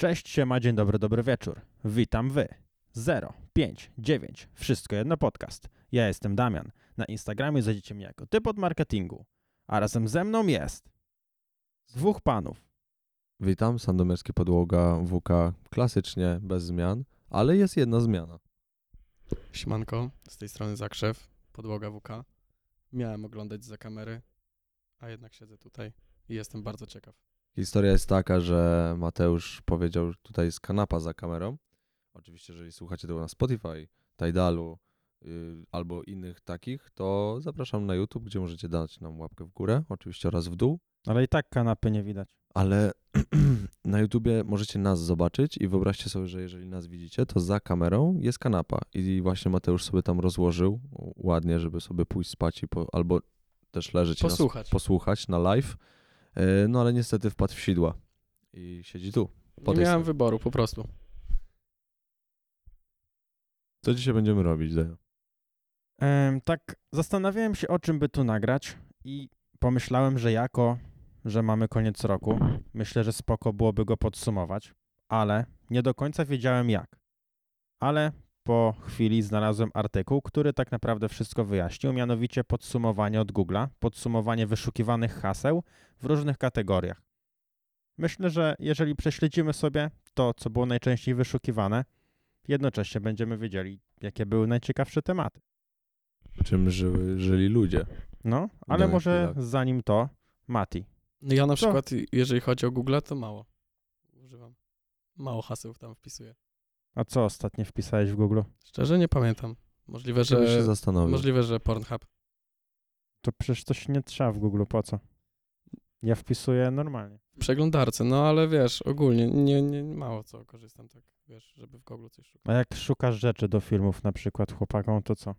Cześć, siema, dzień dobry, dobry wieczór. Witam wy. 0, 5, 9, wszystko jedno podcast. Ja jestem Damian. Na Instagramie znajdziecie mnie jako typ od marketingu. A razem ze mną jest dwóch panów. Witam, sandomierski podłoga WK klasycznie bez zmian, ale jest jedna zmiana. Siemanko, z tej strony Zakrzew, podłoga WK. Miałem oglądać za kamery, a jednak siedzę tutaj i jestem bardzo ciekaw. Historia jest taka, że Mateusz powiedział tutaj z kanapa za kamerą. Oczywiście, jeżeli słuchacie tego na Spotify, Tidalu yy, albo innych takich, to zapraszam na YouTube, gdzie możecie dać nam łapkę w górę, oczywiście oraz w dół. Ale i tak kanapy nie widać. ale na YouTubie możecie nas zobaczyć i wyobraźcie sobie, że jeżeli nas widzicie, to za kamerą jest kanapa i właśnie Mateusz sobie tam rozłożył ładnie, żeby sobie pójść spać i po, albo też leżeć i nas Posłuchać. posłuchać na live, E, no ale niestety wpadł w sidła i siedzi tu. po Nie tej miałem stronie. wyboru, po prostu. Co dzisiaj będziemy robić, Dajo? Em, tak, zastanawiałem się, o czym by tu nagrać i pomyślałem, że jako, że mamy koniec roku, myślę, że spoko byłoby go podsumować, ale nie do końca wiedziałem jak. Ale po chwili znalazłem artykuł, który tak naprawdę wszystko wyjaśnił, mianowicie podsumowanie od Google'a, podsumowanie wyszukiwanych haseł w różnych kategoriach. Myślę, że jeżeli prześledzimy sobie to, co było najczęściej wyszukiwane, jednocześnie będziemy wiedzieli, jakie były najciekawsze tematy. Czym żyły, żyli ludzie? No, ale Dawaj może chwilę. zanim to, Mati. No Ja na Co? przykład, jeżeli chodzi o Google, to mało używam. Mało haseł tam wpisuję. A co ostatnio wpisałeś w Google? Szczerze nie pamiętam. Możliwe, Żeby się że, zastanowić. E, możliwe, że Pornhub. To przecież to się nie trzeba w Google, po co? Ja wpisuję normalnie. W Przeglądarce, no ale wiesz, ogólnie nie, nie, mało co korzystam tak, wiesz, żeby w Google coś szukać. A jak szukasz rzeczy do filmów na przykład chłopakom, to co?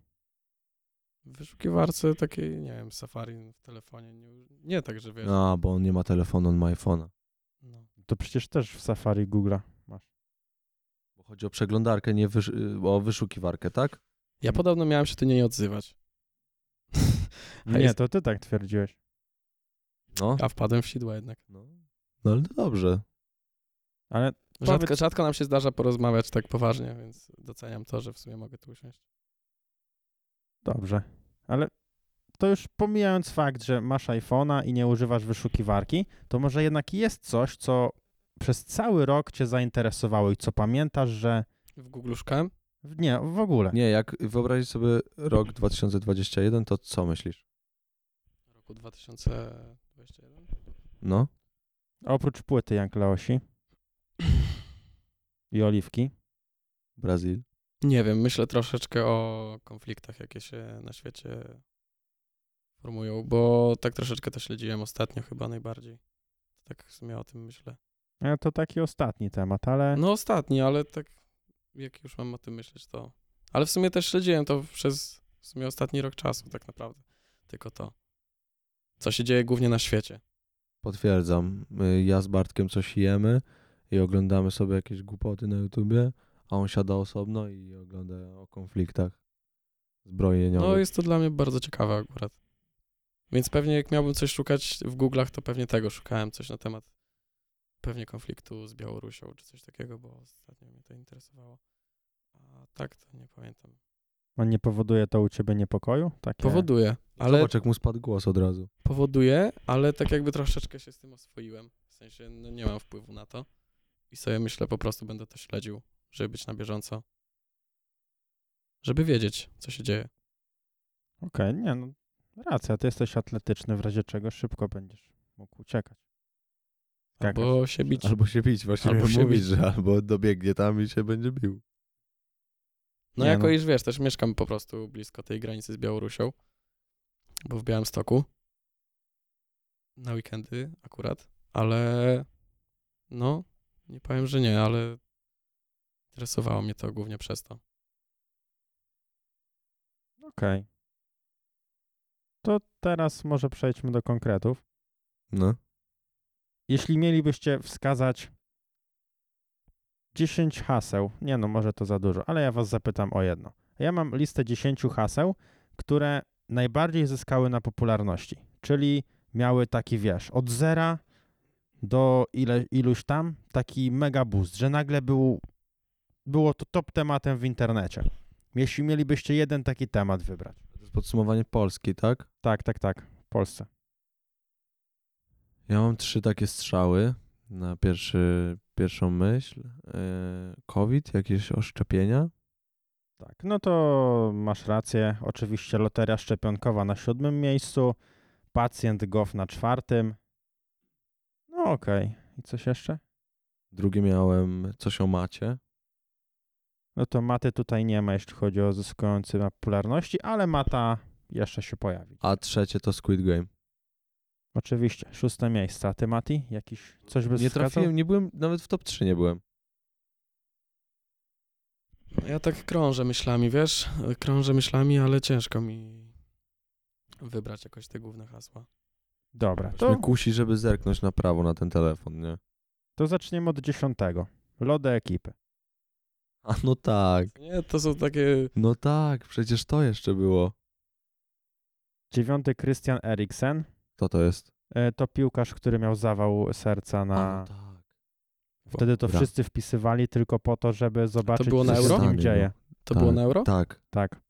W wyszukiwarce takiej, nie wiem, Safari w telefonie, nie, nie tak, że wiesz. A, bo on nie ma telefonu, on ma iPhone'a. No. To przecież też w Safari Google'a. Bo chodzi o przeglądarkę, nie wysz o wyszukiwarkę, tak? Ja podobno miałem się do niej odzywać. A Nie, jest- to ty tak twierdziłeś. No, A wpadłem w sidła jednak. no. no ale to dobrze. Ale Rzadko, rzadko nam się zdarza porozmawiać tak poważnie, więc doceniam to, że w sumie mogę tu usiąść. dobrze. Ale to już pomijając fakt, że masz iPhone'a i nie używasz wyszukiwarki, to może jednak jest coś, co przez cały rok cię zainteresowało i co pamiętasz, że... W Google szukałem. Nie, w Tak. ogóle. Nie, jak wyobrazić sobie rok 2021, to co myślisz? W roku 2021. No? Oprócz płyty Jank Leosi i Oliwki. Brazil. Nie wiem, myślę troszeczkę o konfliktach, jakie się na świecie formują, bo tak troszeczkę to śledziłem ostatnio chyba najbardziej. Tak w sumie o tym myślę. E, To taki ostatni temat, ale No ostatni, ale tak jak już mam o tym myśleć, to... Ale w sumie też śledziłem to przez w sumie ostatni rok czasu tak naprawdę. Tylko to. Co się dzieje głównie na świecie. Potwierdzam. Y, Ja z Bartkiem coś jemy i oglądamy sobie jakieś głupoty na YouTubie, a on siada osobno i ogląda o konfliktach zbrojeniowych. No jest to dla mnie bardzo ciekawe akurat. Więc pewnie jak miałbym coś szukać w Google'ach, to pewnie tego szukałem, coś na temat pewnie konfliktu z Białorusią czy coś takiego, bo ostatnio mnie to interesowało. A tak to nie pamiętam. on nie powoduje to u ciebie niepokoju? Takie... Powoduje, ale... ale Zobacz, jak mu spadł głos od razu. powoduje, ale tak jakby troszeczkę się z tym oswoiłem. W sensie no nie mam wpływu na to. I sobie myślę, po prostu będę to śledził, żeby być na bieżąco. Żeby wiedzieć, co się dzieje. Okej, nie no, racja, ty jesteś atletyczny, w razie czego szybko będziesz mógł uciekać. Tak Skakać. Albo się bić. Albo się bić, właśnie Albo miałem się mówić, bić. że albo dobiegnie tam i się będzie bił. No Nie jako no. iż wiesz, też mieszkam po prostu blisko tej granicy z Białorusią, bo w Białymstoku na weekendy akurat, ale no, nie powiem, że nie, ale interesowało mnie to głównie przez to. Okej. To teraz może przejdźmy do konkretów. No. Jeśli mielibyście wskazać 10 haseł, nie no, może to za dużo, ale ja was zapytam o jedno. Ja mam listę 10 haseł, które najbardziej zyskały na popularności, czyli miały taki, wiesz, od zera do ile, iluś tam taki mega boost, że nagle był, było to top tematem w internecie. Jeśli mielibyście jeden taki temat wybrać. To jest podsumowanie Polski, tak? Tak, tak, tak. W Polsce. Ja mam trzy takie strzały na pierwszy, pierwszą myśl. E, COVID, jakieś oszczepienia. Tak, no to masz rację. Oczywiście loteria szczepionkowa na siódmym miejscu, pacjent GOV na czwartym. No okej. I coś jeszcze? Drugie miałem coś o macie. No to maty tutaj nie ma, jeśli chodzi o zyskujący na popularności, ale mata jeszcze się pojawi. A trzecie to Squid Game. Oczywiście, szóste miejsce. A ty, Mati, jakiś coś by Nie wskazał? trafiłem, nie byłem, nawet w top 3 nie byłem. Ja tak krążę myślami, wiesz? Krążę myślami, ale ciężko mi wybrać jakoś te główne hasła. Dobra, To... Mnie to, kusi, żeby zerknąć na prawo na ten telefon, nie? to zaczniemy od dziesiątego. Lody ekipy. A no tak, Nie, to są takie... no tak, przecież to jeszcze było. Dziewiąty Christian Eriksen. Kto to jest? E, To piłkarz, który miał zawał serca A, na... no tak. Wtedy to Dobra. wszyscy wpisywali tylko po to, żeby zobaczyć, było na co się Euro? z nim Stanie, dzieje. To Tak. było na euro? Tak. Tak.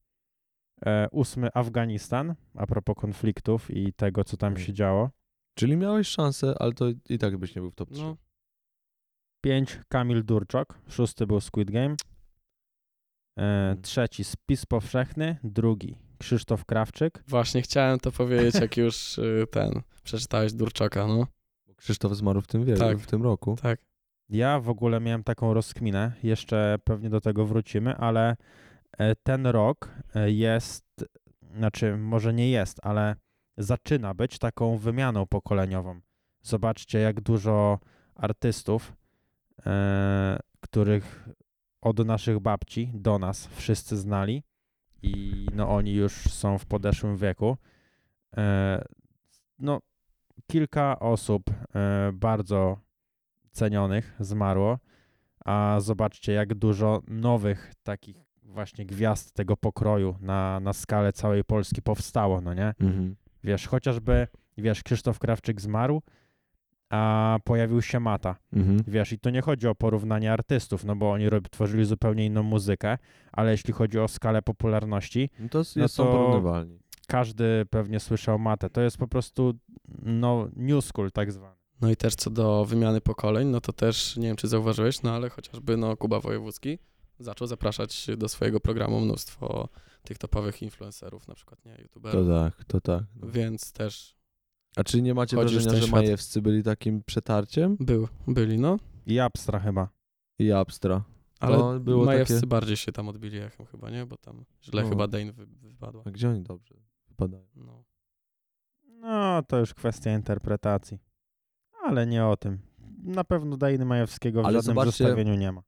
E, ósmy Afganistan, a propos konfliktów i tego, co tam Mm. Mhm. się działo. Czyli miałeś szansę, ale to i tak byś nie był w top 3. No, Pięć Kamil Durczok, szósty był Squid Game. E, Mm. trzeci Spis Powszechny, drugi Krzysztof Krawczyk. właśnie chciałem to powiedzieć, jak już y, ten, przeczytałeś Durczaka, no. Bo Krzysztof zmarł w tym wieku, Tak. w tym roku. Tak. Ja w ogóle miałem taką rozkminę, jeszcze pewnie do tego wrócimy, ale e, ten rok e, jest, znaczy może nie jest, ale zaczyna być taką wymianą pokoleniową. Zobaczcie, jak dużo artystów, e, których od naszych babci do nas wszyscy znali i no oni już są w podeszłym wieku. E, no, kilka osób e, bardzo cenionych zmarło, a zobaczcie, jak dużo nowych takich właśnie gwiazd tego pokroju na, na skalę całej Polski powstało, no nie? Mhm. Wiesz, chociażby, wiesz, Krzysztof Krawczyk zmarł, a pojawił się Mata. Mhm. Wiesz, i to nie chodzi o porównanie artystów, no bo oni rob, tworzyli zupełnie inną muzykę, ale jeśli chodzi o skalę popularności, No to jest, No są to- porównywalni. każdy pewnie słyszał Matę. To jest po prostu, no, new school tak zwany. No i też co do wymiany pokoleń, no to też, nie wiem czy zauważyłeś, no ale chociażby no, Kuba Wojewódzki zaczął zapraszać do swojego programu mnóstwo tych topowych influencerów, na przykład, nie, To youtuberów, tak, to tak. No. więc też A czy nie macie Wchodzisz w wrażenia, ten że świat. Majewscy byli takim przetarciem? był, byli, no, I Abstra chyba. I Abstra. ale No, było Majewscy takie- bardziej się tam odbili echem chyba, nie, bo tam źle No. chyba Dane wy, wypadła. A gdzie oni dobrze wypadają? No. No, to już kwestia interpretacji. Ale nie o tym. Na pewno Dajny Majewskiego w Ale żadnym zobaczcie- zestawieniu nie ma.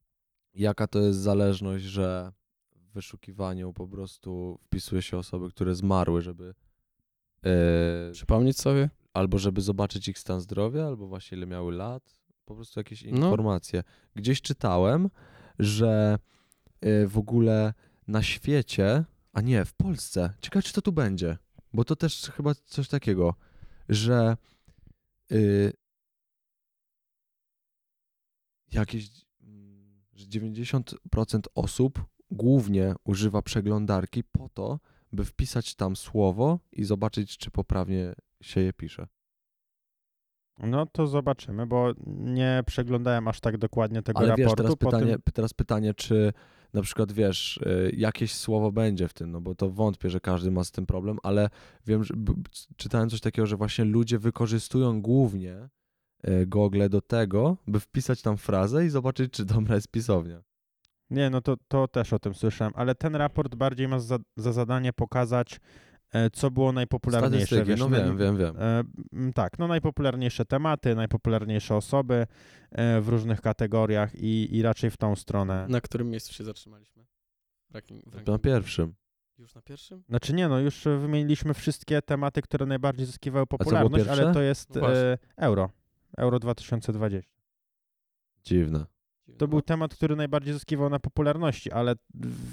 Jaka to jest zależność, że w wyszukiwaniu po prostu wpisuje się osoby, które zmarły, żeby e, Przypomnieć sobie? albo żeby zobaczyć ich stan zdrowia, albo właśnie ile miały lat, po prostu jakieś No. informacje. Gdzieś czytałem, że y, w ogóle na świecie, a nie, w Polsce, ciekawe czy to tu będzie, bo to też chyba coś takiego, że y, jakieś mm, że 90% osób głównie używa przeglądarki po to, by wpisać tam słowo i zobaczyć, czy poprawnie się je pisze. No to zobaczymy, bo nie przeglądałem aż tak dokładnie tego Ale raportu. wiesz, teraz po pytanie, tym... p- teraz pytanie, czy na przykład wiesz, y, jakieś słowo będzie w tym, no bo to wątpię, że każdy ma z tym problem, ale wiem, że b- b- czytałem coś takiego, że właśnie ludzie wykorzystują głównie y, Google do tego, by wpisać tam frazę i zobaczyć, czy dobra jest pisownia. Nie, no to, to też o tym słyszałem, ale ten raport bardziej ma za, za zadanie pokazać, e, co było najpopularniejsze. Statystyki, Wiesz, no no i- wiem, wiem, wiem. E, m, tak, no najpopularniejsze tematy, najpopularniejsze osoby e, w różnych kategoriach i, i raczej w tą stronę. Na którym miejscu się zatrzymaliśmy? W ranking, w Na rankingu. pierwszym. Już na pierwszym? Znaczy nie, no już e, wymieniliśmy wszystkie tematy, które najbardziej zyskiwały było popularność, pierwsze? ale to jest No właśnie. e, euro. Euro 2020. Dziwne. To był temat, który najbardziej zyskiwał na popularności, ale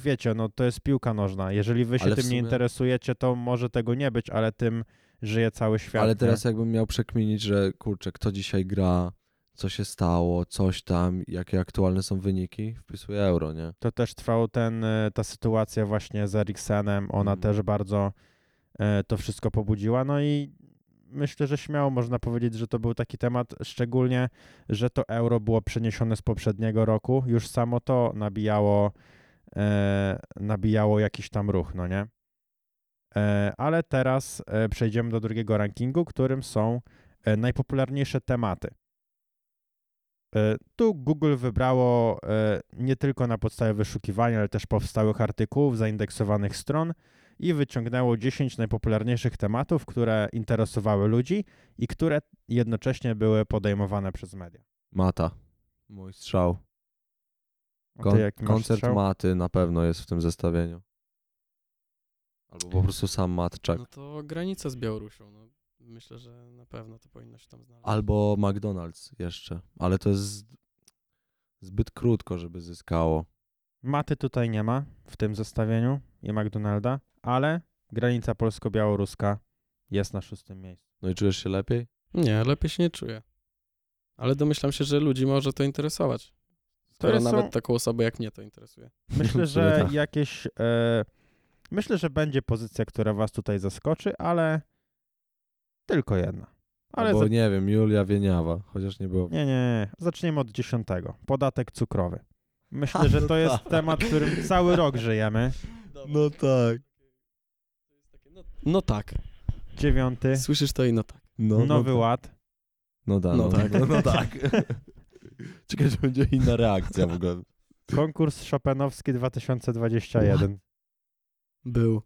wiecie, no to jest piłka nożna. Jeżeli wy się Ale w tym nie sumie- interesujecie, to może tego nie być, ale tym żyje cały świat. Ale nie? teraz jakbym miał przekminić, że kurczę, kto dzisiaj gra co się stało, coś tam, jakie aktualne są wyniki, wpisuję euro, nie? To też trwał ten, e, ta sytuacja właśnie z Eriksenem, ona Mhm. też bardzo e, to wszystko pobudziła, no i myślę, że śmiało można powiedzieć, że to był taki temat, szczególnie, że to euro było przeniesione z poprzedniego roku, już samo to nabijało, e, nabijało jakiś tam ruch, no nie? E, ale teraz e, przejdziemy do drugiego rankingu, którym są e, najpopularniejsze tematy. E, Tu Google wybrało e, nie tylko na podstawie wyszukiwania, ale też powstałych artykułów, zaindeksowanych stron i wyciągnęło 10 najpopularniejszych tematów, które interesowały ludzi i które jednocześnie były podejmowane przez media. Mata. Mój strzał. A ty Kon- jaki masz koncert strzał? Maty na pewno jest w tym zestawieniu. Albo po prostu sam Matczak. No to granica z Białorusią. No. Myślę, że na pewno to powinno się tam znaleźć. Albo McDonald's jeszcze. Ale to jest z- zbyt krótko, żeby zyskało. Maty tutaj nie ma w tym zestawieniu i McDonalda, ale granica polsko-białoruska jest na szóstym miejscu. No i czujesz się lepiej? Nie, lepiej się nie czuję. Ale domyślam się, że ludzi może to interesować. Skoro są- nawet taką osobę jak mnie to interesuje. Myślę, Czyli że tak. jakieś. E, myślę, że będzie pozycja, która was tutaj zaskoczy, ale tylko jedna. Ale Albo za... nie wiem, Julia Wieniawa, chociaż nie było. nie, nie, nie. Zaczniemy od dziesiątego. Podatek cukrowy. Myślę, że to tak. jest temat, którym cały rok żyjemy. No tak. No, no tak. Dziewiąty. Słyszysz to i no tak. No, no, Nowy Ład. no, da, No no, tak. tak. No, no tak. Czekaj, że będzie inna reakcja w ogóle. Konkurs Chopinowski 2021. Był.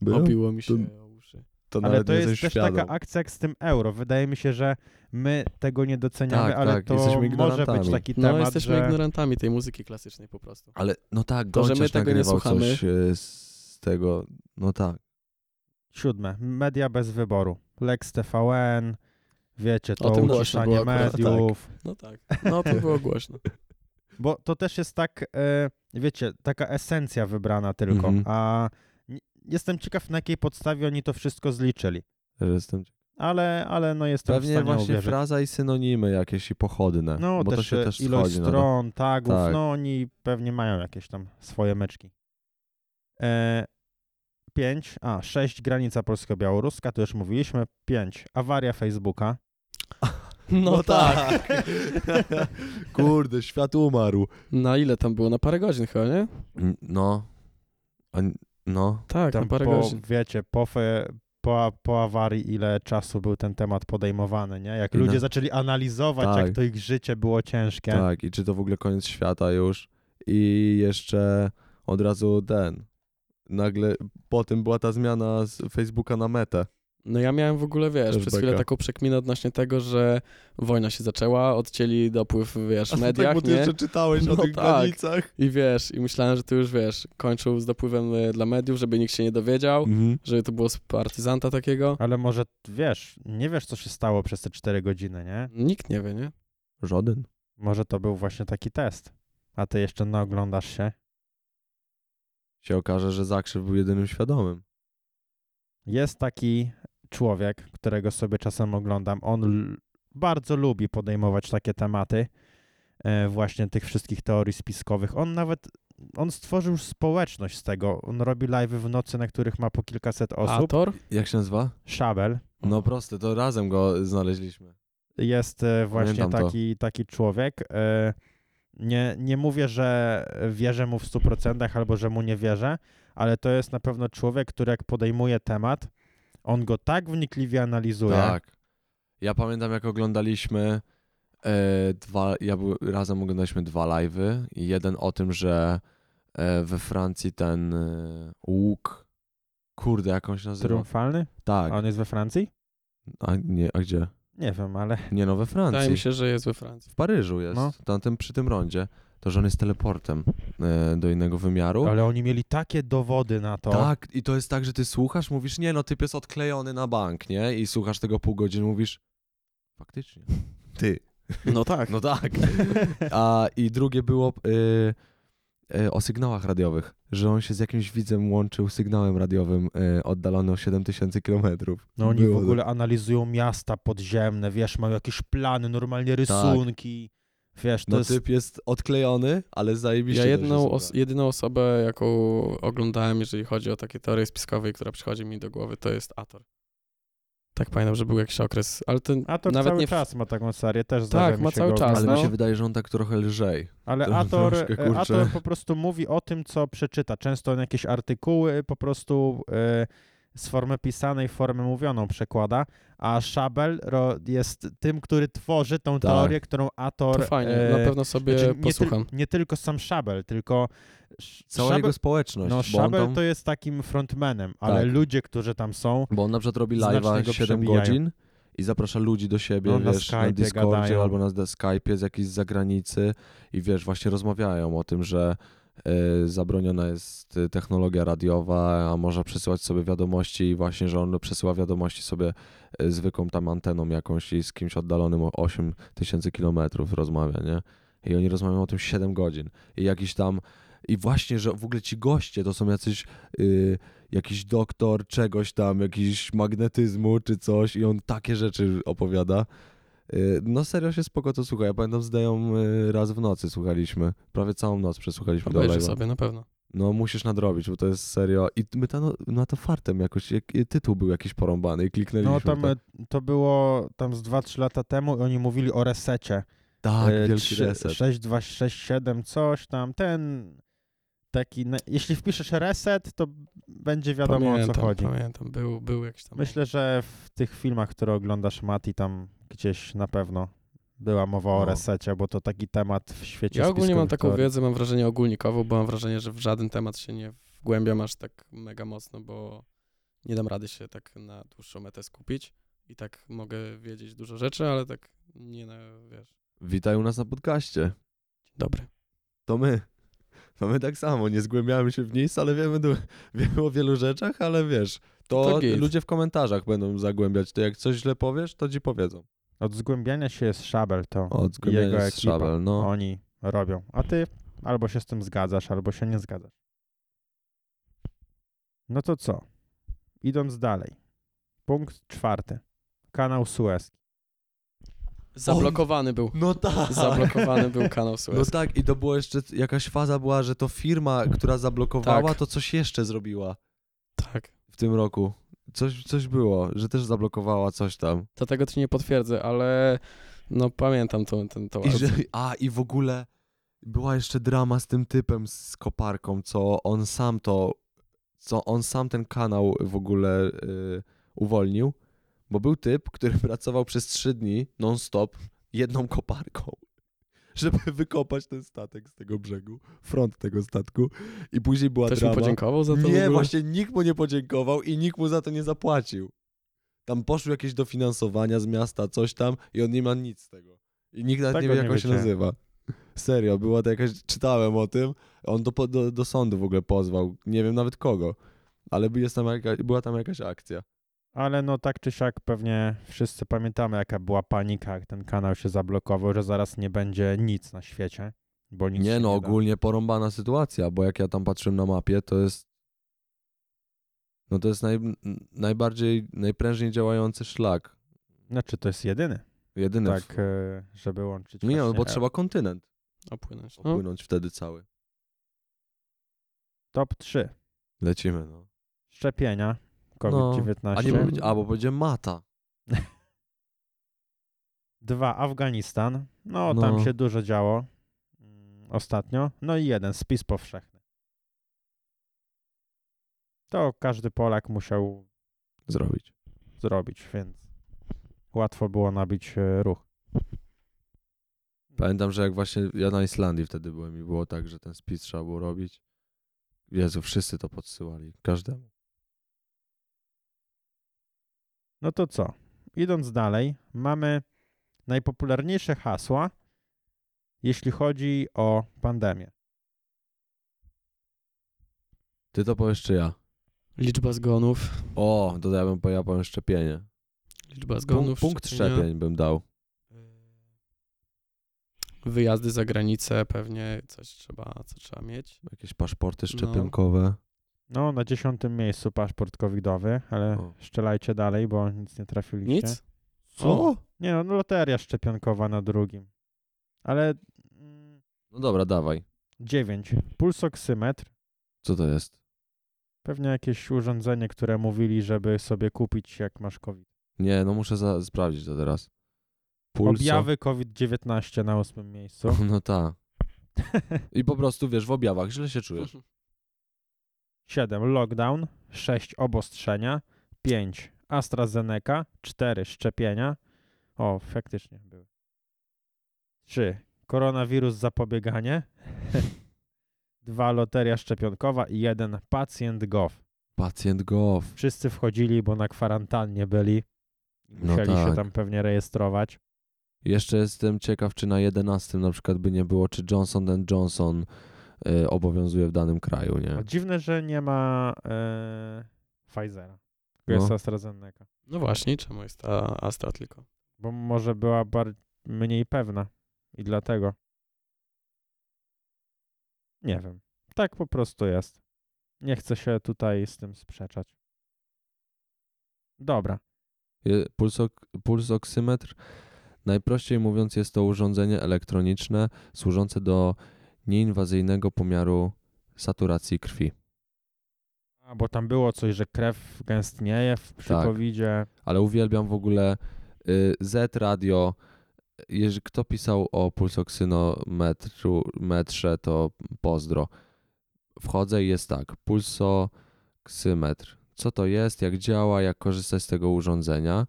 Było? Obiło mi się To- o uszy. To Ale nawet to nie jest jesteś też świadom. taka akcja jak z tym euro. Wydaje mi się, że my tego nie doceniamy, Tak, ale tak, to jesteśmy może być ignorantami. taki No temat, jesteśmy że... ignorantami tej muzyki klasycznej po prostu. Ale no tak, To, że my Gonciarz tego nie nagrywał słuchamy. coś e, z tego, no tak. Siódme. Media bez wyboru. Lex TVN, wiecie, to O tym głośno uciszanie było akurat, mediów. No tak. No to było głośno. Bo to też jest tak, e, wiecie, taka esencja wybrana tylko. Mhm. A n- jestem ciekaw, na jakiej podstawie oni to wszystko zliczyli. Że Jestem... Ale, ale no jestem w Pewnie stanie właśnie uwierzyć. fraza i synonimy jakieś i pochodne, No bo też, to się e, też ilość schodzi na to. stron, tagów, Tak. no oni pewnie mają jakieś tam swoje meczki. E, pięć, a sześć, granica polsko-białoruska, to już mówiliśmy. Pięć, awaria Facebooka. No, tak. Kurde, świat umarł. Na ile tam było? Na parę godzin chyba, nie? N- No. A, n- no. Tak, tam na parę po, godzin. wiecie, po, fe, po, po awarii ile czasu był ten temat podejmowany, nie? Jak I ludzie na- zaczęli analizować, jak Tak. to ich życie było ciężkie. Tak, i czy to w ogóle koniec świata już? I jeszcze od razu ten. Nagle po tym była ta zmiana z Facebooka na metę. No ja miałem w ogóle, wiesz, Też przez chwilę beka. taką przekminę odnośnie tego, że wojna się zaczęła, odcięli dopływ, wiesz, tak mediach, bo ty nie? jeszcze czytałeś No o tych tak. granicach. I wiesz, i myślałem, że to już, wiesz, kończył z dopływem e, dla mediów, żeby nikt się nie dowiedział, Mm. Mhm. żeby to było z partyzanta takiego. Ale może, wiesz, nie wiesz, co się stało przez te cztery godziny, nie? Nikt nie wie, nie? Żaden. Może to był właśnie taki test. A ty jeszcze naoglądasz się. Się okaże, że Zakrzyw był jedynym świadomym. Jest taki człowiek, którego sobie czasem oglądam. On l- bardzo lubi podejmować takie tematy, e, właśnie tych wszystkich teorii spiskowych. On nawet on stworzył społeczność z tego. On robi live'y w nocy, na których ma po kilkaset osób. Ator? Jak się nazywa? Szabel No proste, to razem go znaleźliśmy. jest e, właśnie Pamiętam to. taki, taki człowiek. E, Nie, nie mówię, że wierzę mu w 100% albo że mu nie wierzę, ale to jest na pewno człowiek, który jak podejmuje temat, on go tak wnikliwie analizuje. Tak. Ja pamiętam, jak oglądaliśmy e, dwa, ja był, razem oglądaliśmy dwa live'y i jeden o tym, że e, we Francji ten e, łuk, kurde, jak on się nazywa? Triumfalny? Tak. A on jest we Francji? A, nie, a gdzie? Nie wiem, ale Nie, no we Wydaje Francji. mi się, że jest we Francji. W Paryżu jest, No. tam, tym, przy tym rondzie. To, że on jest teleportem e, do innego wymiaru. ale oni mieli takie dowody na to. Tak, i to jest tak, że ty słuchasz, mówisz, nie no, typ jest odklejony na bank, nie? I słuchasz tego pół godziny, mówisz, faktycznie. Ty. No tak. No tak. A i drugie było, y, e, o sygnałach radiowych, że on się z jakimś widzem łączył sygnałem radiowym e, oddalony o 7000 kilometrów. No oni Było tak. w ogóle analizują miasta podziemne, wiesz, mają jakieś plany, normalnie rysunki. Wiesz, to Tak. No jest... typ jest odklejony, ale zajebiście Ja też jedną jest os- jedyną osobę, jaką oglądałem, jeżeli chodzi o takie teorie spiskowe, i która przychodzi mi do głowy, to jest Ator. Tak pamiętam, że był jakiś okres, ale ten A to nawet cały nie w- czas ma taką serię, też Tak, zdarza mi ma się cały go czas, oglądać. Ale no. mi się wydaje, że on tak trochę lżej. Ale To Ator, troszkę, e, kurczę. Ator po prostu mówi o tym, co przeczyta. Często on jakieś artykuły po prostu e, z formy pisanej w formę mówioną przekłada, a Szabel ro, jest tym, który tworzy tą Tak. teorię, którą Ator... to fajnie, e, na pewno sobie znaczy, nie, posłucham. tyl- nie tylko sam Szabel, tylko... Sz- Cała jego społeczność. no, bo, on Szabel tam, to jest takim frontmanem, ale Tak. ludzie, którzy tam są, no, bo on na przykład robi znacznie live'a go 7 przebijają. godzin i zaprasza ludzi do siebie, No, na wiesz, na, Skype'ie Discordzie gadają. albo na Skype'ie z jakiejś zagranicy i wiesz, właśnie rozmawiają o tym, że y, zabroniona jest y, technologia radiowa, a można przesyłać sobie wiadomości i właśnie, że on przesyła wiadomości sobie y, zwykłą tam anteną jakąś i z kimś oddalonym o 8 tysięcy kilometrów rozmawia, nie? I oni rozmawiają o tym 7 godzin. I jakiś tam. I właśnie, że w ogóle ci goście to są jacyś. y, jakiś doktor czegoś tam, jakiś magnetyzmu czy coś, i on takie rzeczy opowiada. Y, no serio się spoko to słucha. Ja pamiętam, zdają y, raz w nocy słuchaliśmy. Prawie całą noc przesłuchaliśmy do Obejrzę live'a. sobie, na pewno. No musisz nadrobić, bo to jest serio. I my tam no, na to fartem jakoś, jak, tytuł był jakiś porąbany i kliknęliśmy. no tam tak, e, to było tam z 2-3 lata temu i oni mówili o resecie. tak E, wielki trzy- reset. sześć, dwa, sześć, siedem, coś tam, ten taki, na- jeśli wpiszesz reset, to będzie wiadomo pamiętam, o co chodzi. Pamiętam, był, był jakiś tam. Myślę, że w tych filmach, które oglądasz Mati, tam gdzieś na pewno była mowa o No. resecie, bo to taki temat w świecie Ja ogólnie mam spiskowych taką teorii. wiedzę, mam wrażenie ogólnikową, bo mam wrażenie, że w żaden temat się nie wgłębiam aż tak mega mocno, bo nie dam rady się tak na dłuższą metę skupić. I tak mogę wiedzieć dużo rzeczy, ale tak nie na, wiesz, Witaj u nas na podcaście. dobry. To my. No my tak samo, nie zgłębiamy się w nic, ale wiemy, du- wiemy o wielu rzeczach, ale wiesz, To to git. ludzie w komentarzach będą zagłębiać. To jak coś źle powiesz, to ci powiedzą. Od zgłębiania się jest szabel, to Od jego zgłębienia ekipa. szabel, no. oni robią. A ty albo się z tym zgadzasz, albo się nie zgadzasz. No to co? Idąc dalej. Punkt czwarty. Kanał Suezki. Zablokowany był. No tak. Zablokowany był kanał No Suez. tak, i to była jeszcze jakaś faza była, że to firma, która zablokowała, Tak. to coś jeszcze zrobiła tak. w tym roku. Coś, coś było, że też zablokowała coś tam. To tego ci nie potwierdzę, ale no pamiętam tą, tą, tą I że, akcję. a i w ogóle była jeszcze drama z tym typem z koparką, co on sam to, co on sam ten kanał w ogóle y, uwolnił, bo był typ, który pracował przez trzy dni non-stop jedną koparką, żeby wykopać ten statek z tego brzegu, front tego statku i później była Ktoś mu drama. podziękował za to? w nie, ogóle? właśnie nikt mu nie podziękował i nikt mu za to nie zapłacił. Tam poszły jakieś dofinansowania z miasta, coś tam i on nie ma nic z tego. I nikt nawet nie Tego wie, nie jak on się wiecie. nazywa. Serio, była to jakaś, czytałem o tym, on do, po- do, do sądu w ogóle pozwał, nie wiem nawet kogo, ale by- jest tam jaka, była tam jakaś akcja. Ale no tak czy siak pewnie wszyscy pamiętamy, jaka była panika, jak ten kanał się zablokował, że zaraz nie będzie nic na świecie, bo nic się nie no, nie da. ogólnie porąbana sytuacja, bo jak ja tam patrzyłem na mapie, to jest no to jest naj, najbardziej, najprężniej działający szlak, Znaczy to jest jedyny, jedyny w, tak, e, żeby łączyć No. Nie, no właśnie bo e- trzeba kontynent Opłynąć. No. opłynąć wtedy cały. Top 3. Lecimy, no. Szczepienia A nie COVID-19. powiedzia- a bo będzie mata. Dwa, Afganistan. No, No. tam się dużo działo mm, ostatnio. No i jeden, spis powszechny. To każdy Polak musiał Zrobić. zrobić, więc łatwo było nabić e, ruch. Pamiętam, że jak właśnie ja na Islandii wtedy byłem i było tak, że ten spis trzeba było robić. Jezu, wszyscy to podsyłali. Każdemu. No to co? Idąc dalej, mamy najpopularniejsze hasła, jeśli chodzi o pandemię. Ty to powiesz czy ja? Liczba zgonów. O, dodałem, ja powiem szczepienie. Liczba Punkt, zgonów. punkt szczepienia. szczepień bym dał. wyjazdy za granicę, pewnie coś trzeba, co trzeba mieć. Jakieś paszporty szczepionkowe. No, na dziesiątym miejscu paszport covidowy, ale O. szczelajcie dalej, bo nic nie trafiliście. Nic? Co? Nie no, no, loteria szczepionkowa na drugim. Ale mm, No dobra, dawaj. dziewięć. Pulsoksymetr. Co to jest? Pewnie jakieś urządzenie, które mówili, żeby sobie kupić, jak masz COVID. Nie, no muszę za- sprawdzić to teraz. Objawy COVID-19 na ósmym miejscu. No tak. I po prostu wiesz, w objawach źle się czujesz. 7. Lockdown. 6. Obostrzenia. 5. AstraZeneca. 4. Szczepienia. O, faktycznie były. 3. Koronawirus zapobieganie. 2. Loteria szczepionkowa. I 1. Pacjent gov. Pacjent gov. Wszyscy wchodzili, bo na kwarantannie byli. No Musieli się tak. tam pewnie rejestrować. Jeszcze jestem ciekaw, czy na 11 na przykład by nie było, czy Johnson Johnson y, obowiązuje w danym kraju, A nie? dziwne, że nie ma e, Pfizera. No. Jest AstraZeneca. No właśnie, czemu jest ta Astra tylko? Bo może była bar- mniej pewna i dlatego. Nie wiem. Tak po prostu jest. Nie chcę się tutaj z tym sprzeczać. Dobra. Je- Pulsok, pulsoksymetr, najprościej mówiąc, jest to urządzenie elektroniczne służące do nieinwazyjnego pomiaru saturacji krwi. A, bo tam było coś, że krew gęstnieje w przy Tak. covidzie. Ale uwielbiam w ogóle y, Z Radio. Jeżeli kto pisał o pulsoksynometru, metrze, to pozdro. Wchodzę i jest tak, pulsoksymetr. Co to jest, jak działa, jak korzystać z tego urządzenia.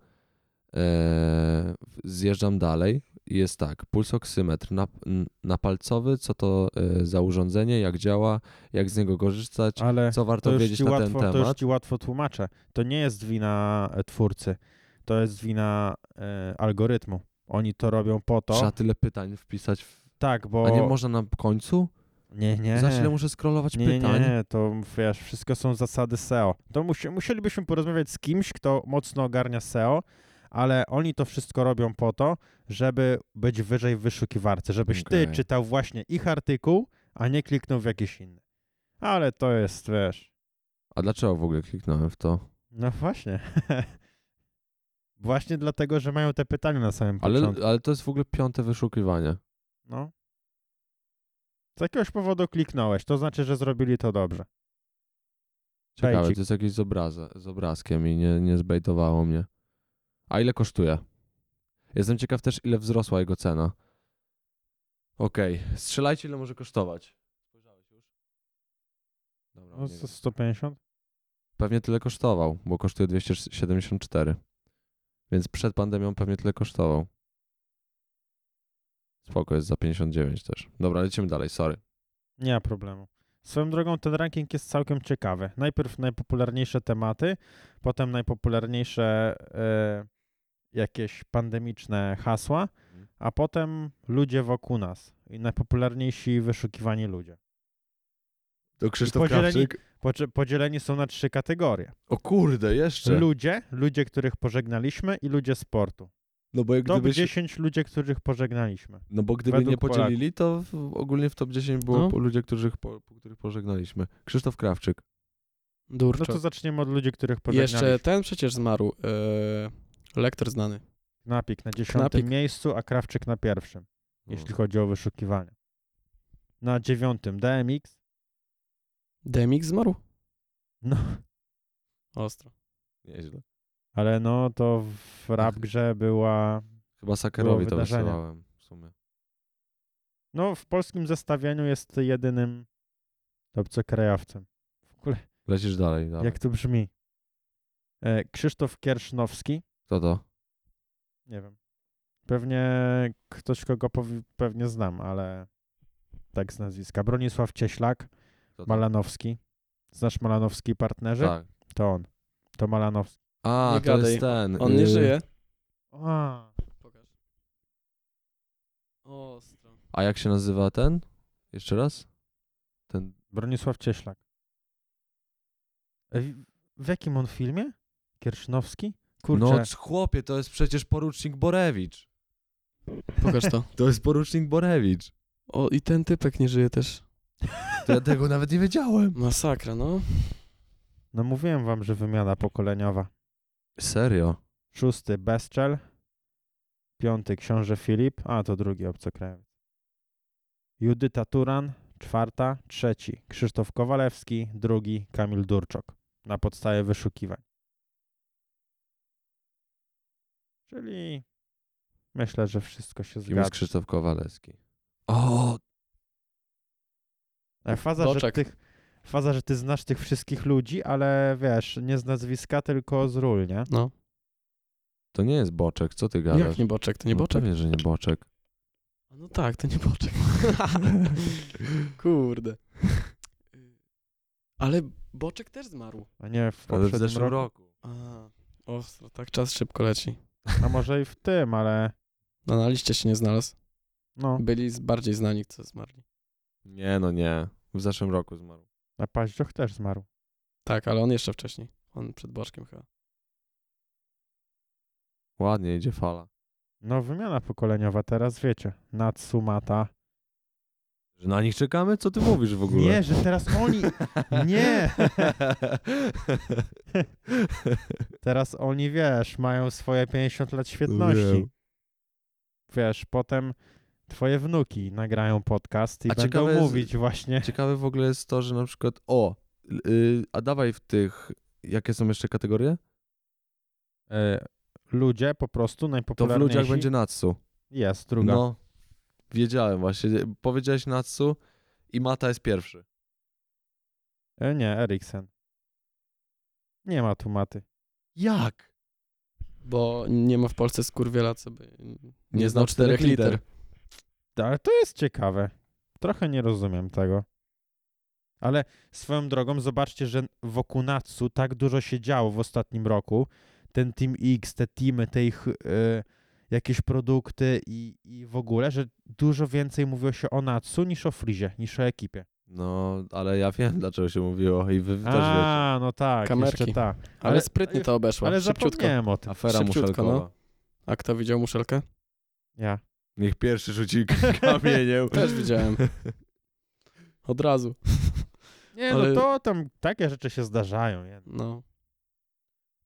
E, zjeżdżam dalej. Jest tak, pulsoksymetr na, n- napalcowy, co to y, za urządzenie, jak działa, jak z niego korzystać, Ale co to warto już, wiedzieć ci na łatwo, ten to już temat. ci łatwo tłumaczę. To nie jest wina e, twórcy. To jest wina e, algorytmu. Oni to robią po to. Trzeba tyle pytań wpisać w tak, bo. A nie można na końcu? nie, nie. Za chwilę muszę scrollować nie, pytań. Nie, nie, to wiesz, wszystko są zasady SEO. To musi, musielibyśmy porozmawiać z kimś, kto mocno ogarnia SEO, ale oni to wszystko robią po to, żeby być wyżej w wyszukiwarce, żebyś ty Okej. czytał właśnie ich artykuł, a nie kliknął w jakiś inny. Ale to jest, wiesz, A dlaczego w ogóle kliknąłem w to? no właśnie. właśnie dlatego, że mają te pytania na samym Ale, początku. ale to jest w ogóle piąte wyszukiwanie. No. Z jakiegoś powodu kliknąłeś, to znaczy, że zrobili to dobrze. Ciekawe, Bejcik. to jest jakieś z, obraza, z obrazkiem i nie, nie zbejtowało mnie. A ile kosztuje? Jestem ciekaw też, ile wzrosła jego cena. Okej, strzelajcie, ile może kosztować. Spojrzałeś już? Dobra, No, nie z- wiem. 150? Pewnie tyle kosztował, bo kosztuje 274. Więc przed pandemią pewnie tyle kosztował. Spoko, jest za 59 też. Dobra, lecimy dalej, sorry. Nie ma problemu. Swoją drogą ten ranking jest całkiem ciekawy. Najpierw najpopularniejsze tematy, potem najpopularniejsze e, jakieś pandemiczne hasła, Mhm. a potem ludzie wokół nas i najpopularniejsi wyszukiwani ludzie. To Krzysztof Podzieleni- Krawczyk? Poczy- Podzieleni są na trzy kategorie. O kurde, jeszcze. Ludzie, ludzie, których pożegnaliśmy i ludzie sportu. no bo jak Top gdyby się- 10 ludzie, których pożegnaliśmy. no bo gdyby według nie podzielili, to w, ogólnie w top 10 było No. po ludzie, których, po, po których pożegnaliśmy. Krzysztof Krawczyk. No Durczak. No to zaczniemy od ludzi, których pożegnaliśmy. Jeszcze ten przecież zmarł. e, lektor znany. Knapik na dziesiątym Knapik. No. miejscu, a Krawczyk na pierwszym. No, jeśli chodzi o wyszukiwania. Na dziewiątym DMX. Demik zmarł? No, Ostro. Nieźle. ale no to w rap grze była. Chyba Sakerowi Było to wydarzenie. wysyłałem w sumie. No, w polskim zestawieniu jest jedynym obcokrajowcem. W ogóle, Lecisz dalej, dalej. jak to brzmi? E, Krzysztof Kiersznowski. Kto to? Nie wiem. Pewnie ktoś, kogo powi- pewnie znam, ale tak z nazwiska. Bronisław Cieślak, Kto to? Malanowski. Znasz Malanowski i partnerzy? Tak. To on. To Malanowski. A, Nie to gadaj. jest ten. On nie y, żyje. A. Pokaż. Ostro. A jak się nazywa ten? Jeszcze raz? Ten. Bronisław Cieślak. E, w- W jakim on filmie? Kiersznowski? Kurczę, No c- chłopie, to jest przecież porucznik Borewicz. Pokaż to. To jest porucznik Borewicz. O, i ten typek nie żyje też. To ja tego nawet nie wiedziałem. Masakra, no. No mówiłem wam, że wymiana pokoleniowa. Serio? Szósty Bezczel. Piąty książę Filip. A, to drugi obcokrajowiec. Judyta Turan. Czwarta. Trzeci Krzysztof Kowalewski. Drugi Kamil Durczok. Na podstawie wyszukiwań. Czyli myślę, że wszystko się Kim jest zgadza. Krzysztof Kowalewski? O, E, Faza że, Boczek. tych, faza, że ty znasz tych wszystkich ludzi, ale wiesz, nie z nazwiska, tylko z ról, nie? No. to nie jest Boczek, co ty gadasz? Jak nie boczek? To nie No boczek. Pewnie, że nie Boczek. No tak, to nie boczek. Kurde. Ale boczek też zmarł. A nie w Ale w poprzednim zeszłym roku. roku. A, ostro, tak czas szybko leci. A może i w tym, ale No na liście się nie znalazł. no, Byli z- bardziej znani, co zmarli. Nie, no nie. W zeszłym roku zmarł. na paździoch też zmarł. Tak, ale on jeszcze wcześniej. On przed boczkiem chyba. Ładnie idzie fala. No wymiana pokoleniowa teraz, wiecie, Natsumata. Że na nich czekamy? Co ty mówisz w ogóle? Nie, że teraz oni, nie. teraz oni, wiesz, mają swoje 50 lat świetności. Wiem. Wiesz, potem twoje wnuki nagrają podcast i A będą ciekawe jest- mówić właśnie. Ciekawe w ogóle jest to, że na przykład o, y, a dawaj w tych, jakie są jeszcze kategorie? Y, ludzie po prostu To E, w najpopularniejsi. ludziach będzie Natsu. Jest, druga. No, wiedziałem właśnie. Powiedziałeś Natsu i Mata jest pierwszy. E, Nie, Eriksen. Nie ma tu maty. Jak? Bo nie ma w Polsce skurwiela, co by nie, Nie znał znał czterech czterech liter. liter. Da, Ale to jest ciekawe. Trochę nie rozumiem tego. Ale swoją drogą zobaczcie, że wokół Natsu tak dużo się działo w ostatnim roku. Ten Team X, te teamy, te ich y, jakieś produkty i, i w ogóle, że dużo więcej mówiło się o Natsu niż o Frizie, niż o ekipie. No, ale ja wiem dlaczego się mówiło i wy też wiecie. A, no tak, Kamerki. jeszcze ta. Ale, Ale- sprytnie to obeszła. Ale Szybciutko. zapomniałem o tym. Afera szybciutko, muszelkowa. no. A kto widział muszelkę? Ja. Niech pierwszy rzuci kamieniem. Też widziałem. Od razu. Nie, Ale- no to tam takie rzeczy się zdarzają. nie? No.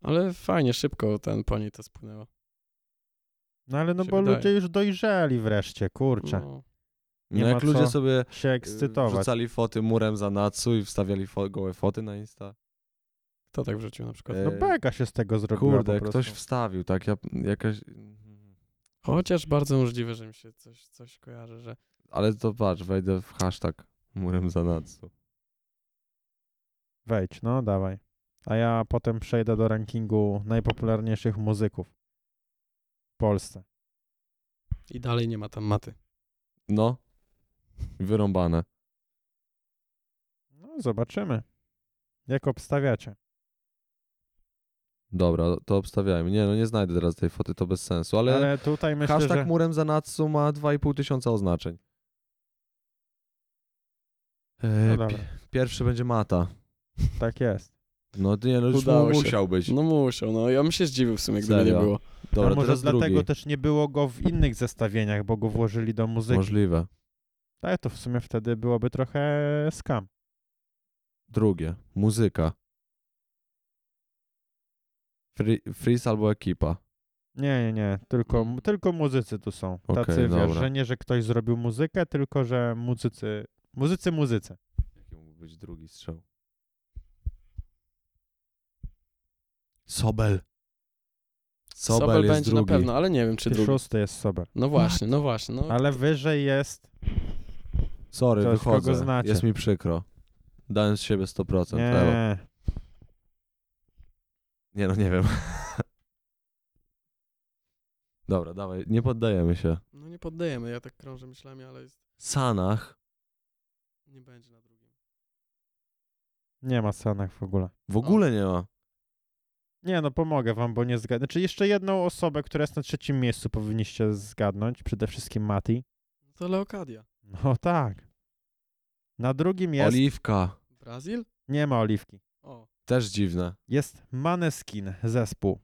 Ale fajnie, szybko ten po niej to spłynęło. No ale no się bo wydaje. ludzie już dojrzeli wreszcie, kurczę. No. Nie No, jak ma ludzie co sobie Się ekscytować. Wrzucali foty murem za Natsu i wstawiali fo- gołe foty na Insta. Kto tak wrzucił na przykład? E, No beka się z tego zrobiła Kurde, po prostu. ktoś wstawił, tak? Ja, jakaś... mhm. Chociaż bardzo możliwe, że mi się coś, coś kojarzy, że Ale to patrz, wejdę w hashtag murem za Natsu. Wejdź, no dawaj. A ja potem przejdę do rankingu najpopularniejszych muzyków w Polsce. i dalej nie ma tam maty. No, wyrąbane. No zobaczymy. Jak obstawiacie? Dobra, to obstawiałem. Nie, no nie znajdę teraz tej foty, to bez sensu, ale, Ale, tutaj myślę, hashtag że... murem za Natsu ma 2,5 tysiąca oznaczeń. E, No pi- dobra, pierwszy będzie Mata. tak jest. No nie, no już mu, Udało się. musiał być. No muszą, no ja bym się zdziwił w sumie, gdyby Serio? nie było. Dobra, A może teraz dlatego drugi. też nie było go w innych zestawieniach, bo go włożyli do muzyki. Możliwe. Tak, to w sumie wtedy byłoby trochę skam. Drugie. Muzyka. Free, freeze albo ekipa. Nie, nie, nie. Tylko, Mm. tylko muzycy tu są. Okej, Tacy, wiesz, dobra. że nie, że ktoś zrobił muzykę, tylko, że muzycy... Muzycy, muzycy. Jaki mógł być drugi strzał? Sobel. Sobel, Sobel jest będzie drugi. na pewno, ale nie wiem czy drugi. Szósty jest Sober. No właśnie, no właśnie. No. Ale wyżej jest... Sorry, Ktoś, wychodzę. kogo znacie. Jest mi przykro. Dałem z siebie 100%. Elo. Nie, nie no, nie wiem. Dobra, dawaj, nie poddajemy się. No nie poddajemy, ja tak krążę myślami, ale jest... Sanach. nie będzie na drugim. nie ma Sanach w ogóle. W ogóle nie ma. Nie, no pomogę wam, bo nie zgadnę. Znaczy jeszcze jedną osobę, która jest na trzecim miejscu powinniście zgadnąć. Przede wszystkim Mati. No to Leokadia. No tak. Na drugim jest... Oliwka. Brazil? Nie ma Oliwki. O. Też dziwne. Jest Maneskin, zespół.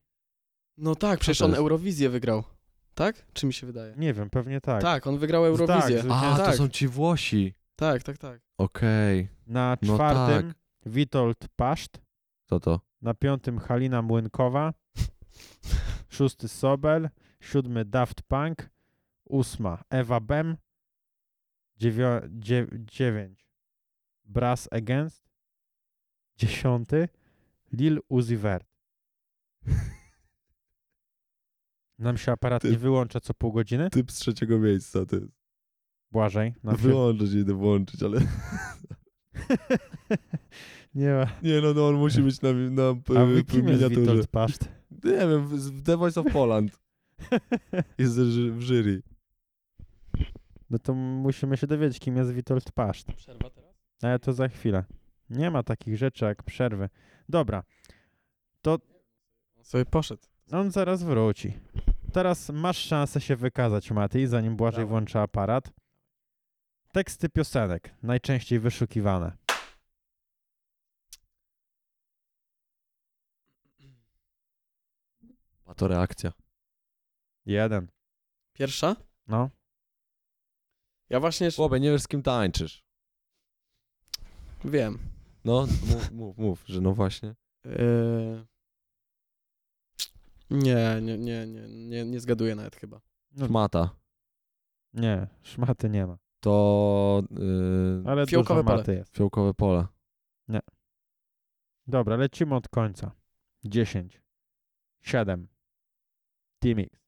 No tak, przecież on jest? Eurowizję wygrał. Tak? Czy mi się wydaje? Nie wiem, pewnie tak. Tak, on wygrał Eurowizję. z- A, tak. to są ci Włosi. Tak, tak, tak. Okej. Na No czwartym tak. Witold Paszt, To to. na piątym Halina Młynkowa, szósty Sobel, siódmy Daft Punk, ósma Ewa Bem, dziewio- dzie- dziewięć Brass Against, dziesiąty Lil Uzi Vert. Nam się aparat Ty- nie wyłącza co pół godziny. Typ z trzeciego miejsca, ty. Błażej, nam się... Wyłączyć, idę włączyć, ale... nie ma. Nie no, no on musi być na, na A y, wy kim jest Witold Paszt? Nie wiem, w, w The Voice of Poland. Jest ży- w jury. No to musimy się dowiedzieć, kim jest Witold Paszt. Przerwa teraz? Ale to za chwilę. Nie ma takich rzeczy jak przerwy. Dobra, On sobie poszedł. on zaraz wróci. Teraz masz szansę się wykazać, Matej, zanim Błażej Dawaj. włączy aparat. Teksty piosenek, najczęściej wyszukiwane. A to reakcja. Jeden. Pierwsza? No, Ja właśnie jeszcze... Chłopie, nie wiesz z kim tańczysz. Wiem. No, mów, mów, mów, że no właśnie. Yy... Nie, nie, nie, nie, nie, nie zgaduję nawet chyba. Szmata. nie, szmaty nie ma. To... Yy, Ale Fiołkowe dużo pole. maty jest. Fiołkowe pola. Dobra, lecimy od końca. Dziesięć. Siedem. Timix.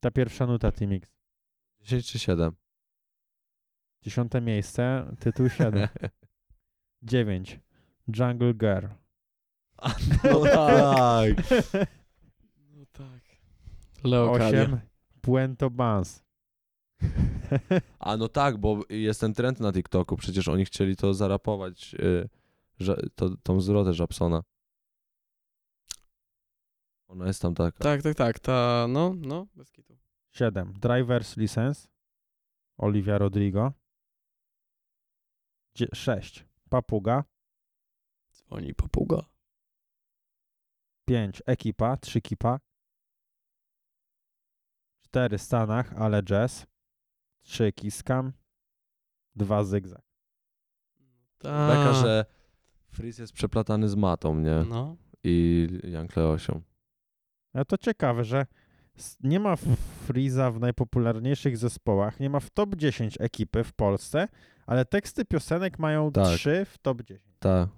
Ta pierwsza nuta Timix. 10 czy 7? Dziesiąte miejsce, tytuł 7. 9. Jungle Girl. No tak. No tak. Leo Kalia. 8. Puento Bans. A no tak, bo jest ten trend na TikToku. Przecież oni chcieli to zarapować, y, że, to, tą zwrotę Żabsona. Ona jest tam taka. Tak, tak, tak. Ta, no, no, bez kitu. 7. Driver's License. Olivia Rodrigo. 6. Papuga. Dzwoni papuga. 5. Ekipa. 3 kipa. 4. Stanach, ale jazz. 3. Kiskam. 2. Zygzak. Ta. Taka, że Fris jest przeplatany z matą, nie? No. I Jan Kleosią. No to ciekawe, że s- nie ma Freeza w najpopularniejszych zespołach, nie ma w top 10 ekipy w Polsce, ale teksty piosenek mają Tak. trzy w top 10. Tak.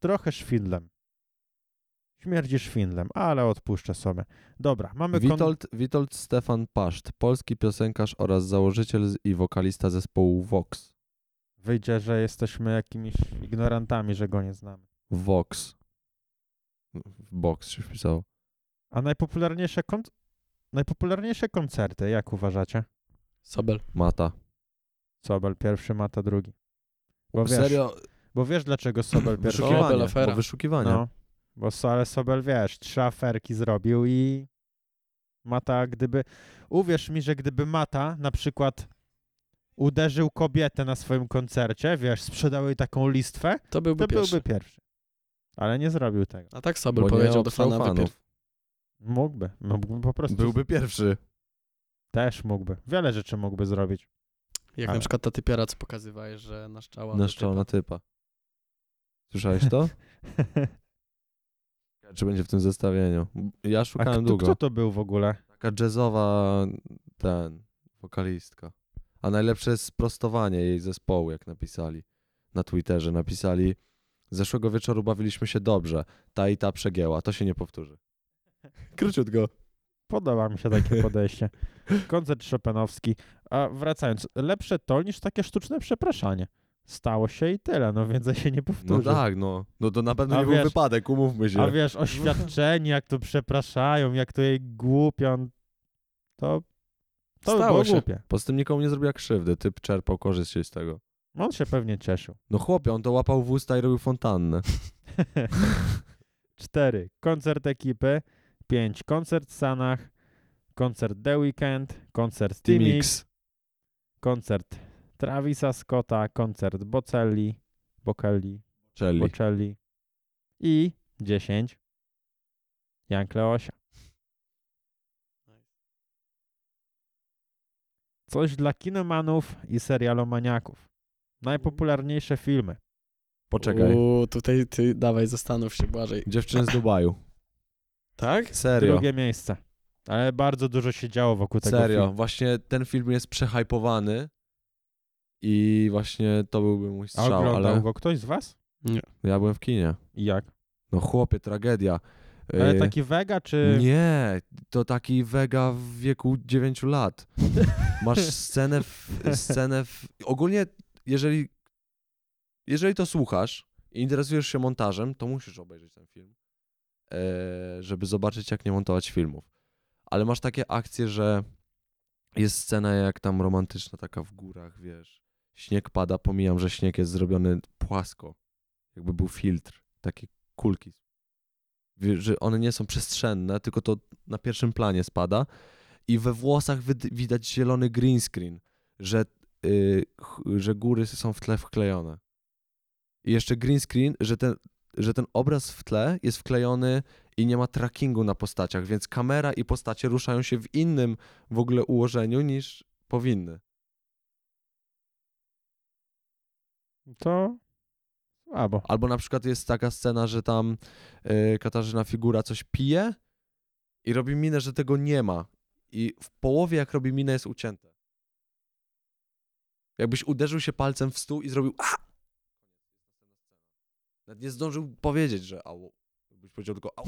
Trochę szwindlem. Śmierdzi szwindlem, ale odpuszczę sobie. Dobra, mamy kon- Witold, Witold Stefan Paszt, polski piosenkarz oraz założyciel z- i wokalista zespołu Vox. Wyjdzie, że jesteśmy jakimiś ignorantami, że go nie znamy. Vox. W Box się wpisało. A najpopularniejsze, kon- najpopularniejsze koncerty, jak uważacie? Sobel. Mata. Sobel pierwszy, Mata drugi. Bo No wiesz, Serio? bo wiesz dlaczego Sobel pierwszy? Wyszukiwa- Sobel, Wyszukiwanie. afera. Bo wyszukiwanie. No, bo so- ale Sobel, wiesz, trzy aferki zrobił i Mata, gdyby... Uwierz mi, że gdyby Mata na przykład uderzył kobietę na swoim koncercie, wiesz, sprzedał jej taką listwę, To to byłby pierwszy. byłby pierwszy. Ale nie zrobił tego. A tak Sobel Bo powiedział nie do obstał fanów. najpierw. fanów. Mógłby. Mógłby po prostu. Byłby pierwszy. Też mógłby. Wiele rzeczy mógłby zrobić. Jak Ale- na przykład ta typiara, co pokazywałeś, że naszczała. do Naszczał typa. na typa. Słyszałeś to? Czy będzie w tym zestawieniu? Ja A szukałem kto, długo. kto to był w ogóle? Taka jazzowa ten, wokalistka. A najlepsze jest sprostowanie jej zespołu, jak napisali na Twitterze. Napisali, zeszłego wieczoru bawiliśmy się dobrze, ta i ta przegięła, to się nie powtórzy. No Króciutko. Podoba mi się takie podejście. Koncert Chopinowski. A wracając, lepsze to niż takie sztuczne przepraszanie. Stało się i tyle, no więc ja się nie powtórzy. No tak, no. No to na pewno A nie wiesz- był wypadek, umówmy się. A wiesz, oświadczenie, jak to przepraszają, jak to jej głupio, to, to by Stało było się. głupie. Poza tym nikomu nie zrobiła krzywdy, typ czerpał korzyść się z tego. On się pewnie cieszył. No chłopie, on to łapał w usta i robił fontannę. 4. Koncert ekipy. 5. Koncert Sanach. Koncert The Weekend. Koncert Timix. T-Mix. Koncert Travisa Scotta. Koncert Bocelli. Bocelli. Czyli. Bocelli. I 10. Jan Kleosia. Coś dla kinomanów i serialomaniaków. Najpopularniejsze Mhm. filmy. Poczekaj. Uuu, tutaj ty dawaj, zastanów się, Błażej. Dziewczyny z Dubaju. Tak? Serio. Drugie miejsce. Ale bardzo dużo się działo wokół tego Serio. filmu. Właśnie ten film jest przehypowany i właśnie to byłby mój A strzał, oglądał ale go ktoś z was? ja byłem w kinie. I Jak? No chłopie, tragedia. Ale Yy, taki Vega czy... Nie, to taki Vega w wieku 9 lat. Masz scenę w, scenę w... Ogólnie, jeżeli, jeżeli to słuchasz i interesujesz się montażem, to musisz obejrzeć ten film, e, żeby zobaczyć, jak nie montować filmów. Ale masz takie akcje, że jest scena jak tam romantyczna, taka w górach, wiesz. Śnieg pada, pomijam, że śnieg jest zrobiony płasko. Jakby był filtr, takie kulki wie- że one nie są przestrzenne, tylko to na pierwszym planie spada i we włosach wyd- widać zielony green screen, że, y, ch- że góry są w tle wklejone. I jeszcze green screen, że ten, że ten obraz w tle jest wklejony i nie ma trackingu na postaciach, więc kamera i postacie ruszają się w innym w ogóle ułożeniu niż powinny. To... Albo. Albo na przykład jest taka scena, że tam y, Katarzyna Figura coś pije i robi minę, że tego nie ma. I w połowie, jak robi minę, jest ucięte. Jakbyś uderzył się palcem w stół i zrobił. A! Nawet nie zdążył powiedzieć, że au. Jakbyś powiedział tylko au.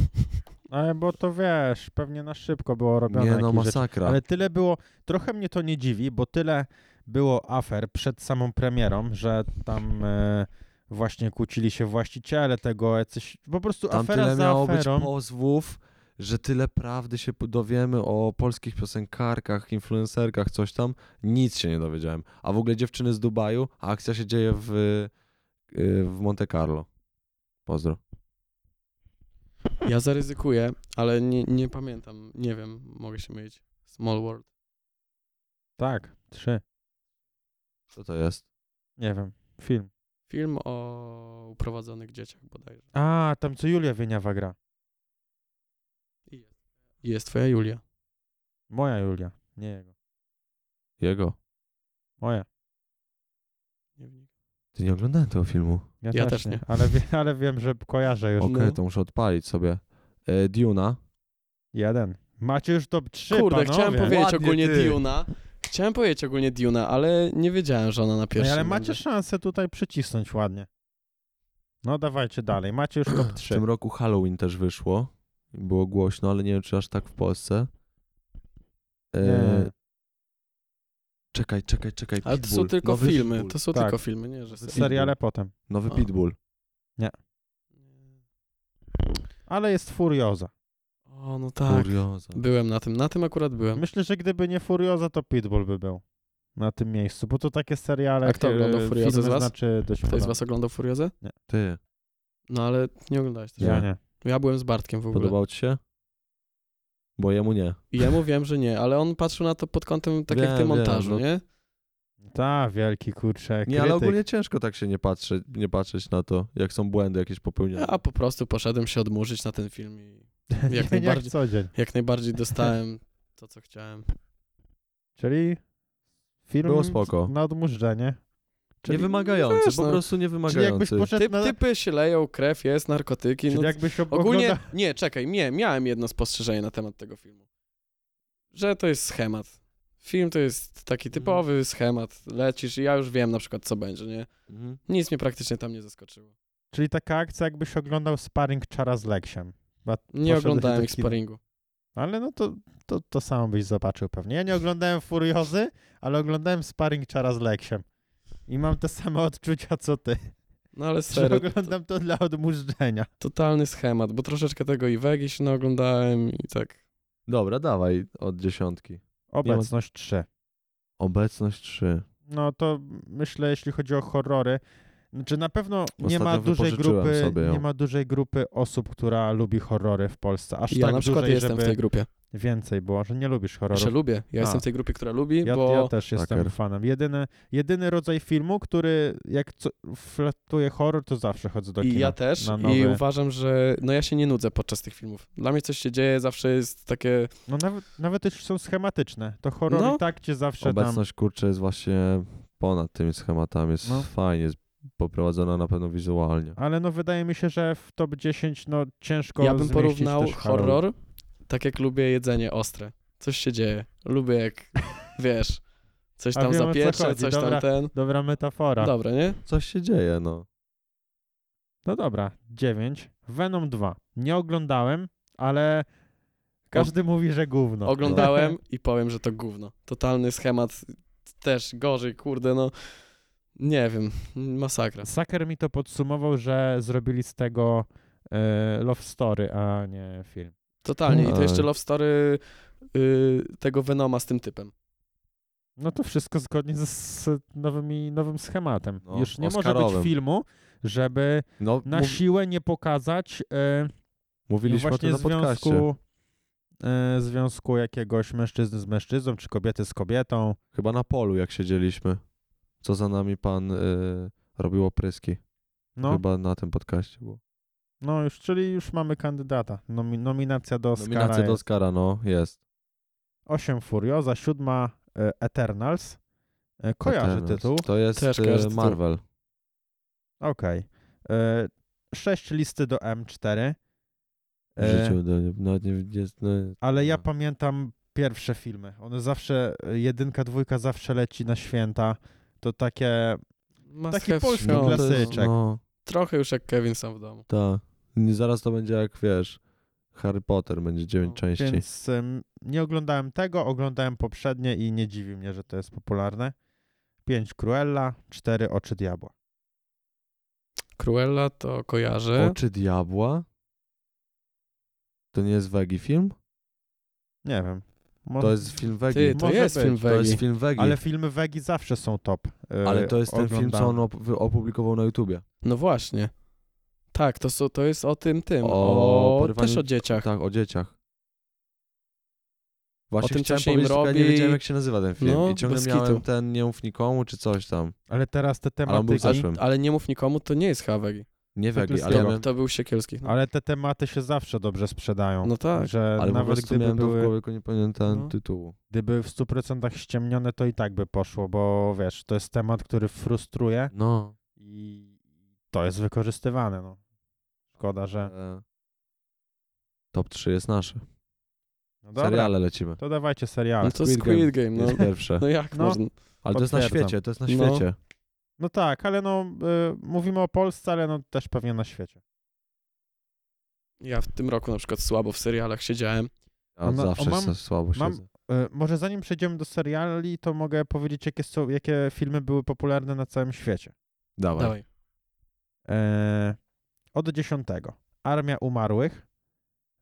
Ale bo to wiesz, pewnie na szybko było robione Nie, no jakieś rzeczy. masakra. Ale tyle było, trochę mnie to nie dziwi, bo tyle było afer przed samą premierą, że tam e, właśnie kłócili się właściciele tego, jacyś, po prostu Tam afera tyle za miało aferą. być pozwów, że tyle prawdy się p- dowiemy o polskich piosenkarkach, influencerkach, coś tam. Nic się nie dowiedziałem. A w ogóle dziewczyny z Dubaju, a akcja się dzieje w, y, w Monte Carlo. Pozdro. Ja zaryzykuję, ale nie, nie pamiętam. Nie wiem, mogę się mylić. Small World. Tak, trzy, Co to jest? nie wiem, film. Film o uprowadzonych dzieciach bodajże. A, tam co Julia Wieniawa gra. I Jest twoja Julia. Moja Julia, nie jego. Jego. Moja. Nie wiem. Ty nie oglądałem tego filmu. Ja, Ja też, też nie, nie. Ale, wie, ale wiem, że kojarzę już. Okej, No. to muszę odpalić sobie. Y, Duna. Jeden. Macie już top trzy, Kurde, panowie. chciałem powiedzieć Ładnie ogólnie ty. Duna. Chciałem powiedzieć ogólnie Duna, ale nie wiedziałem, że ona na Ej, pierwszym No ale będzie. macie szansę tutaj przycisnąć ładnie. No dawajcie dalej, macie już top W 3. tym roku Halloween też wyszło. Było głośno, ale nie wiem, czy aż tak w Polsce. Y, Nie. Czekaj, czekaj, czekaj. Ale to Pitbull. są tylko Nowy filmy, Pitbull. to są Tak. tylko filmy, nie, że serial. Seriale potem. Nowy A. Pitbull. Ale jest Furioza. O, no tak. Kurioza. Byłem na tym, na tym akurat byłem. Myślę, że gdyby nie Furioza, to Pitbull by był na tym miejscu, bo to takie seriale, A kto które- oglądał Furiozę filmy z was? Znaczy dość Ktoś z podobne. was oglądał Furiozę? Ty, No ale nie oglądałeś też. Ja nie. Ja byłem z Bartkiem w ogóle. podobał ci się? Bo jemu nie. I ja mówiłem, że nie, ale on patrzył na to pod kątem tak jak Wiem, ty wiem, montażu, no. nie? Ta, wielki kurczę, Nie, ale ogólnie ciężko tak się nie patrzeć, nie patrzeć na to, jak są błędy jakieś popełnione. Ja po prostu poszedłem się odmurzyć na ten film jak, i jak najbardziej. co dzień. jak najbardziej dostałem to, co chciałem. Czyli film Było spoko. na odmurzenie. Czyli, Niewymagający, wiesz, po no. prostu czyli jakbyś niewymagający. poszedł Typ, na... typy się leją, krew jest, narkotyki. Czyli No, jakbyś ob- ogólnie, oglądał... nie, czekaj, nie, miałem jedno spostrzeżenie na temat tego filmu. Że to jest schemat. Film to jest Mhm. taki typowy schemat. Lecisz i ja już wiem na przykład, co będzie, nie? Mhm. Nic mnie praktycznie tam nie zaskoczyło. Czyli taka akcja, jakbyś oglądał sparring czara z Leksiem. Ba- Nie poszedłeś oglądałem do ich kina. sparingu. Ale no to, to, to samo byś zobaczył pewnie. Ja nie oglądałem Furiozy, ale oglądałem Sparring Czara z Leksiem. I mam te same odczucia co ty. No ale Że serio, to, oglądam to dla odmurzenia. totalny schemat, bo troszeczkę tego i Wegi się naoglądałem i tak. Dobra, dawaj od dziesiątki. Obecność 3. Obecność 3. No to myślę, jeśli chodzi o horrory, znaczy na pewno nie ma, Ostatnio dużej wypożyczyłem grupy, sobie ją. nie ma dużej grupy osób, która lubi horrory w Polsce. Aż ja tak na przykład dużej, jestem żeby, w tej grupie. Jeszcze lubię. Ja A. jestem w tej grupie, która lubi, Ja, bo ja też jestem Taker. fanem. Jedyny, jedyny rodzaj filmu, który jak co, flatuje horror, to zawsze chodzę do kina. I ja też. na I nowe- uważam, że no ja się nie nudzę podczas tych filmów. Dla mnie coś się dzieje, zawsze jest takie... No nawet, nawet jeśli są schematyczne, to horror No. i tak cię zawsze tam... Obecność, kurczę, jest właśnie ponad tymi schematami. Jest No. fajnie, jest poprowadzona na pewno wizualnie. Ale no wydaje mi się, że w top 10 no ciężko ja bym zmieścić porównał też horror. horror, tak jak lubię jedzenie ostre. Coś się dzieje. Lubię jak, wiesz, coś A tam wiem, o co zapiecze, chodzi. coś Dobra. tam ten. Dobra metafora. Dobre, nie? Coś się dzieje, no. No dobra, 9. Venom 2. Nie oglądałem, ale każdy mówi, że gówno. Oglądałem i powiem, że to gówno. Totalny schemat, też gorzej, kurde, no. Nie wiem, masakra. Saker mi to podsumował, że zrobili z tego e, love story, a nie film. Totalnie. I to Oj. jeszcze love story y, tego Venoma z tym typem. No to wszystko zgodnie z, z nowymi, nowym schematem. No, Już nie może Oscarowym. być filmu, żeby No, na mów, siłę nie pokazać e, mówiliśmy o właśnie tym na podcaście. związku, e, związku jakiegoś mężczyzny z mężczyzną, czy kobiety z kobietą. Chyba na polu, jak siedzieliśmy. Co za nami pan y, robił opryski. No, Chyba na tym podcaście było. no już, czyli już mamy kandydata. Nomi, nominacja do Oscara Nominacja do jest. Oscara, no, jest. 8 Furioza, 7 e, Eternals. E, kojarzy Eternals. tytuł. To jest Też y, kojarzę tytuł. Marvel. Okej. E, 6 listy do M4. W E, życiu, do, no, nie, nie, no, Ale ja no. pamiętam pierwsze filmy. One zawsze, e, jedynka, dwójka zawsze leci na święta. To takie, Must Taki have polski shown. to jest- klasyczek. No, Trochę już jak Kevin sam w domu. tak. Nie, Zaraz to będzie jak, wiesz, Harry Potter, będzie dziewięć No, części. więc em, nie oglądałem tego, oglądałem poprzednie i nie dziwi mnie, że to jest popularne. 5 Cruella, 4 Oczy Diabła. Cruella to kojarzę. Oczy Diabła? To nie jest Wegi film? Nie wiem. Mo- To jest film Wegi. Ty, to Może jest być. film To Wegi. jest film Wegi. Ale filmy Wegi zawsze są top. e, Ale to jest ten film, co oglądane. on op- wy- opublikował na YouTubie. No właśnie. Tak, to, są- to jest o tym, tym. O O, porywaniu- też o dzieciach. Tak, o dzieciach. Właśnie O tym, co chciałem się im powiedzieć, tylko ja nie robi. wiedziałem, jak się nazywa ten film. No, I ciągle bez kitu. miałem ten Nie mów nikomu, czy coś tam. Ale teraz te Ale on był w tematyki, ale, zeszłym. Ale nie mów nikomu, to nie jest Hawegi. Nie Tak Wegi, jest ale ja to. miałem, To był Siekielski. No, te tematy się zawsze dobrze sprzedają. no tak. Że ale po nawet prostu gdyby miałem to w były, głowie, tylko nie pamiętałem No. tytułu. gdyby w 100% ściemnione, to i tak by poszło, bo wiesz, to jest temat, który frustruje No. i to jest wykorzystywane. No. Szkoda, że... E, Top 3 jest nasze. No Seriale lecimy. To dawajcie seriale. No to Squid Squid Game, no. Jest pierwsze. No jak No. można? Ale to jest na Potwierdzam. świecie, to jest na No. świecie. No tak, ale no y, mówimy o Polsce, ale no też pewnie na świecie. Ja w tym roku na przykład słabo w serialach siedziałem. A No, zawsze o, mam- mam, słabo mam- siedzę. Y, może zanim przejdziemy do seriali, to mogę powiedzieć, jakie, są, jakie filmy były popularne na całym świecie. Dawaj. Dawaj. E, od 10. Armia Umarłych,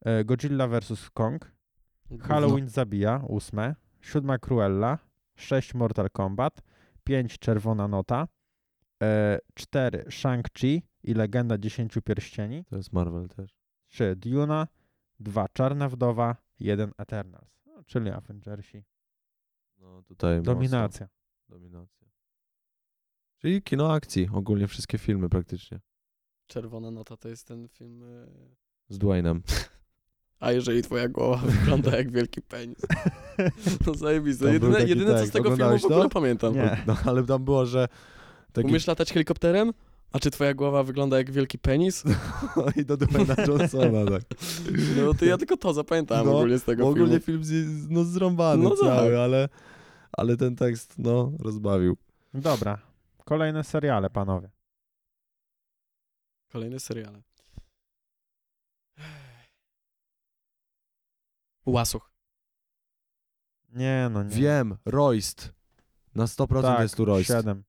e, Godzilla vs. Kong, Halloween Zabija, 8, 7 Cruella, 6 Mortal Kombat, 5 Czerwona Nota, e, 4 Shang-Chi i Legenda Dziesięciu Pierścieni, To jest Marvel też. 3 Duna, 2 Czarna Wdowa, 1 Eternals. No, czyli Avengersi. No tutaj mocno. Dominacja. Dominacja. Czyli kino akcji, ogólnie wszystkie filmy praktycznie. Czerwona nota to jest ten film... y, Z Dwaynem. A jeżeli twoja głowa wygląda jak wielki penis. No zajebiste. To był jedyne, taki jedyne co tekst. z tego filmu Oglądałeś w ogóle to? pamiętam. Nie. No ale tam było, że taki... Umiesz latać helikopterem? A czy twoja głowa wygląda jak wielki penis? no I do Dwayna Johnsona, tak. No to ja tylko to zapamiętałem No, ogólnie z tego Bo ogólnie filmu. film z, no zrąbany No tak. cały, ale, ale ten tekst, no, rozbawił. Dobra. Kolejne seriale, panowie. Kolejne seriale. Łasuch. Nie, no nie. Wiem, Royst. Na 100% Tak, jest tu Royst. 7.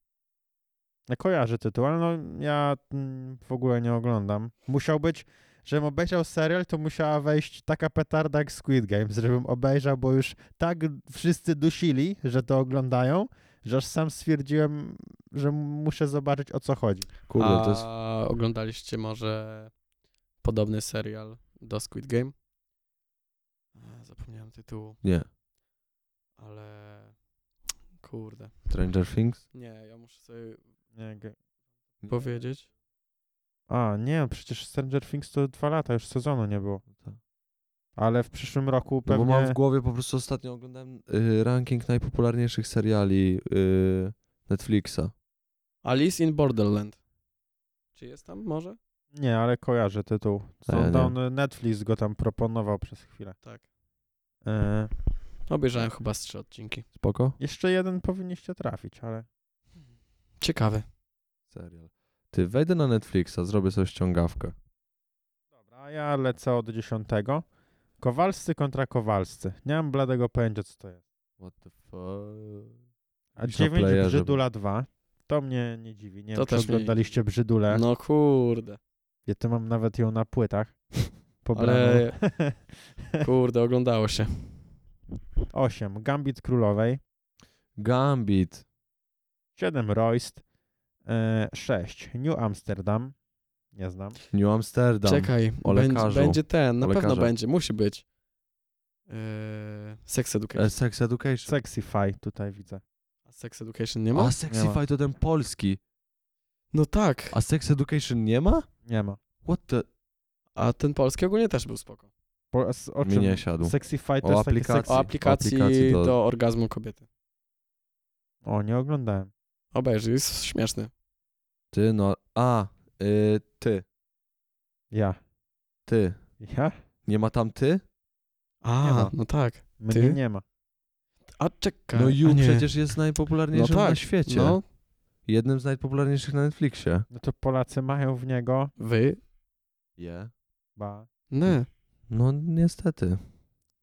Ja kojarzę tytuł, ale no ja mm, w ogóle nie oglądam. Musiał być, żebym obejrzał serial, to musiała wejść taka petarda jak Squid Games, żebym obejrzał, bo już tak wszyscy dusili, że to oglądają, że aż sam stwierdziłem, że muszę zobaczyć o co chodzi. Kurde, A to jest... oglądaliście może podobny serial do Squid Game? zapomniałem tytułu, Nie. ale kurde. Stranger Things? Nie, ja muszę sobie Nie, ge- powiedzieć. A, nie, przecież Stranger Things to dwa lata, już sezonu nie było. Tak. Ale w przyszłym roku No bo pewnie... mam w głowie po prostu ostatnio oglądałem y, ranking najpopularniejszych seriali y, Netflixa. Alice in Borderland. Czy jest tam może? Nie, ale kojarzę tytuł. A ja nie. Down Netflix go tam proponował przez chwilę. Tak. E, Tak. Obejrzałem chyba z trzy odcinki. Spoko? jeszcze jeden powinniście trafić, ale... Ciekawe. Serial. Ty, wejdę na Netflixa, zrobię sobie ściągawkę. Dobra, a ja lecę od dziesiątego. Kowalscy kontra Kowalscy. Nie mam bladego pojęcia, co to jest. What the fuck? A Jakiś na 9 playerze Brzydula 2. To mnie nie dziwi. Nie To wiem, czy też mnie- oglądaliście Brzydulę. Tak. No kurde. Ja to mam nawet ją na płytach. Pobraną. Ale- Kurde, oglądało się. 8. Gambit Królowej. Gambit. 7. Royst. 6. New Amsterdam. Nie znam. New Amsterdam. Czekaj, O będzie, lekarzu. będzie ten, na O pewno lekarzu. będzie, musi być. Eee, sex Education. E, Sex Education. Sexify tutaj widzę. A Sex Education nie ma? A Sexify to ten polski. No tak. A Sex Education nie ma? Nie ma. What the... A ten polski ogólnie też był spoko. Po, z, o Mi czym? nie siadł. Sexify to O jest takie aplikacji. sexy... O aplikacji, aplikacji do... do- orgazmu kobiety. O, nie oglądałem. Obejrzyj, jest śmieszny. Ty, no... A, y, ty. Ja. Ty. Ja? Nie ma tam ty? Nie A, ma. no tak. Mnie Ty? nie ma. A czekaj. No a You nie. przecież jest najpopularniejszym No tak, na świecie. No, Jednym z najpopularniejszych na Netflixie. No to Polacy mają w niego... wy, Yeah. Ba. nie. No niestety.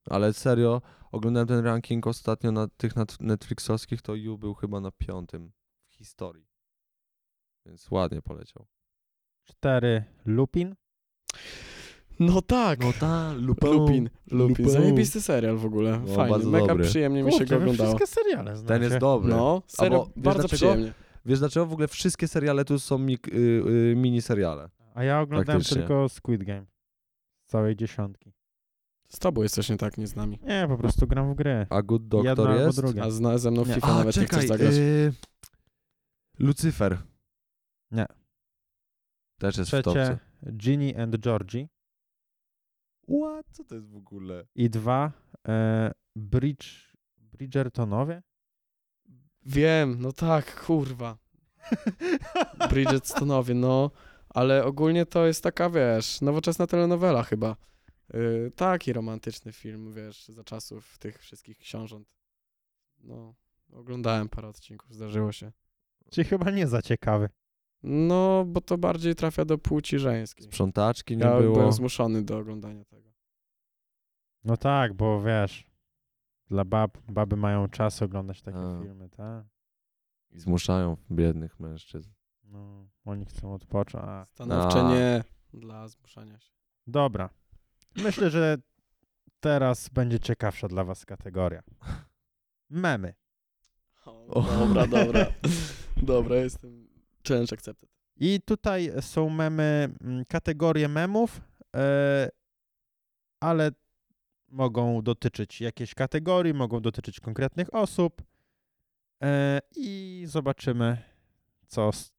Ale serio, oglądałem ten ranking ostatnio na tych nat- Netflixowskich, to You był chyba na piątym w historii. Więc ładnie poleciał. 4. Lupin. No tak. No ta, Lupin. Lupin. Lupin. Lupin. Zajebisty serial w ogóle. No, Fajny. bardzo Mega dobry. przyjemnie mi się Kurczę, go wy oglądało. wszystkie seriale znacie. Ten jest dobry. No, serio, Albo wiesz bardzo dlaczego? przyjemnie. Wiesz dlaczego w ogóle wszystkie seriale tu są mik- y- y- mini seriale? A ja oglądałem Faktycznie. tylko Squid Game. Z całej dziesiątki. Z tobą jest coś nie tak, nie z nami. Nie, po prostu gram w gry. A Good Doctor Jedno albo jest? drugie. A zna, ze mną w Nie. FIFA A, nawet nie czekaj, chcesz zagrać. y- Lucifer. Nie. Też jest w Trzecie topce. Ginny and Georgie. What? Co to jest w ogóle? I dwa e, Bridge, Bridgertonowie. Wiem, no tak, kurwa. Bridgetstonowie, no. Ale ogólnie to jest taka, wiesz, nowoczesna telenowela chyba. Yy, taki romantyczny film, wiesz, za czasów tych wszystkich książąt. No, oglądałem parę odcinków, zdarzyło się. Ci chyba nie za ciekawy. No, bo to bardziej trafia do płci żeńskiej. Sprzątaczki nie Ja było. byłem zmuszony do oglądania tego. No tak, bo wiesz, dla bab, baby mają czas oglądać takie A. filmy, tak? I zmuszają biednych mężczyzn. No, oni chcą odpocząć. A. Stanowcze A. nie dla zmuszania się. Dobra. Myślę, że teraz będzie ciekawsza dla was kategoria. Memy. O, dobra, dobra. Dobra, jestem. Challenge accepted. I tutaj są memy, mm, kategorie memów, yy, ale mogą dotyczyć jakiejś kategorii, mogą dotyczyć konkretnych osób. Yy, I zobaczymy, co, s-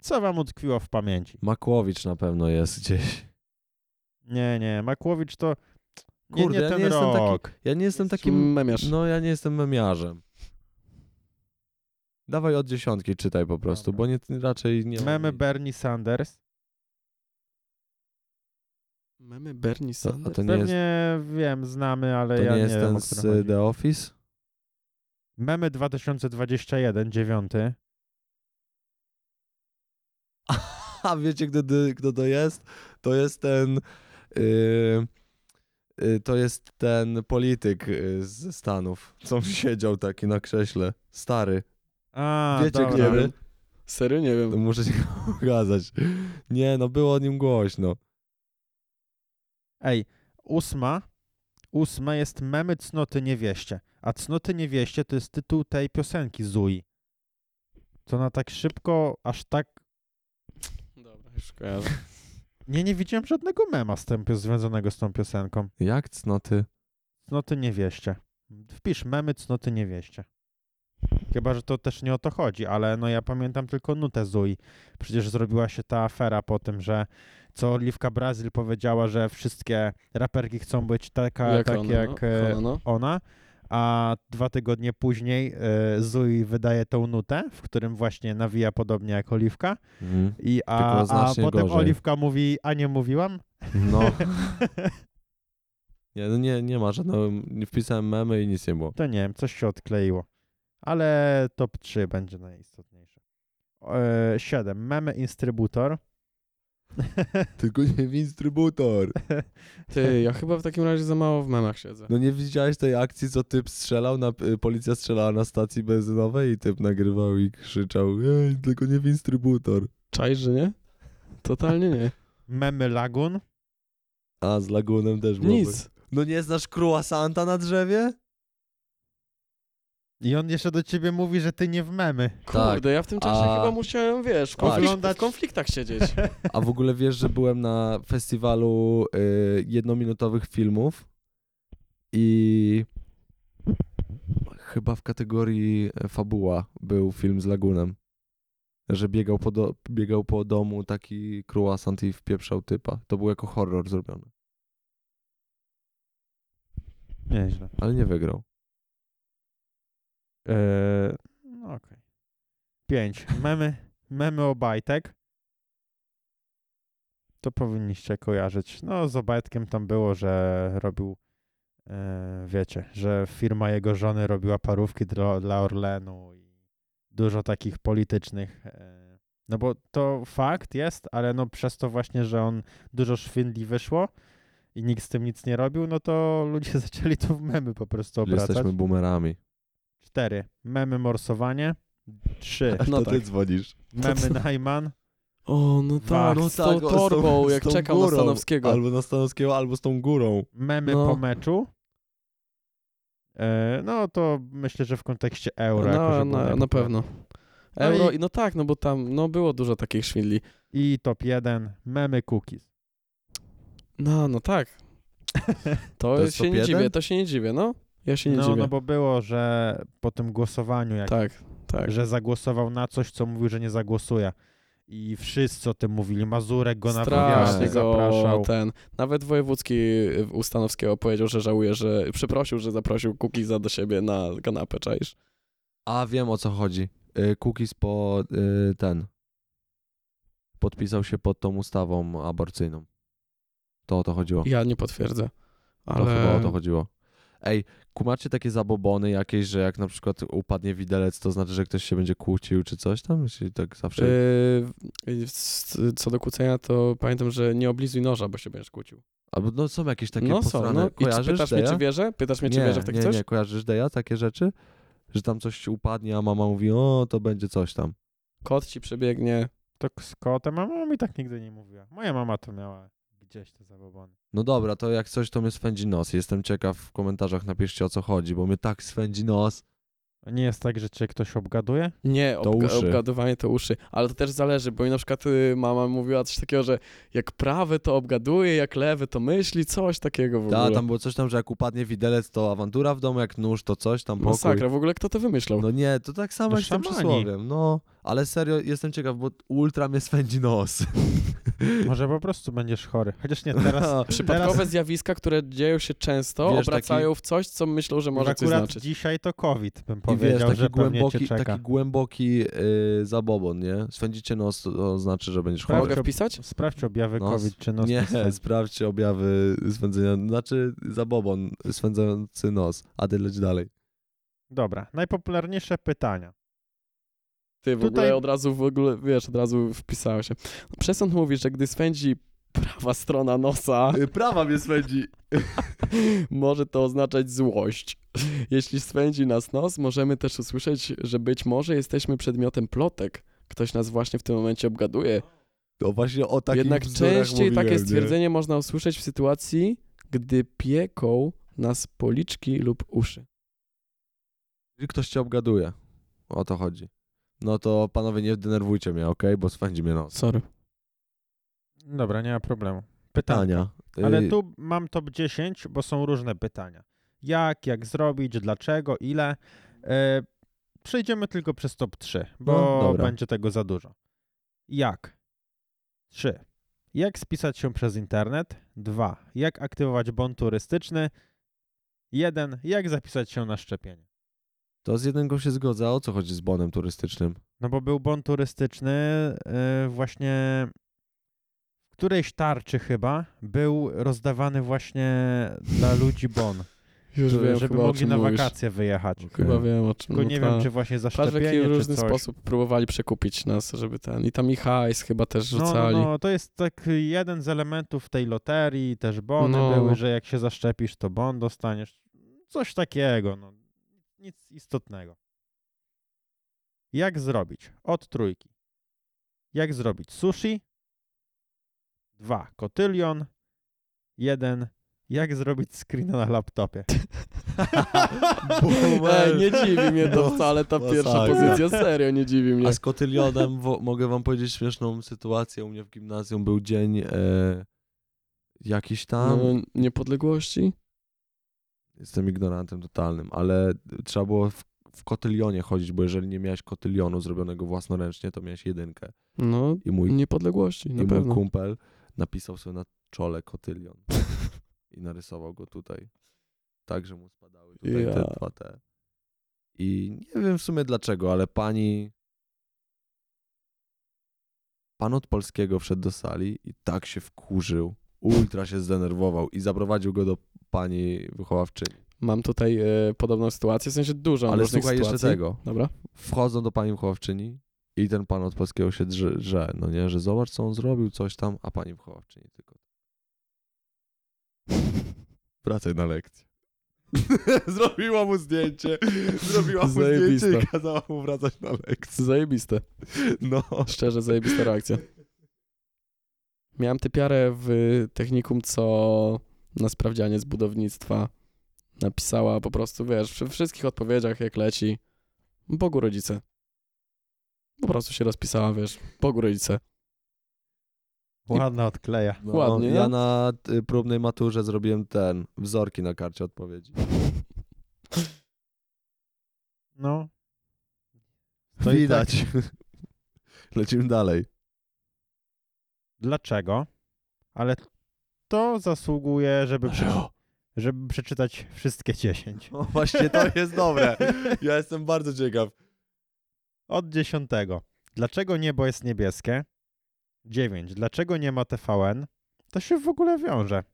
co wam utkwiło w pamięci. Makłowicz na pewno jest gdzieś. Nie, nie, Makłowicz to nie, Kurde, nie ja ten nie jestem taki- rok. Ja nie jestem Jesteś takim... memiarz. No, ja nie jestem memiarzem. Dawaj od dziesiątki czytaj po prostu, Dobra. bo nie, raczej nie... Memy Bernie Sanders. Mamy Bernie to, a Sanders. to nie jest, Pewnie wiem, znamy, ale to ja nie nie, jest wiem, ten o z którym chodzi. The Office? Memy 2021, dziewiąty. A wiecie, kto, dy- kto to jest? To jest ten... y, y, to jest ten polityk yy, ze Stanów, co siedział taki na krześle. Stary. A, Wiecie, dobra. gdzie Nie wy? wiem. Serio nie To wiem. muszę się pokazać. Nie, no było o nim głośno. Ej, ósma. Ósma jest Memy Cnoty Niewieście. A Cnoty Niewieście to jest tytuł tej piosenki Zui. To na tak szybko, aż tak... Dobra, już kojarzę. no Nie, nie widziałem żadnego mema z tym, pio- związanego z tą piosenką. Jak cnoty? cnoty niewieście. Wpisz memy cnoty niewieście. Chyba, że to też nie o to chodzi, ale no ja pamiętam tylko nutę Zui. Przecież zrobiła się ta afera po tym, że co Oliwka Brazil powiedziała, że wszystkie raperki chcą być taka, Jak takie ona, jak no, e, ona, no. ona, a dwa tygodnie później y, Zui wydaje tą nutę, w którym właśnie nawija podobnie jak Oliwka. Mhm. I, Tylko a, a znacznie potem gorzej. Oliwka mówi, a nie mówiłam? No. Nie, no nie, nie ma żadnego, nie wpisałem memy i nic nie było. To nie wiem, coś się odkleiło. Ale top 3 będzie najistotniejsze. E, 7. Memy Instrybutor. Tylko nie w instrybutor. Ty, ja chyba w takim razie za mało w memach siedzę. No nie widziałeś tej akcji, co typ strzelał, na, y, policja strzelała na stacji benzynowej i typ nagrywał i krzyczał Ej, tylko nie w instrybutor. Czaisz, że nie? Totalnie nie. Memy Lagun. A z lagunem też było. Nic. No nie znasz croissanta na drzewie? I on jeszcze do ciebie mówi, że ty nie w memy. Kurde, ja w tym czasie A- chyba musiałem, wiesz, w, Patrz. konflikt, Oglądać- w konfliktach siedzieć. A w ogóle wiesz, że byłem na festiwalu y, jednominutowych filmów i chyba w kategorii e, fabuła był film z lagunem. Że biegał po, do, biegał po domu taki croissant i wpieprzał typa. To był jako horror zrobiony. Nieźle. Ale nie wygrał. Eee, E, no okej. 5. Memy, memy Obajtek. To powinniście kojarzyć. No z Obajtkiem tam było, że robił, e, wiecie, że firma jego żony robiła parówki dla, dla Orlenu i dużo takich politycznych. E, no bo to fakt jest, ale no przez to właśnie, że on dużo szwindli wyszło i nikt z tym nic nie robił, no to ludzie zaczęli to w memy po prostu Że obracać. Jesteśmy boomerami. 4. Memy morsowanie. 3. No No to ty tak. dzwonisz. Memy Najman. O, no tak, Wach. z tą torbą, jak czekam na Stanowskiego. Albo na Stanowskiego, albo z tą górą. Memy No. po meczu. E, no to myślę, że w kontekście euro. jako, Na, że był na, No, na najpopularniejszy. pewno. No Euro, i- i... no tak, no bo tam no było dużo takich szwindli. I top 1. Memy cookies. No, no tak. To, To jest się top nie jeden? dziwię, to się nie dziwię, no. Ja się nie No, dziwię. no bo było, że po tym głosowaniu, jak, Tak, tak. że zagłosował na coś, co mówił, że nie zagłosuje. I wszyscy o tym mówili. Mazurek go Strasznie namawiał, go zapraszał. ten. Nawet wojewódzki u Stanowskiego powiedział, że żałuje, że przeprosił, że zaprosił Kukiza do siebie na kanapę, czaisz? A wiem o co chodzi. Y, Cookies po y, ten. Podpisał się pod tą ustawą aborcyjną. To o to chodziło. Ja nie potwierdzę, To chyba o ale to chodziło. Ej, kumacie takie zabobony jakieś, że jak na przykład upadnie widelec, to znaczy, że ktoś się będzie kłócił czy coś tam? Jeśli tak E, zawsze. Yy, y, s- co do kłócenia, to pamiętam, że nie oblizuj noża, bo się będziesz kłócił. Albo no są jakieś takie no posrane. są, no. I czy Kojarzysz pytasz mnie, Deja? czy wierzę? Pytasz mnie, czy nie, wierzę w takie nie, coś? Nie, kojarzysz Deja takie rzeczy? Że tam coś upadnie, a mama mówi, o, to będzie coś tam. Kot ci przebiegnie. To z kotem, a mama mi tak nigdy nie mówiła. Moja mama to miała gdzieś te zabobony. No dobra, to jak coś, to mnie swędzi nos. Jestem ciekaw, w komentarzach napiszcie o co chodzi, bo mnie tak swędzi nos. Nie jest tak, że cię ktoś obgaduje? Nie, To obga- uszy. obgadywanie to uszy. Ale to też zależy, bo mi na przykład y, mama mówiła coś takiego, że jak prawy to obgaduje, jak lewy to myśli, coś takiego w ogóle. Ta, tam było coś tam, że jak upadnie widelec, to awantura w domu, jak nóż, to coś tam pokój. Masakra, w ogóle kto to wymyślał? No nie, to tak samo No jak z tym szamani. przysłowiem, no. Ale serio, jestem ciekaw, bo ultra mnie swędzi nos. Może po prostu będziesz chory. Chociaż nie, teraz Przypadkowe zjawiska, które dzieją się często, Wiesz, obracają w coś, co myślą, że może coś akurat znaczyć. dzisiaj to COVID, bym I wiesz, powiedział, taki że pewnie cię głęboki, czeka. taki głęboki yy, zabobon, nie? Swędzicie nos, to znaczy, że będziesz chory. Prawda. Mogę wpisać? Sprawdź objawy Nos? COVID, czy no nos No, Nie, nie sprawdźcie objawy swędzenia, znaczy zabobon swędzący nos, a ty leć dalej. Dobra, najpopularniejsze pytania. Ty w Tutaj- ogóle od razu, w ogóle, wiesz, od razu wpisałem się. No, Przesąd mówi, że gdy swędzi prawa strona nosa, Y, Prawa mnie swędzi. może to oznaczać złość. Jeśli swędzi nas nos, możemy też usłyszeć, że być może jesteśmy przedmiotem plotek. Ktoś nas właśnie w tym momencie obgaduje. To właśnie o takich Jednak bzdurach częściej mówiłem, takie nie? stwierdzenie można usłyszeć w sytuacji, gdy pieką nas policzki lub uszy. Jeżeli Ktoś cię obgaduje. O to chodzi. No to panowie nie denerwujcie mnie, okej? Bo swędzi mnie nos. Sorry. Dobra, nie ma problemu. Pytania. Pytania. Y, Ale tu mam top 10, bo są różne pytania. jak, jak zrobić, dlaczego, ile. E, przejdziemy tylko przez top 3, No, bo dobra. będzie tego za dużo. Jak? 3. Jak spisać się przez internet? 2. Jak aktywować bon turystyczny? 1. Jak zapisać się na szczepienie? To z jednego się zgodzę, a o co chodzi z bonem turystycznym? No bo był bon turystyczny e, właśnie w którejś tarczy chyba był rozdawany właśnie dla ludzi bon, Już żeby, wiem, żeby chyba, o mogli czym na mówisz. wakacje wyjechać. Chyba wiem o czym. Tylko no nie ta- wiem, czy właśnie za Patrz, w jaki szczepienie, czy różny coś. sposób próbowali przekupić nas, żeby ten... I tam i hajs chyba też No, no, rzucali. no, to jest tak jeden z elementów tej loterii, też bony No. były, że jak się zaszczepisz, to bon dostaniesz. Coś takiego, no. Nic istotnego. Jak zrobić? Od trójki. Jak zrobić sushi? Dwa. Kotylion. Jeden. Jak zrobić screena na laptopie? Ej, nie dziwi mnie to wcale, ta Bo- pierwsza masakra. pozycja, serio nie dziwi mnie. No, tak. A z kotylionem wo- mogę wam powiedzieć śmieszną sytuację. U mnie w gimnazjum był dzień e, jakiś tam. No, niepodległości? Jestem ignorantem totalnym, ale trzeba było w, w kotylionie chodzić, bo jeżeli nie miałeś kotylionu zrobionego własnoręcznie, to miałeś jedynkę. No, I mój, niepodległości, na i mój pewno. kumpel napisał sobie na czole kotylion i narysował go tutaj. Tak, że mu spadały tutaj Ja. te dwa te. I nie wiem w sumie dlaczego, ale pani... Pan od polskiego wszedł do sali i tak się wkurzył, ultra się zdenerwował i zaprowadził go do pani wychowawczyni. Mam tutaj e, podobną sytuację, w sensie dużo mam Ale różnych słuchaj jeszcze sytuacji. tego. Dobra. Wchodzą do pani wychowawczyni i ten pan od polskiego się drze, drze, no nie, że zobacz co on zrobił, coś tam, a pani wychowawczyni tylko. Wracaj na lekcję. zrobiła mu zdjęcie, zrobiła mu zdjęcie i Zajebista. kazała mu wracać na lekcję. Zajebiste. No. Szczerze, zajebista reakcja. Miałem typiarę w technikum, co na sprawdzianie z budownictwa napisała po prostu, wiesz, przy wszystkich odpowiedziach, jak leci, Bogu rodzice. Po prostu się rozpisała, wiesz, Bogu rodzice. Ładna odkleja. No, Ładnie, ja no. na y, próbnej maturze zrobiłem ten, wzorki na karcie odpowiedzi. No. To i tak. Widać. No tak. Lecimy dalej. dlaczego, ale to zasługuje, żeby, prze- żeby przeczytać wszystkie 10. No właśnie to jest dobre. Ja jestem bardzo ciekaw. Od 10. Dlaczego niebo jest niebieskie? 9. Dlaczego nie ma TVN? To się w ogóle wiąże.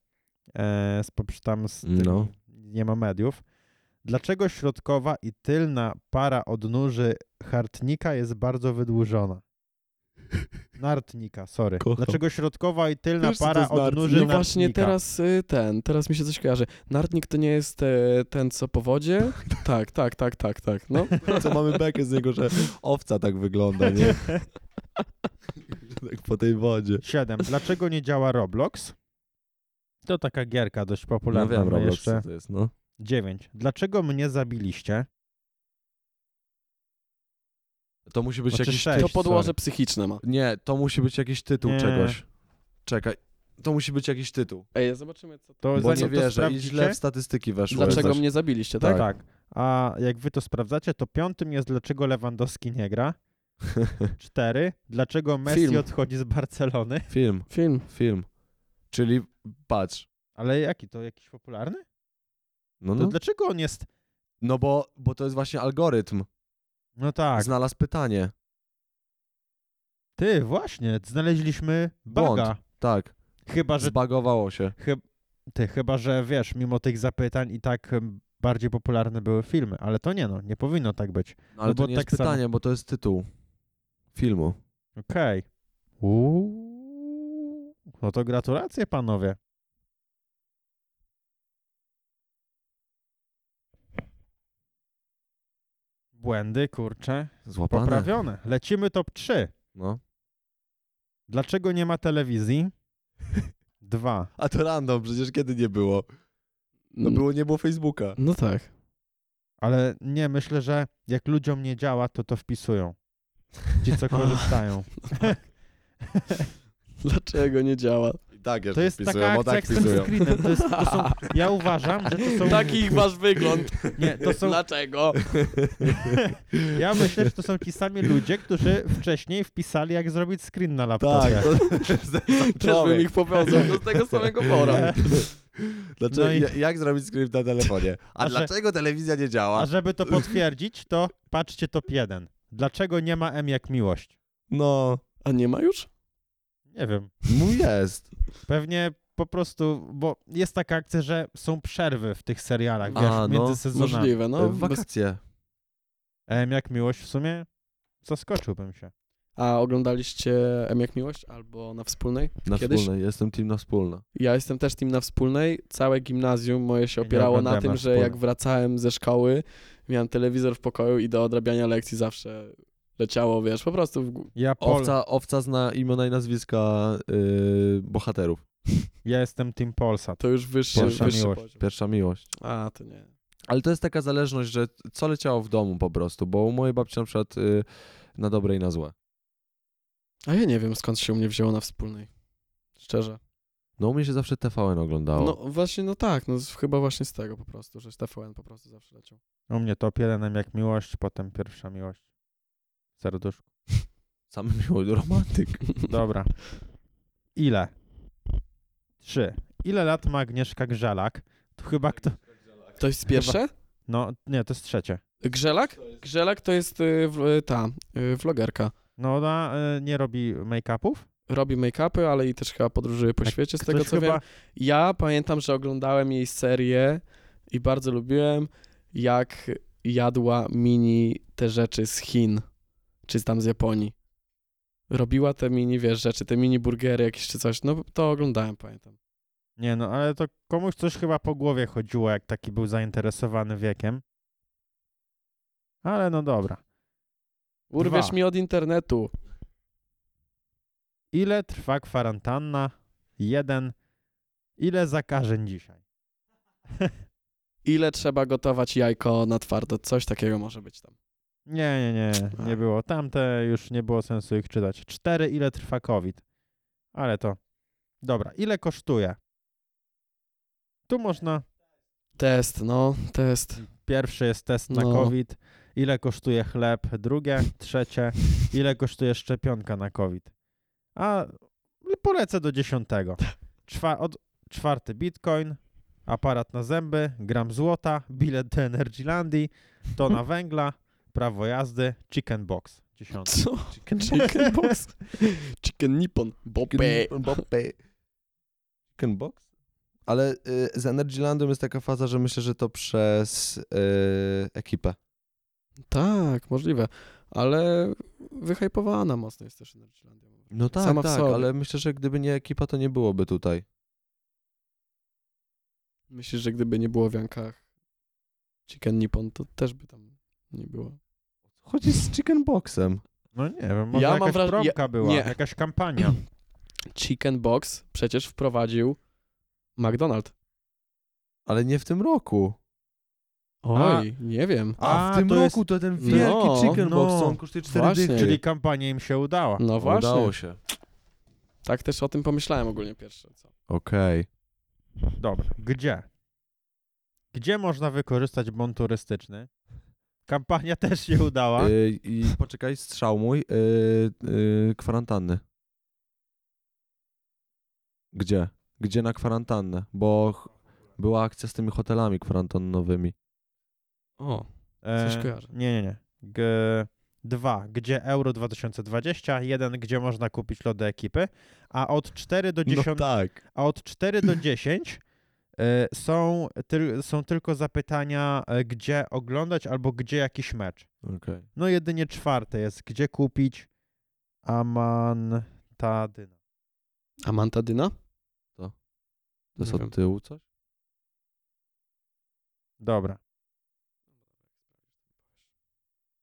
E, z poprzy- tam z tym, No. nie ma mediów. Dlaczego środkowa i tylna para odnóży hartnika jest bardzo wydłużona? Nartnika, sorry. Kocham. Dlaczego środkowa i tylna Wiesz, co to para jest nartnik? odnóży No nartnika? właśnie teraz y, ten, teraz mi się coś kojarzy. Nartnik to nie jest e, ten, co po wodzie? Tak, tak, tak, tak, tak, no. Co mamy bekę z niego, że owca tak wygląda, nie? tak po tej wodzie. 7. Dlaczego nie działa Roblox? To taka gierka dość No popularna. wiem, my Roblox jeszcze. co to jest, no. 9. Dlaczego mnie zabiliście? To musi być Znaczy jakiś... sześć. tytuł- To podłoże sorry. psychiczne ma. Nie, to musi być jakiś tytuł Nie. czegoś. Czekaj. To musi być jakiś tytuł. Ej, zobaczymy, co... To Bo zanim to nie wierzę i sprawdzicie- źle w statystyki weszło. Dlaczego Zaś- mnie zabiliście, tak? Tak. tak. A jak wy to sprawdzacie, to piątym jest dlaczego Lewandowski nie gra. 4. Dlaczego Messi Film. odchodzi z Barcelony? Film, Film. film. Czyli patrz. Ale jaki to jakiś popularny? No, To no. dlaczego on jest no bo, bo to jest właśnie algorytm. No tak. Znalazł pytanie. Ty właśnie, znaleźliśmy baga. Błąd. Tak. Chyba że Zbagowało się. ty chyba że wiesz, mimo tych zapytań i tak em, bardziej popularne były filmy, ale to nie no, nie powinno tak być. No, ale No to bo nie tak jest samo- pytanie, bo to jest tytuł filmu. Okej. Uuu. No to gratulacje panowie. Błędy, kurczę, Złapane. poprawione. Lecimy top 3. No. Dlaczego nie ma telewizji? Dwa. A to random, przecież kiedy nie było? Mm. No było, nie było Facebooka. No tak. Ale nie, myślę, że jak ludziom nie działa, to to wpisują. Ci, co korzystają. Dlaczego nie działa? I tak jeszcze To jest wpisują, taka o akcja tak jak z tym wpisują. screenem. To jest, to są, ja uważam, że to są... Takich masz wygląd. Nie, to są... Dlaczego? Ja myślę, że to są ci sami ludzie, którzy wcześniej wpisali, jak zrobić screen na laptopie. Tak, to, to jest ten Też bym człowiek. ich powiązał do tego samego pora. Dlaczego, No i- Znaczy, ja- Jak zrobić skrypt na telefonie? A, A że- dlaczego telewizja nie A działa? żeby to potwierdzić, to patrzcie top 1. Dlaczego nie ma M jak miłość? No, A nie ma już? Nie wiem. mu jest. Pewnie po prostu, bo jest taka akcja, że są przerwy w tych serialach, A, wiesz, no, między sezonami. Możliwe, no. No, Bez... wakacje. M jak miłość w sumie zaskoczyłbym się. A oglądaliście M jak miłość albo na wspólnej? Na Kiedyś? wspólnej, jestem team na wspólne. Ja jestem też tym na wspólnej. Całe gimnazjum moje się Ja nie opierało na oglądałem tym, na że wspólnej. jak wracałem ze szkoły, miałem telewizor w pokoju i do odrabiania lekcji zawsze leciało, wiesz, po prostu w... gó- Ja, Pol, Owca, owca zna imiona i nazwiska yy, bohaterów. ja jestem Team Polsat. to już wyższy, Pierwsza wyższy miłość. poziom. Pierwsza miłość. A, to nie. Ale to jest taka zależność, że co leciało w domu po prostu, bo u mojej babci na przykład y, na dobre i na złe. A ja nie wiem, skąd się u mnie wzięło na wspólnej. Szczerze. No u mnie się zawsze TVN oglądało. No właśnie, no tak, no z- chyba właśnie z tego po prostu, że TVN po prostu zawsze leciał. U mnie top 1 M jak miłość, potem pierwsza miłość. Serduszko. Sam miło, romantyk. Dobra. Ile? Trzy. Ile lat ma Agnieszka Grzelak? Tu chyba kto... To jest pierwsze? No, nie, to jest trzecie. Grzelak? Grzelak to jest y, w, ta, y, vlogerka. No ona y, nie robi make-upów? Robi make-upy, ale i też chyba podróżuje po Tak, świecie, z Ktoś tego co chyba... wiem. Ja pamiętam, że oglądałem jej serię i bardzo lubiłem, jak jadła mini te rzeczy z Chin, czy tam z Japonii. Robiła te mini, wiesz, rzeczy, te mini burgery jakieś czy coś. No to oglądałem, pamiętam. Nie no, ale to komuś coś chyba po głowie chodziło, jak taki był zainteresowany wiekiem. Ale no dobra. Urwiesz Dwa. mi od internetu. Ile trwa kwarantanna? Jeden. Ile zakażeń dzisiaj? Ile trzeba gotować jajko na twardo? Coś takiego może być tam. Nie, nie, nie, nie Ach. było. Tamte już nie było sensu ich czytać. Cztery. Ile trwa COVID? Ale to... Dobra, ile kosztuje? Tu można... Test, no, test. Pierwszy jest test na No. COVID. Ile kosztuje chleb? Drugie, trzecie. Ile kosztuje szczepionka na COVID? A polecę do dziesiątego. Czwa, od, czwarty bitcoin, aparat na zęby, gram złota, bilet do Energylandii, tona węgla, prawo jazdy, chicken box. Dziesiąty. Co? Chicken, chicken box? Chicken nippon. Bopę. Bope. Chicken box? Ale y, z Energylandem jest taka faza, że myślę, że to przez y, ekipę. Tak, możliwe. Ale wyhypowana mocno jest też Energylandia. No tak, Sama w tak, sobie. ale myślę, że gdyby nie ekipa, to nie byłoby tutaj. Myślisz, że gdyby nie było w Jankach Chicken Nippon, to też by tam nie było. Chodzi z chicken boxem. No nie wiem, może Ja mam jakaś wraż- promka była, nie. jakaś kampania. Chicken Box przecież wprowadził McDonald's. Ale nie w tym roku. Oj, nie wiem. A, A, w tym to roku jest- to ten No, wielki chicken no. box, co on kosztuje 4 Właśnie. dychy. Czyli kampania im się udała. No właśnie. Udało się. Tak też o tym pomyślałem ogólnie pierwsze. Co? Okej. Dobra, gdzie? Gdzie można wykorzystać bon turystyczny? Kampania też się udała. Y, I poczekaj, strzał mój. Y, y, kwarantanny. Gdzie? Gdzie na kwarantannę? Bo ch- była akcja z tymi hotelami kwarantannowymi. O, E, coś kojarzę. Nie, nie, nie. G, dwa, gdzie Euro 2020, jeden, gdzie można kupić lody ekipy, a od 4 No do 10, tak. a od 4 do 10 y, są, tyl, są tylko zapytania, y, gdzie oglądać albo gdzie jakiś mecz. Okej. No jedynie czwarte jest, gdzie kupić Amantadyna. Amantadyna? To jest Nie wiem. od tyłu coś? Dobra.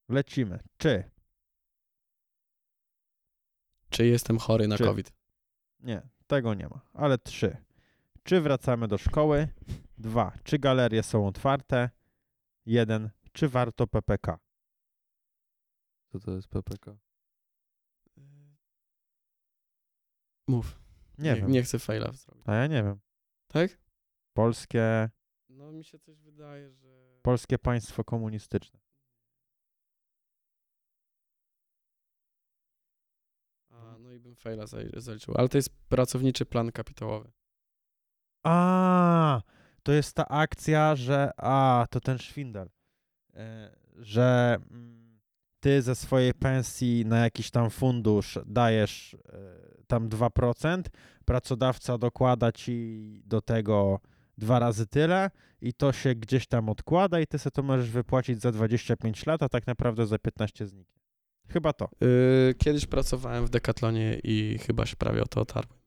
Lecimy. Czy? Czy jestem chory na Czy- COVID? Nie, tego nie ma, ale trzy. Czy wracamy do szkoły? Dwa. Czy galerie są otwarte? Jeden. Czy warto PPK? Co to jest PPK? Mów. Nie wiem. Nie chcę faila zrobić. A ja nie wiem. Tak? Polskie, No mi się coś wydaje, że... polskie państwo komunistyczne. A, no i bym faila zaj- zaliczył. Ale to jest pracowniczy plan kapitałowy. A, to jest ta akcja, że. A, to ten szwindel. E, Że mm, ty ze swojej pensji na jakiś tam fundusz dajesz e, tam 2%, pracodawca dokłada ci do tego dwa razy tyle i to się gdzieś tam odkłada i ty sobie to możesz wypłacić za 25 lat, a tak naprawdę za 15 zniknie. Chyba to. Yy, kiedyś pracowałem w Decathlonie i chyba się prawie o to otarłem.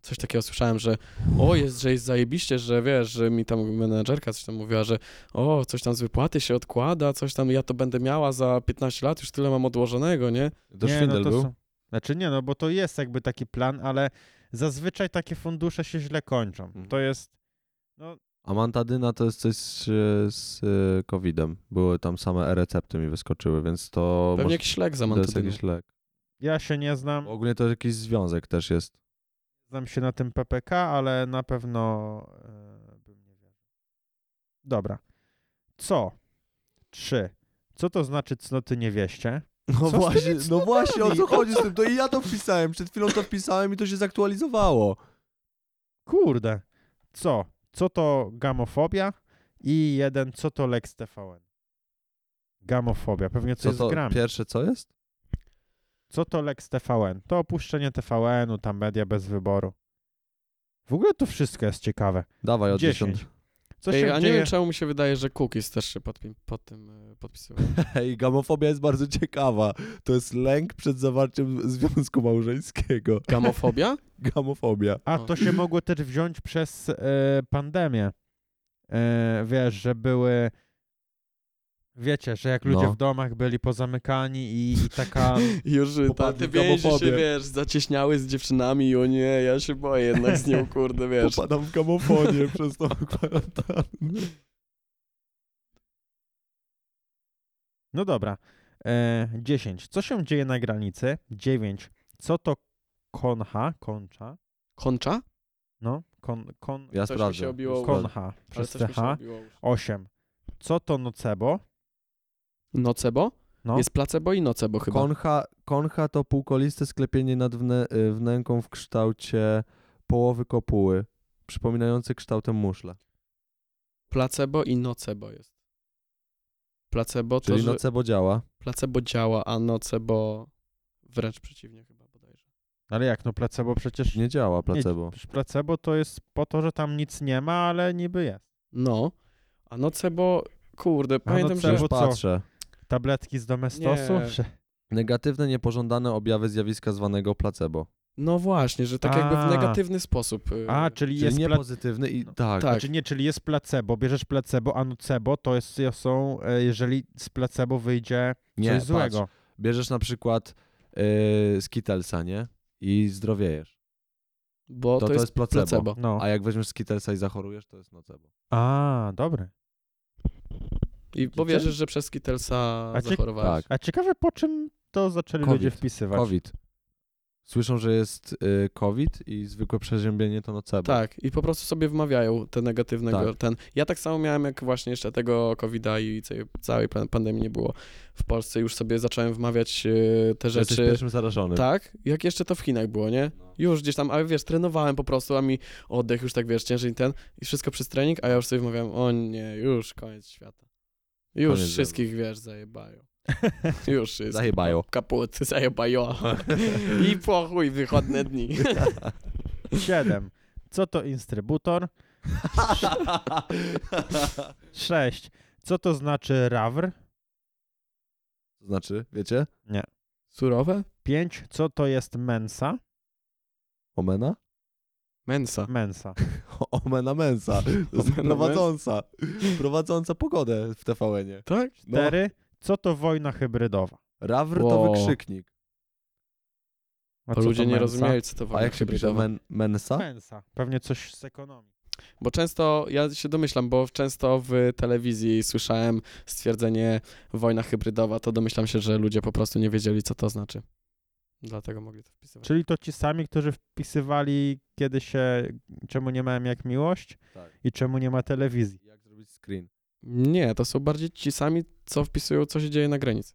Coś takiego słyszałem, że o jest, że jest zajebiście, że wiesz, że mi tam menedżerka coś tam mówiła, że o, coś tam z wypłaty się odkłada, coś tam, ja to będę miała za 15 lat, już tyle mam odłożonego, nie? no To nie, no szwindel był? są- Znaczy nie, no bo to jest jakby taki plan, ale zazwyczaj takie fundusze się źle kończą. Mhm. To jest, Amantadyna to jest coś z, z y, COVID-em. Były tam same e-recepty mi wyskoczyły, więc to Pewnie może- jakiś lek za to jest mantyny. jakiś lek. ja się nie znam, Ogólnie to jakiś związek też jest. znam się na tym PPK, ale na pewno e, bym nie wiedział. Dobra. Co? Trzy. Co to znaczy cnoty niewieście? No z tymi właśnie, no cnotami? właśnie o co chodzi z tym? To i ja to wpisałem, przed chwilą to wpisałem i to się zaktualizowało. Kurde. Co? Co to gamofobia? I jeden, co to Lex TVN? Gamofobia, pewnie coś Co to z grami. pierwsze co jest? Co to Lex TVN? To opuszczenie TVN-u, tam media bez wyboru. W ogóle to wszystko jest ciekawe. Dawaj od 10. 10. Co Ej, się a nie dzieje? wiem czemu mi się wydaje, że cookies też się pod, tym- pod tym e, podpisywał. Hej, gamofobia jest bardzo ciekawa. To jest lęk przed zawarciem związku małżeńskiego. Gamofobia? Gamofobia. A O. to się mogło też wziąć przez e, pandemię. E, wiesz, że były. Wiecie, że jak ludzie No. w domach byli pozamykani i, i taka. Już y, ta, Popadli te w więzi się, gamofobię. wiesz, zacieśniały z dziewczynami i o nie, ja się boję jednak z nią, kurde, wiesz. Popadam w gamofonię przez tą kwarantannę. No dobra. E, 10. Co się dzieje na granicy? 9. Co to koncha? Koncza? Koncza? No, kon, kon, Ja Coś mi sprawdzę. się obiło Skąd? koncha. Ale Przez coś mi się CH. odbiło. 8. Co to nocebo? Nocebo? No. Jest placebo i nocebo chyba. Koncha, koncha to półkoliste sklepienie nad wnę, y, wnęką w kształcie połowy kopuły, przypominające kształtem muszla. placebo i nocebo jest. Placebo to, Czyli że nocebo działa. placebo działa, a nocebo wręcz przeciwnie chyba bodajże. Ale jak, no placebo przecież... Nie działa placebo. Przecież placebo to jest po to, że tam nic nie ma, ale niby jest. No, a nocebo, kurde, pamiętam, nocebo- że... bo Już co? patrzę. Tabletki z domestosu? Nie. Czy- Negatywne, niepożądane objawy zjawiska zwanego placebo. No właśnie, że tak jakby A. w negatywny sposób. y, A, czyli, Czyli jest nie pla... pozytywny i No. tak. Tak. Znaczy nie, czyli jest placebo, bierzesz placebo, a nocebo to jest, są, e, jeżeli z placebo wyjdzie nie, coś patrz, złego. Bierzesz na przykład yy, skitelsa, nie? I zdrowiejesz. Bo to- to, to jest jest placebo. placebo. No. A jak weźmiesz skitelsa i zachorujesz, to jest nocebo. A, dobry. I bo wierzysz, że przez Kittelsa A ciek- tak. zachorowałeś. A ciekawe, po czym to zaczęli Covid. ludzie wpisywać. COVID. Słyszą, że jest y, COVID i zwykłe przeziębienie to nocebo. Tak, i po prostu sobie wmawiają te negatywnego, Tak. ten... Ja tak samo miałem, jak właśnie jeszcze tego COVID-a i całej, całej pan- pandemii nie było w Polsce, już sobie zacząłem wmawiać e, te Że Jesteś No. rzeczy... pierwszym zarażonym. Tak, jak jeszcze to w Chinach było, nie? Już gdzieś tam, ale wiesz, trenowałem po prostu, a mi oddech już tak, wiesz, ciężej ten i wszystko przez trening, a ja już sobie wmawiam, o nie, już koniec świata. Już Koniec wszystkich, wiesz, zajebają. Już jest. Zajebają. Kaput, zajebają. I pochuj, wychodne dni. Siedem. Co to instrybutor? Sześć. Co to znaczy rawr? To znaczy, wiecie? Surowe? Pięć. Co to jest mensa? Omena? Mensa. Mensa. Omena mensa. To jest Omena prowadząca. Prowadząca pogodę w TVN-ie. Tak? No, Cztery. Co to wojna hybrydowa? rawr to Wow. wykrzyknik. A Bo co ludzie to nie mensa? rozumieją, co to Tak. A wojna jak się pisze hybrydowa. men, mensa? Mensa. Pewnie coś z ekonomii. Bo często, ja się domyślam, bo często w telewizji słyszałem stwierdzenie wojna hybrydowa, to domyślam się, że ludzie po prostu nie wiedzieli, co to znaczy. Dlatego mogli to wpisywać. Czyli to ci sami, którzy wpisywali kiedy się, czemu nie miałem jak miłość Tak. i czemu nie ma telewizji. Jak zrobić screen? Nie, to są bardziej ci sami, co wpisują, co się dzieje na granicy.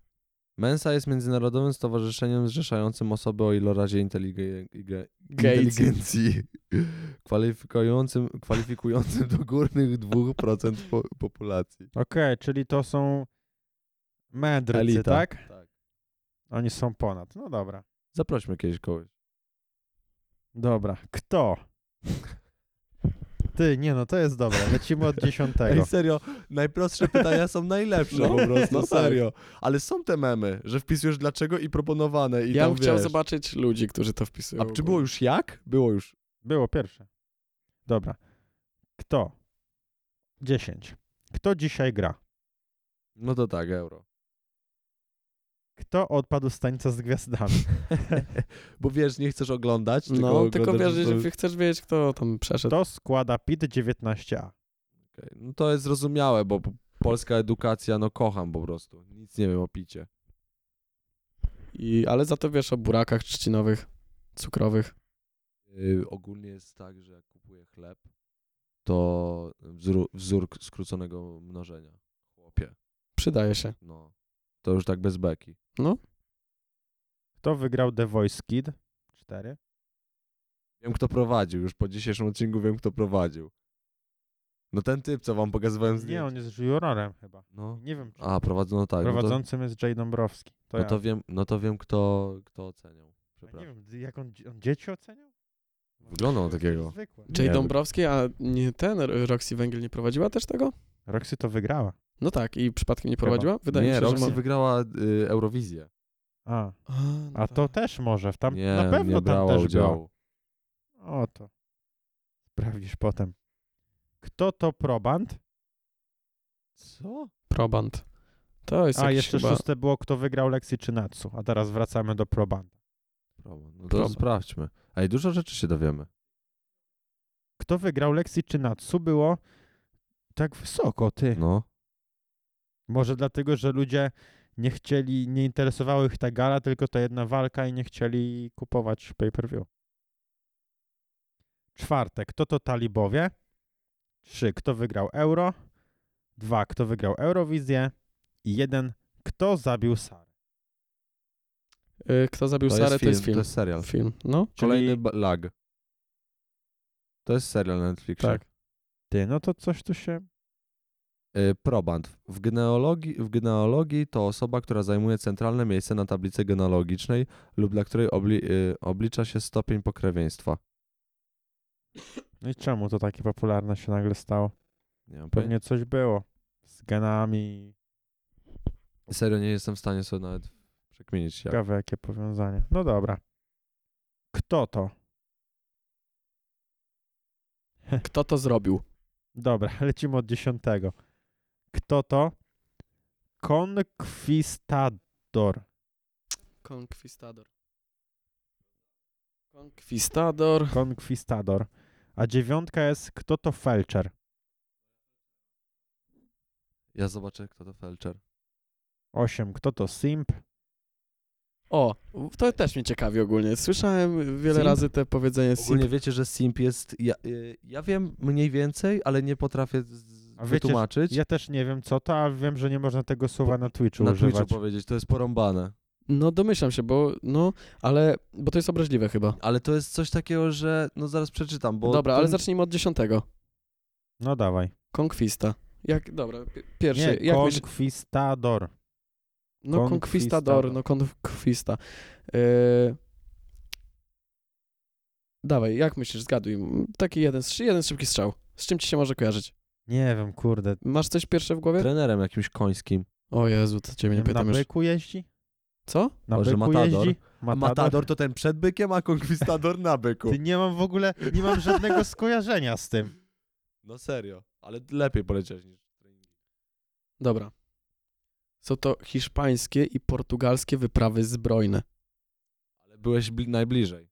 Mensa jest międzynarodowym stowarzyszeniem zrzeszającym osoby o ilorazie inteligen- ige- Gates. inteligencji kwalifikującym, kwalifikującym do górnych 2% po- populacji. Okej, czyli to są mędrcy, Elita. tak? Tak. Oni są ponad. No dobra. Zaprośmy kiedyś kogoś. Dobra. Kto? Ty, nie no, to jest dobre. Lecimy od dziesiątego. Ej, serio, najprostsze pytania są najlepsze No. po prostu, No tak. serio. Ale są te memy, że wpisujesz dlaczego i proponowane i ja tam bym chciał wiesz. zobaczyć ludzi, którzy to wpisują. A czy było już jak? Było już. Było pierwsze. Dobra. Kto? Dziesięć. Kto dzisiaj gra? No to tak, euro. Kto odpadł z tańca z gwiazdami? Bo wiesz, nie chcesz oglądać, tylko No, tylko oglądasz, wiesz, to że chcesz wiedzieć, kto tam przeszedł. Kto składa PIT 19A? Okej, No to jest zrozumiałe, bo po- polska edukacja, no kocham po prostu. Nic nie wiem o picie. I, ale za to wiesz o burakach trzcinowych, cukrowych. Yy, ogólnie jest tak, że jak kupuję chleb, to wzru- wzór k- skróconego mnożenia. Chłopie, Przydaje się. no. To już tak bez beki. Kto wygrał The Voice Kid? Cztery. Wiem, kto prowadził. Już po dzisiejszym odcinku wiem, kto prowadził. No ten typ, co wam pokazywałem zdjęcie. Nie, on jest jurorem chyba. No. Nie wiem, czy A, prowadzący, no tak. no prowadzącym jest Jay Dąbrowski. To to, no ja. to wiem, no to wiem kto, kto A oceniał. nie Przepraszam. wiem, jak on, on dzieci oceniał? Wyglądał To jest takiego. Zwykłe. Czyli Nie. Dąbrowski, a nie ten R- Roxy Węgiel nie prowadziła też tego? Roxy to wygrała. No tak, i przypadkiem nie prowadziła? Wydaje nie, mi się, Roxy że ma... wygrała y, Eurowizję. A, A, no a to też może. w Tam, nie, na pewno nie tam brała też udziału. było. O to. Sprawdzisz potem. Kto to proband? Co? Proband. To jest A, jakiś jeszcze chyba... szóste było, kto wygrał Lexi czy Natsu. A teraz wracamy do probanda. Problem. No to Problem. sprawdźmy. Ej, dużo rzeczy się dowiemy. Kto wygrał Lexi czy Natsu było tak wysoko, ty. No. Może dlatego, że ludzie nie chcieli, nie interesowały ich ta gala, tylko ta jedna walka i nie chcieli kupować pay-per-view. Czwarte, kto to talibowie? Trzy, kto wygrał euro? Dwa, kto wygrał Eurowizję? I jeden, kto zabił Sarę? Y, Kto zabił To Sarę, jest to jest film, film. to jest serial. Film, no. Kolejny ba- lag. To jest serial na Netflixie. Tak. Ty, no to coś tu się... Y, proband. W genealogii, w genealogii to osoba, która zajmuje centralne miejsce na tablicy genealogicznej lub dla której obli- y, oblicza się stopień pokrewieństwa. No i czemu to takie popularne się nagle stało? Nie mam pojęcia. Pewnie coś było z genami, Serio, nie jestem w stanie sobie nawet przekminić. Jak. ciekawe jakie powiązanie. No dobra. Kto to? Kto to zrobił? Dobra, lecimy od dziesiątego. Kto to? Konkwistador. Konkwistador. Konkwistador. Konkwistador. A dziewiątka jest kto to Felczer. Ja zobaczę, kto to Felcher. Osiem, kto to Simp. O, to też mnie ciekawi ogólnie. Słyszałem wiele Simp? razy te powiedzenie simp. Ogólnie wiecie, że simp jest... Ja, y, ja wiem mniej więcej, ale nie potrafię z- z- A wiecie, że- wytłumaczyć. Ja też nie wiem co to, ale wiem, że nie można tego słowa na Twitchu na używać. Twitchu powiedzieć, to jest porąbane. No domyślam się, bo no, ale, bo to jest obraźliwe chyba. Ale to jest coś takiego, że no zaraz przeczytam, bo Dobra, ale ten- zacznijmy od dziesiątego. No dawaj. Konkwista. Jak, dobra, pi- pierwszy, Nie, jak myśl, konkwistador. No konkwistador, konkwistador. no konkwista. Yy... Dawaj, jak myślisz, zgaduj. Taki jeden, szy- jeden szybki strzał. Z czym ci się może kojarzyć? Nie wiem, kurde. Masz coś pierwsze w głowie? trenerem jakimś końskim. O Jezu, to ciebie nie Na pytam już. byku jeździ? Co? Na Może byku Matador? jeździ? A matador to ten przed bykiem, a konkwistador na byku. Ty nie mam w ogóle, nie mam żadnego skojarzenia z tym. No serio, ale lepiej poleciałeś niż treningi. Dobra. Są to hiszpańskie i portugalskie wyprawy zbrojne. Ale byłeś bli- najbliżej.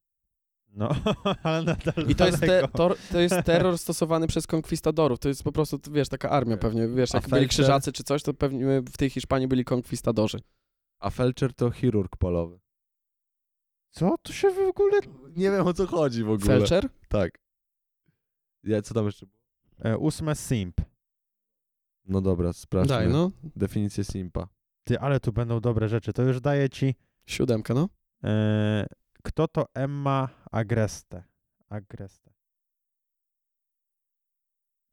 No, ale nadal I to jest, te, daleko. tor, to jest terror stosowany przez konkwistadorów. To jest po prostu, t- wiesz, taka armia Okej. pewnie. Wiesz, E, A jak byli Felczer? krzyżacy czy coś, to pewnie w tej Hiszpanii byli konkwistadorzy. A Felcher to chirurg polowy. Co to się w ogóle... Nie wiem o co chodzi w ogóle. Felczer? Tak. Ja, co tam jeszcze? było? E, ósme simp. No dobra, sprawdźmy. Daj, no. Definicję simpa. Ty, ale tu będą dobre rzeczy. To już daję ci... Siódemkę, no. E, kto to Emma Agreste? Agreste.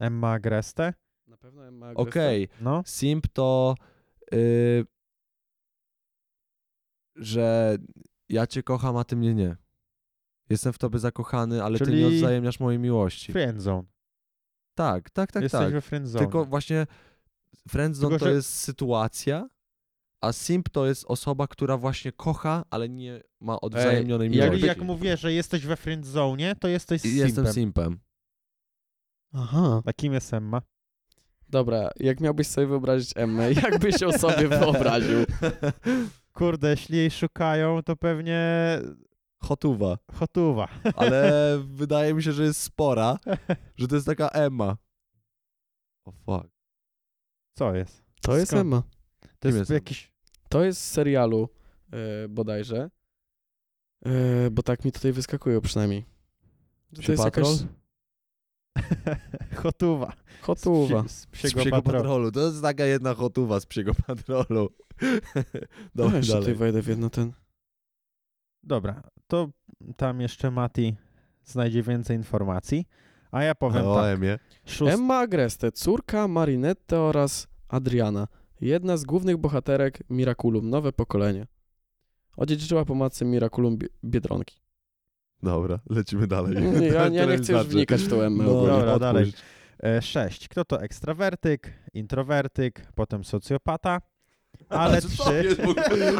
Emma Agreste? Na pewno ma Okej, No. simp to y, że ja cię kocham, a ty mnie nie. Jestem w tobie zakochany, ale ty nie Czyli- odwzajemniasz mojej miłości. Friendzone. Tak, tak, tak, Jesteś tak. we friendzone. Tylko właśnie friendzone No. Tylko, to że- jest sytuacja, a simp to jest osoba, która właśnie kocha, ale nie ma odwzajemnionej Ej, Jakby miłości. jak mówię, że jesteś we friendzone, to jesteś I simpem. Jestem simpem. Aha. A kim jest Emma? Dobra, jak miałbyś sobie wyobrazić Emmę, jak byś ją sobie wyobraził? Kurde, jeśli jej szukają, to pewnie Hotuwa. hotuwa. Ale wydaje mi się, że jest spora, że to jest taka Emma. O fuck. Co jest? To jest Skąd? Emma. To Kim jest, jest Emma? jakiś... To jest z serialu e, bodajże, e, bo tak mi tutaj wyskakują przynajmniej. Że Psi to jest Patrol? jakaś hotuwa. Z hotuwa. psi- Z Z psiego psiego patrolu. patrolu. To jest taka jedna hotuwa z psiego patrolu. No, Dobra, jeszcze tutaj dalej. wejdę w jedno ten. Dobra, to tam jeszcze Mati znajdzie więcej informacji. A ja powiem O tak. Emie. Szóst... Emma Agreste, córka Marinette oraz Adriana. Jedna z głównych bohaterek Miraculum, nowe pokolenie. Odziedziczyła po matce Miraculum Bie- Biedronki. Dobra, lecimy dalej. Nie, ja- ja nie chcę już wnikać w tą Emmę No, ogólnie. Dobra, Dobra, dalej. dalej. E, sześć. Kto to ekstrawertyk, introwertyk, potem socjopata, ale trzy...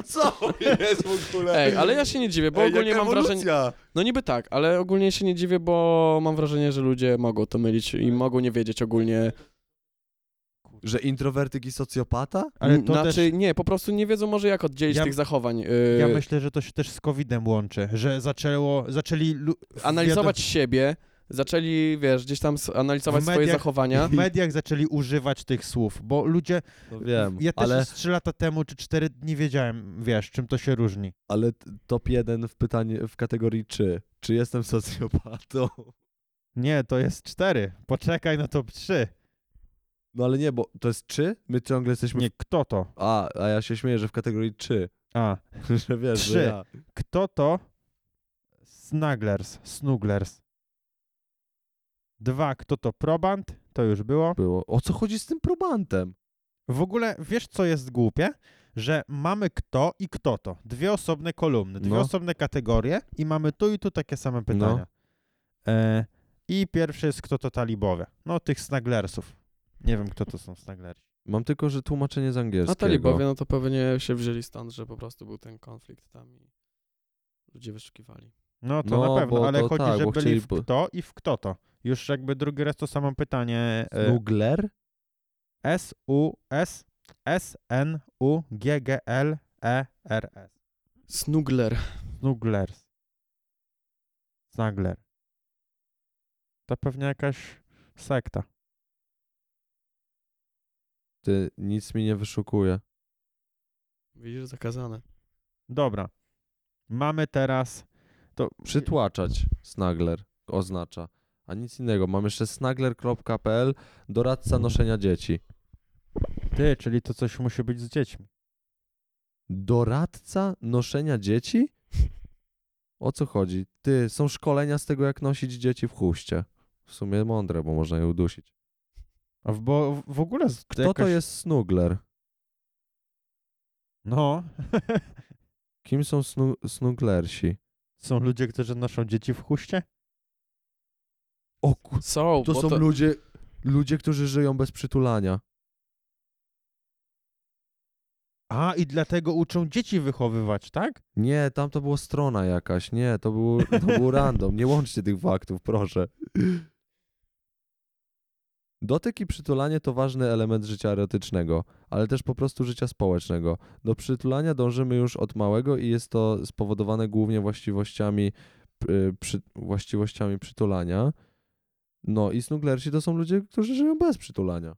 Co jest w ogóle? Ej, ale ja się nie dziwię, bo Ej, ogólnie jaka mam wrażenie... ewolucja? No niby tak, ale ogólnie się nie dziwię, bo mam wrażenie, że ludzie mogą to mylić i mogą nie wiedzieć ogólnie. Że introwertyk i socjopata? Ale N- to znaczy, nie, po prostu nie wiedzą może jak oddzielić Ja- tych zachowań. y, Ja myślę, że to się też z COVID-em łączy, że zaczęło, zaczęli lu- w analizować siebie, zaczęli, wiesz, gdzieś tam s- analizować W swoje mediach- zachowania. wiadom- w mediach zaczęli używać tych słów, bo ludzie, No wiem, Mm, ja też ale, z 3 lata temu czy 4 nie wiedziałem, wiesz, czym to się różni. ale t- top jeden w pytanie w kategorii czy. Czy jestem socjopatą? Nie, to jest 4. Poczekaj na top 3. No ale nie, bo to jest czy? My ciągle jesteśmy... Nie, kto to? A, a ja się śmieję, że w kategorii czy. A, że wiesz, Trzy. że ja. kto to? Snugglers, snugglers. Dwa, kto to probant? To już było. Było. O co chodzi z tym probantem? W ogóle wiesz, co jest głupie? Że mamy kto i kto to. Dwie osobne kolumny, dwie No. osobne kategorie i mamy tu i tu takie same pytania. E, I pierwszy jest kto to talibowie. No tych snaglersów. Nie wiem, kto to są snaglersi. Mam tylko, że tłumaczenie z A angielskiego. talibowie, no to pewnie się wzięli stąd, że po prostu był ten konflikt tam i ludzie wyszukiwali. No to No, na pewno, bo ale to chodzi, tak, że bo byli chcieli w po- kto i w kto to. Już jakby drugi raz to samo pytanie. No, E, Snugler? S, U, S, S, N, U, G, G, L, E, R, S. Snugler. Snugglers. Snagler. To pewnie jakaś sekta. Ty, nic mi nie wyszukuje. Widzisz, zakazane. Dobra. Mamy teraz. To Przytłaczać snagler oznacza. A nic innego. Mam jeszcze snagler.pl doradca noszenia dzieci. ty, czyli to coś musi być z dziećmi. Doradca noszenia dzieci? O co chodzi? Ty, są szkolenia z tego, jak nosić dzieci w huście. W sumie mądre, bo można je udusić. A w, bo w- w ogóle. z- Kto jakaś... to jest snugler? No. Kim są snu snuglersi? Są ludzie, którzy noszą dzieci w huście? O ku... Są, To bo są ludzie, ludzie, którzy żyją bez przytulania. A, i dlatego uczą dzieci wychowywać, tak? Nie, tam to była strona jakaś. Nie, to był, to był random. Nie łączcie tych faktów, proszę. Dotyk i przytulanie to ważny element życia erotycznego, ale też po prostu życia społecznego. Do przytulania dążymy już od małego i jest to spowodowane głównie właściwościami, y, przy, właściwościami przytulania. No i snuglersi to są ludzie, którzy żyją bez przytulania.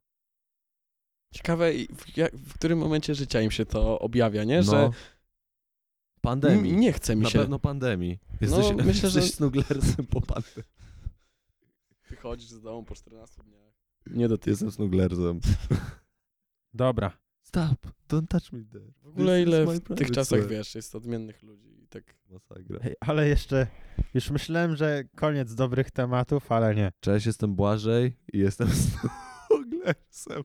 Ciekawe, i w, jak, w którym momencie życia im się to objawia, nie? No, Że Pandemii. N- nie chce mi Na się. No, pewno pandemii. Jesteś, myślę, jesteś że- snuglersem po pandemii. Ty chodzisz z domu po 14 dniach. Nie, to ty jestem snuglersem. Dobra. Stop, don't touch me there. W ogóle This is No ile my w tych private czasach, square. wiesz, jest odmiennych ludzi i tak... Masakra. Ej, ale jeszcze, już myślałem, że koniec dobrych tematów, ale nie. Cześć, jestem Błażej i jestem snuglersem.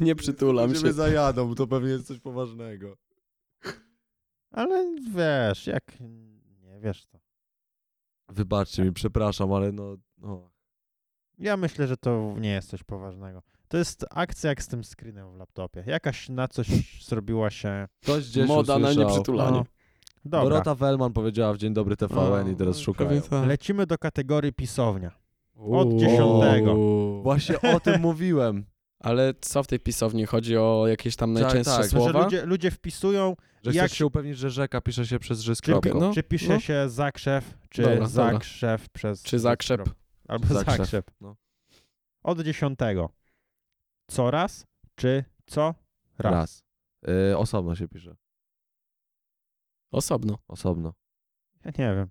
Nie przytulam Ludzie mnie się. zajadą, to pewnie jest coś poważnego. Ale wiesz, jak nie wiesz to. Wybaczcie mi, przepraszam, ale no... no. Ja myślę, że to nie jest coś poważnego. To jest akcja jak z tym screenem w laptopie. Jakaś na coś zrobiła się. Ktoś gdzieś Moda na usłyszał. nieprzytulanie. No, No. Dobra, Dorota Wellman powiedziała w Dzień Dobry TVN i teraz szukają. tak. lecimy do kategorii pisownia. Od dziesiątego. Właśnie o tym mówiłem, Ale co w tej pisowni? Chodzi o jakieś tam Tak, najczęstsze tak. Że słowa? ludzie, ludzie wpisują, że Jak- chcesz się upewnić, że rzeka pisze się przez rzy z Czy- kropką. no. czy pisze no. się zakrzew, czy Dobra, zakrzew przez... Czy zakrzep? Albo Zakrzew, zakrzew. no. Od dziesiątego. Coraz, czy co raz. Raz. Y, osobno się pisze. Osobno. Osobno. Ja nie wiem.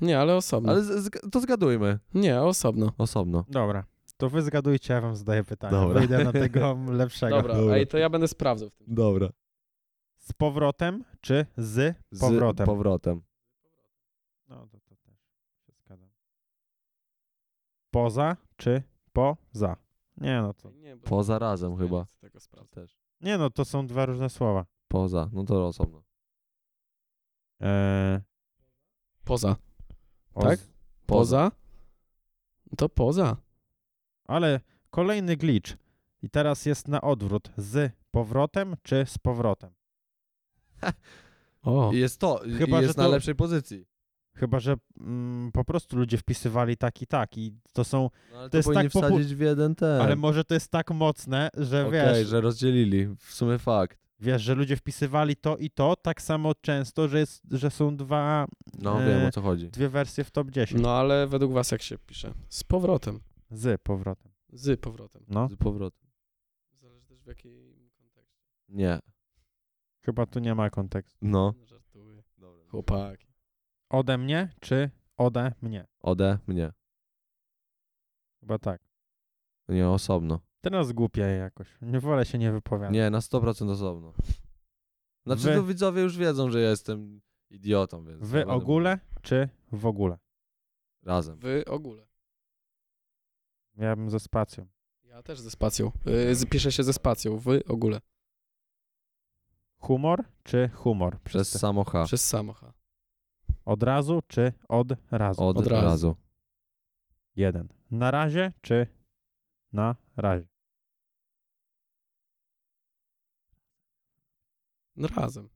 Nie, ale osobno. Ale z, z, to zgadujmy. Nie, osobno. Osobno. Dobra, to wy zgadujcie, ja wam zadaję pytanie. Dobra. Wyjdę na tego lepszego. Dobra, Dobra. ej, to ja będę sprawdzał w tym. Dobra. Z powrotem, czy z Z powrotem? powrotem. No to, to też się zgadzam. Poza, czy poza? Nie no, to, Nie, bo- Poza razem nie chyba. chcę Tego sprawdzać. Też. nie no, to są dwa różne słowa. Poza. No to osobno. Eee, Poza. o- Tak? Poza? To poza. Ale kolejny glitch. I teraz jest na odwrót. Z powrotem, czy z powrotem? O. Jest to. Chyba, Chyba, jest że na to- lepszej pozycji. Chyba, że mm, po prostu ludzie wpisywali tak i tak i to są... No, ale to, To jest powinni tak popu- wsadzić w jeden ten. Ale może to jest tak mocne, że Okej, wiesz... że rozdzielili. W sumie fakt. Wiesz, że ludzie wpisywali to i to tak samo często, że, jest, że są dwa, No E, wiem o co chodzi. dwie wersje w top 10. No ale według was jak się pisze? Z powrotem. Z powrotem. Z powrotem. No, Z powrotem. Zależy też w jakim kontekście. Nie. chyba tu nie ma kontekstu. No. Żartuję. Dobra. Chłopaki. Ode mnie czy ode mnie? Ode mnie. Chyba tak. Nie, osobno. Teraz głupie jakoś. Nie wolę się nie wypowiadać. Nie, na 100% osobno. Znaczy, Wy- to widzowie już wiedzą, że ja jestem idiotą, więc. nie W będę ogóle mówił. czy w ogóle? Razem. Wy ogóle. Ja bym ze spacją. Ja też ze spacją. Y, z- pisze się ze spacją. Wy ogóle. Humor czy humor? Przez Wszyscy. samo H. Przez samo H. Od razu czy od razu? Od, od razu. razu. Jeden. Na razie czy na razie? No razem.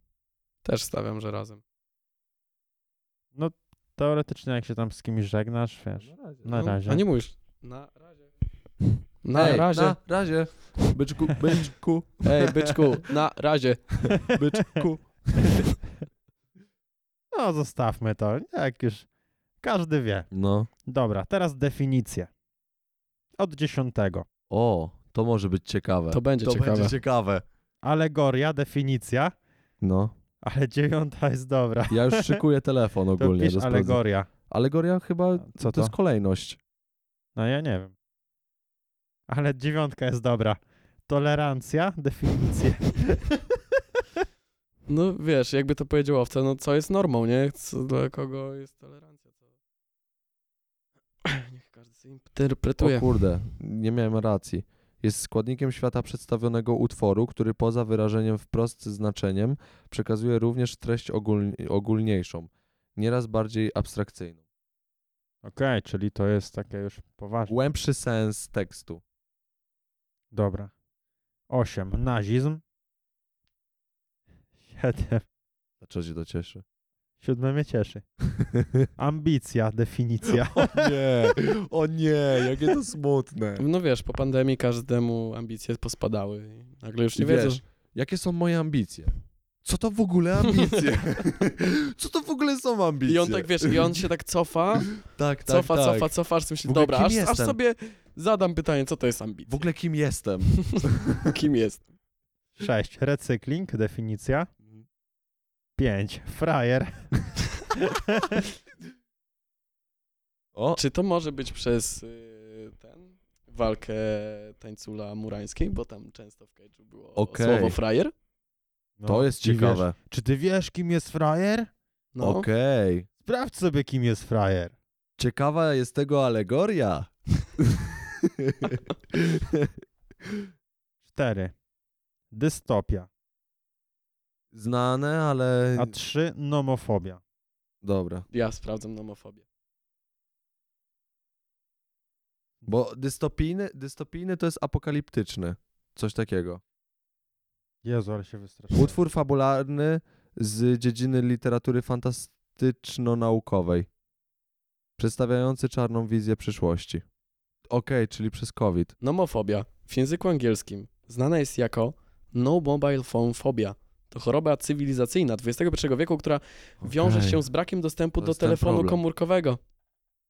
Też stawiam, że razem. Teoretycznie jak się tam z kimś żegnasz, wiesz. Na No, razie. A nie mówisz. Na razie. Na Ej, razie. Na razie. Byczku, byczku. Ej, byczku, na razie. Byczku. No, zostawmy to. Jak już każdy wie. No. Dobra, teraz definicje. Od dziesiątego. O, to może być ciekawe. To będzie ciekawe. będzie ciekawe. Alegoria, definicja, No. ale dziewiąta jest dobra. Ja już szykuję telefon To ogólnie. pisz że sprawdzę. alegoria. Alegoria chyba A, to, co jest to? kolejność. No ja nie wiem. Ale dziewiątka jest dobra. Tolerancja, definicje. No wiesz, jakby to powiedział owca, no co jest normą, nie? Co, dla kogo jest tolerancja? Co... Niech każdy sobie interpretuje. O kurde, nie miałem racji. Jest składnikiem świata przedstawionego utworu, który poza wyrażeniem wprost znaczeniem przekazuje również treść ogólni- ogólniejszą, nieraz bardziej abstrakcyjną. Okej, czyli to jest takie już poważne. Głębszy sens tekstu. Dobra. Osiem. Nazizm. Siedem. Dlaczego się to cieszy? Siódme mnie cieszy. Ambicja, definicja. nie, o nie, jakie to smutne. No wiesz, po pandemii każdemu ambicje pospadały i nagle już I nie wiedzą. wiesz, Jakie są moje ambicje? Co to w ogóle ambicje? Co to w ogóle są ambicje? I on tak, wiesz, i on się tak cofa, tak, tak, cofa, tak. cofa, cofa, aż myśli, W ogóle dobra, kim aż, aż jestem? sobie zadam pytanie, co to jest ambicja? W ogóle kim jestem? kim jest? Sześć. Recykling, definicja. 5. Frajer. O, Czy to może być przez y, ten walkę tańcula murańskiej, bo tam często w kajczu było Okej. słowo frajer? No, to jest ty ciekawe. Wiesz, czy ty wiesz, kim jest frajer? No. Okej. Sprawdź sobie, kim jest frajer. Ciekawa jest tego alegoria. 4. Dystopia. Znane, ale. A 3. Nomofobia. Dobra. Ja sprawdzam nomofobię. Bo dystopijny, dystopijny to jest apokaliptyczny. Coś takiego. Jezu, ale się wystraszyłem. Utwór fabularny z dziedziny literatury fantastyczno-naukowej, przedstawiający czarną wizję przyszłości. Okej, czyli przez COVID. Nomofobia w języku angielskim znana jest jako no mobile phone phobia. To choroba cywilizacyjna XXI wieku, która wiąże Okej, się z brakiem dostępu To do jest ten telefonu problem. komórkowego.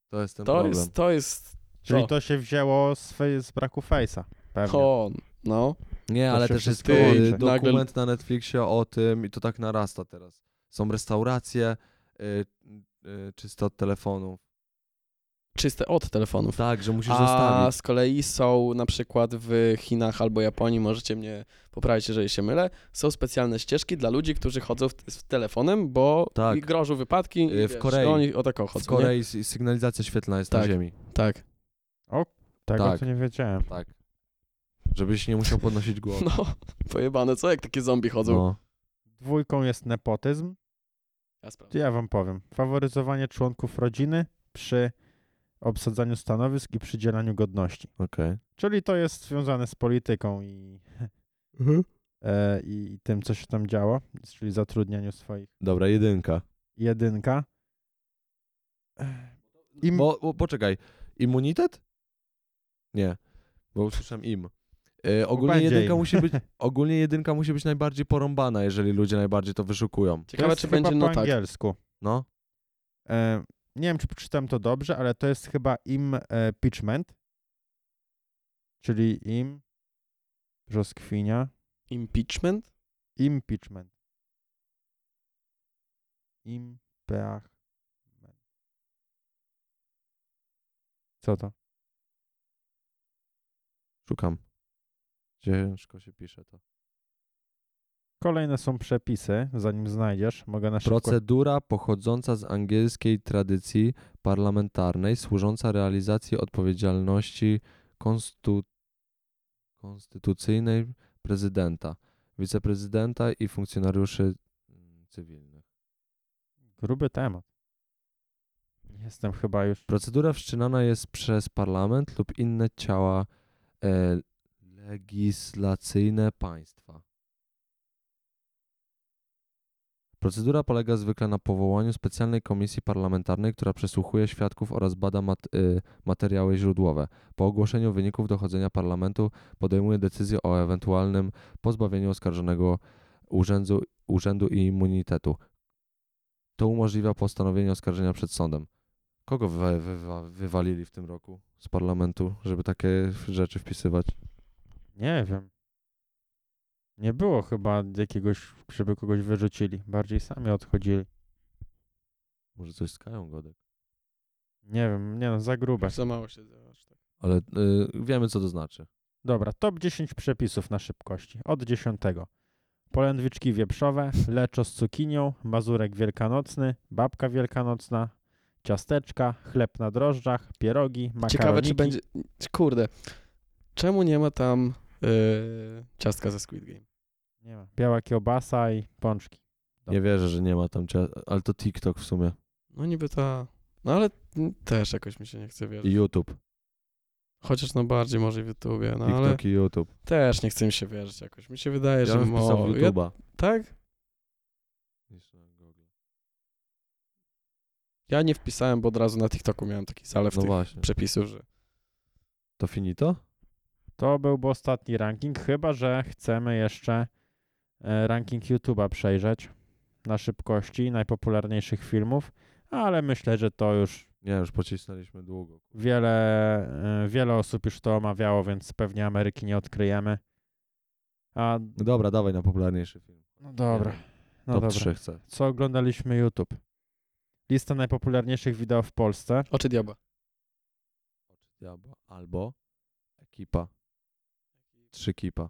To jest ten To problem. jest, to jest Czyli to. to się wzięło z, fej- z braku face'a. Pewnie. to, no. Nie, To ale się też jest wszystko y, łączy. dokument na Netflixie o tym i to tak narasta teraz. Są restauracje y, y, czysto od telefonów. Czyste od telefonów. Tak, że musisz A zostawić. z kolei są na przykład w Chinach albo Japonii, możecie mnie poprawić, jeżeli się mylę, są specjalne ścieżki dla ludzi, którzy chodzą w, z telefonem, bo Tak. i grożą wypadki. i Y, w wiesz, Korei. no Oni o taką chodzą. W Nie? Korei s- sygnalizacja świetlna jest na Tak. ziemi. Tak. Tego tak. to nie wiedziałem. Tak. Żebyś nie musiał podnosić głowy. No, pojebane, co jak takie zombie chodzą? No. Dwójką jest nepotyzm. Ja To sprawdzę. ja wam powiem. Faworyzowanie członków rodziny przy obsadzaniu stanowisk i przydzielaniu godności. Okej. Czyli to jest związane z polityką i, Mhm. e, i tym, co się tam działo, czyli zatrudnianiu swoich. Dobra, jedynka. Jedynka. Im, Bo, bo, poczekaj, immunitet? Nie, bo usłyszałem im. E, ogólnie, będzie jedynka im. musi być, ogólnie jedynka musi być najbardziej porąbana, jeżeli ludzie najbardziej to wyszukują. to Ciekawe, jest czy chyba będzie po no tak. angielsku. No, E, nie wiem, czy przeczytam to dobrze, ale to jest chyba e, impeachment, czyli im brzoskwinia. Impeachment? Impeachment. Impeachment. Co to? szukam. Ciężko się pisze to. Kolejne są przepisy, zanim znajdziesz. Mogę na szybko... Procedura pochodząca z angielskiej tradycji parlamentarnej, służąca realizacji odpowiedzialności konstu... konstytucyjnej prezydenta, wiceprezydenta i funkcjonariuszy mm, cywilnych. Gruby temat. Jestem chyba już... Procedura wszczynana jest przez parlament lub inne ciała e, legislacyjne państwa. Procedura polega zwykle na powołaniu specjalnej komisji parlamentarnej, która przesłuchuje świadków oraz bada mat- y, materiały źródłowe. Po ogłoszeniu wyników dochodzenia parlamentu podejmuje decyzję o ewentualnym pozbawieniu oskarżonego urzędu, urzędu i immunitetu. To umożliwia postanowienie oskarżenia przed sądem. Kogo wywa- wywa- wywalili w tym roku z parlamentu, żeby takie rzeczy wpisywać? Nie wiem. Nie było chyba jakiegoś, żeby kogoś wyrzucili. Bardziej sami odchodzili. Może coś z Kają Godek. Nie wiem, nie no, za grube. Za mało się zobacz. tak. Ale y, wiemy, co to znaczy. Dobra, top 10 przepisów na szybkości. Od 10. Polędwiczki wieprzowe, leczo z cukinią, mazurek wielkanocny, babka wielkanocna, ciasteczka, chleb na drożdżach, pierogi, makaroniki. Ciekawe, czy będzie... Kurde. Czemu nie ma tam y, ciastka ze Squid Game? Nie ma. Biała kiełbasa i pączki. Nie wierzę, że nie ma tam cia... ale to TikTok w sumie. No niby ta... No ale mm, też jakoś mi się nie chce wierzyć. I YouTube. Chociaż no bardziej może w YouTubie, no TikTok ale i YouTube. też nie chce mi się wierzyć jakoś. Mi się wydaje, Ja że bym wpisał w mo... ja, YouTube'a. Tak? Ja nie wpisałem, bo od razu na TikToku miałem taki zalew No tych właśnie. przepisów, że To finito? To byłby ostatni ranking, chyba że chcemy jeszcze e, ranking YouTube'a przejrzeć na szybkości najpopularniejszych filmów, ale myślę, że to już Nie, już pocisnęliśmy długo. wiele, e, wiele osób już to omawiało, więc pewnie Ameryki nie odkryjemy. A No Dobra, dawaj na popularniejszy film. no dobra, No Top dobra. 3 chcę. Co oglądaliśmy YouTube? Lista najpopularniejszych wideo w Polsce. Oczy diabła. Diabła albo ekipa. Trzy kipa.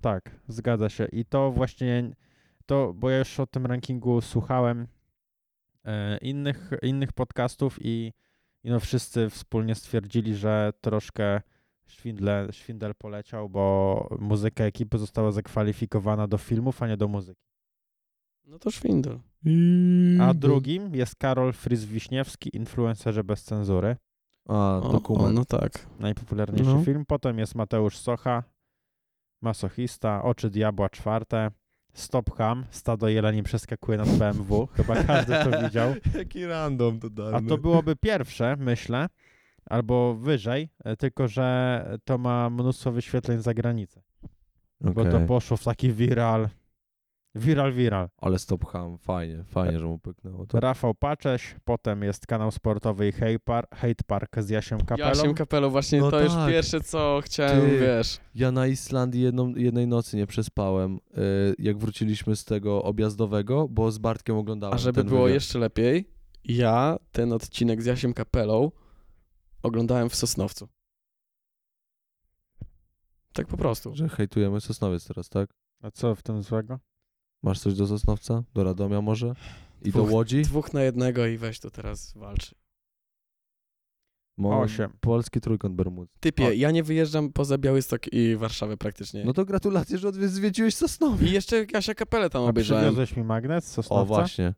Tak, zgadza się. I to właśnie, to, bo ja już o tym rankingu słuchałem e, innych, innych podcastów i, i no wszyscy wspólnie stwierdzili, że troszkę szwindle, szwindel poleciał, bo muzyka ekipy została zakwalifikowana do filmów, a nie do muzyki. No to szwindel. Mhm. A drugim jest Karol Fryz-Wiśniewski, influencerze bez cenzury. A, O, o, dokument. no tak. najpopularniejszy No. film. Potem jest Mateusz Socha, Masochista, Oczy Diabła czwarte, Stop Ham, Stado Jeleni przeskakuje nad BMW, chyba każdy to widział. Jaki random totalny. A to byłoby pierwsze, myślę, albo wyżej, e, tylko że to ma mnóstwo wyświetleń za granicę, bo to Okej. poszło w taki viral, viral, viral. Ale stop ham, fajnie, fajnie, że mu pyknęło to. Rafał Pacześ, potem jest kanał sportowy i Hate, par- hate Park z Jasiem Kapelą. Jasiem Kapelą, właśnie No to już tak. pierwsze, co chciałem, Ty. wiesz. Ja na Islandii jedną, jednej nocy nie przespałem, y, jak wróciliśmy z tego objazdowego, bo z Bartkiem oglądałem A żeby ten było wywiad. jeszcze lepiej, ja ten odcinek z Jasiem Kapelą oglądałem w Sosnowcu. Tak po prostu. Że hejtujemy Sosnowiec teraz, tak? A co w tym złego? Masz coś do Sosnowca? Do Radomia może? I do Dwóch- Łodzi? Dwóch na jednego i weź to teraz walczy. Mo- Osiem. Polski trójkąt Bermud. Typie, O. ja nie wyjeżdżam poza Białystok i Warszawę praktycznie. No to gratulacje, że odwiedz- zwiedziłeś Sosnowiec. I jeszcze Jasia Kapelę tam A obejrzałem. przywiozłeś mi magnes z O, Sosnowca? właśnie.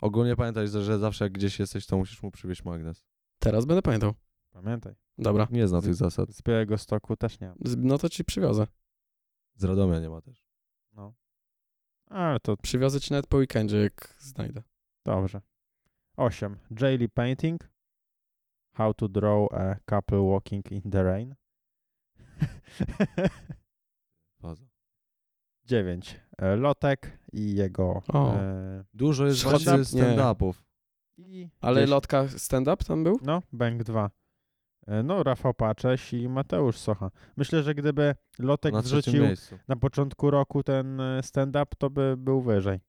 Ogólnie pamiętaj, że- że zawsze jak gdzieś jesteś, to musisz mu przywieźć magnes. Teraz będę pamiętał. Pamiętaj. Dobra. Nie zna tych zasad. Z Białego Stoku też nie ma. Z- No to ci przywiozę. Z Radomia nie ma też. No. Ale to Przywiozę ci nawet po weekendzie, jak znajdę. dobrze. 8. Daily Painting. How to draw a couple walking in the rain. Faza. 9. E, Lotek i jego. O. E, Dużo jest Szkoda- właśnie nie. stand-upów. i Ale gdzieś- lotka stand-up tam był? No, Bęk 2. E, No, Rafał Pacześ i Mateusz Socha. Myślę, że gdyby Lotek Na trzecim Tak wrzucił miejscu. na początku roku ten e, stand-up, to by był wyżej.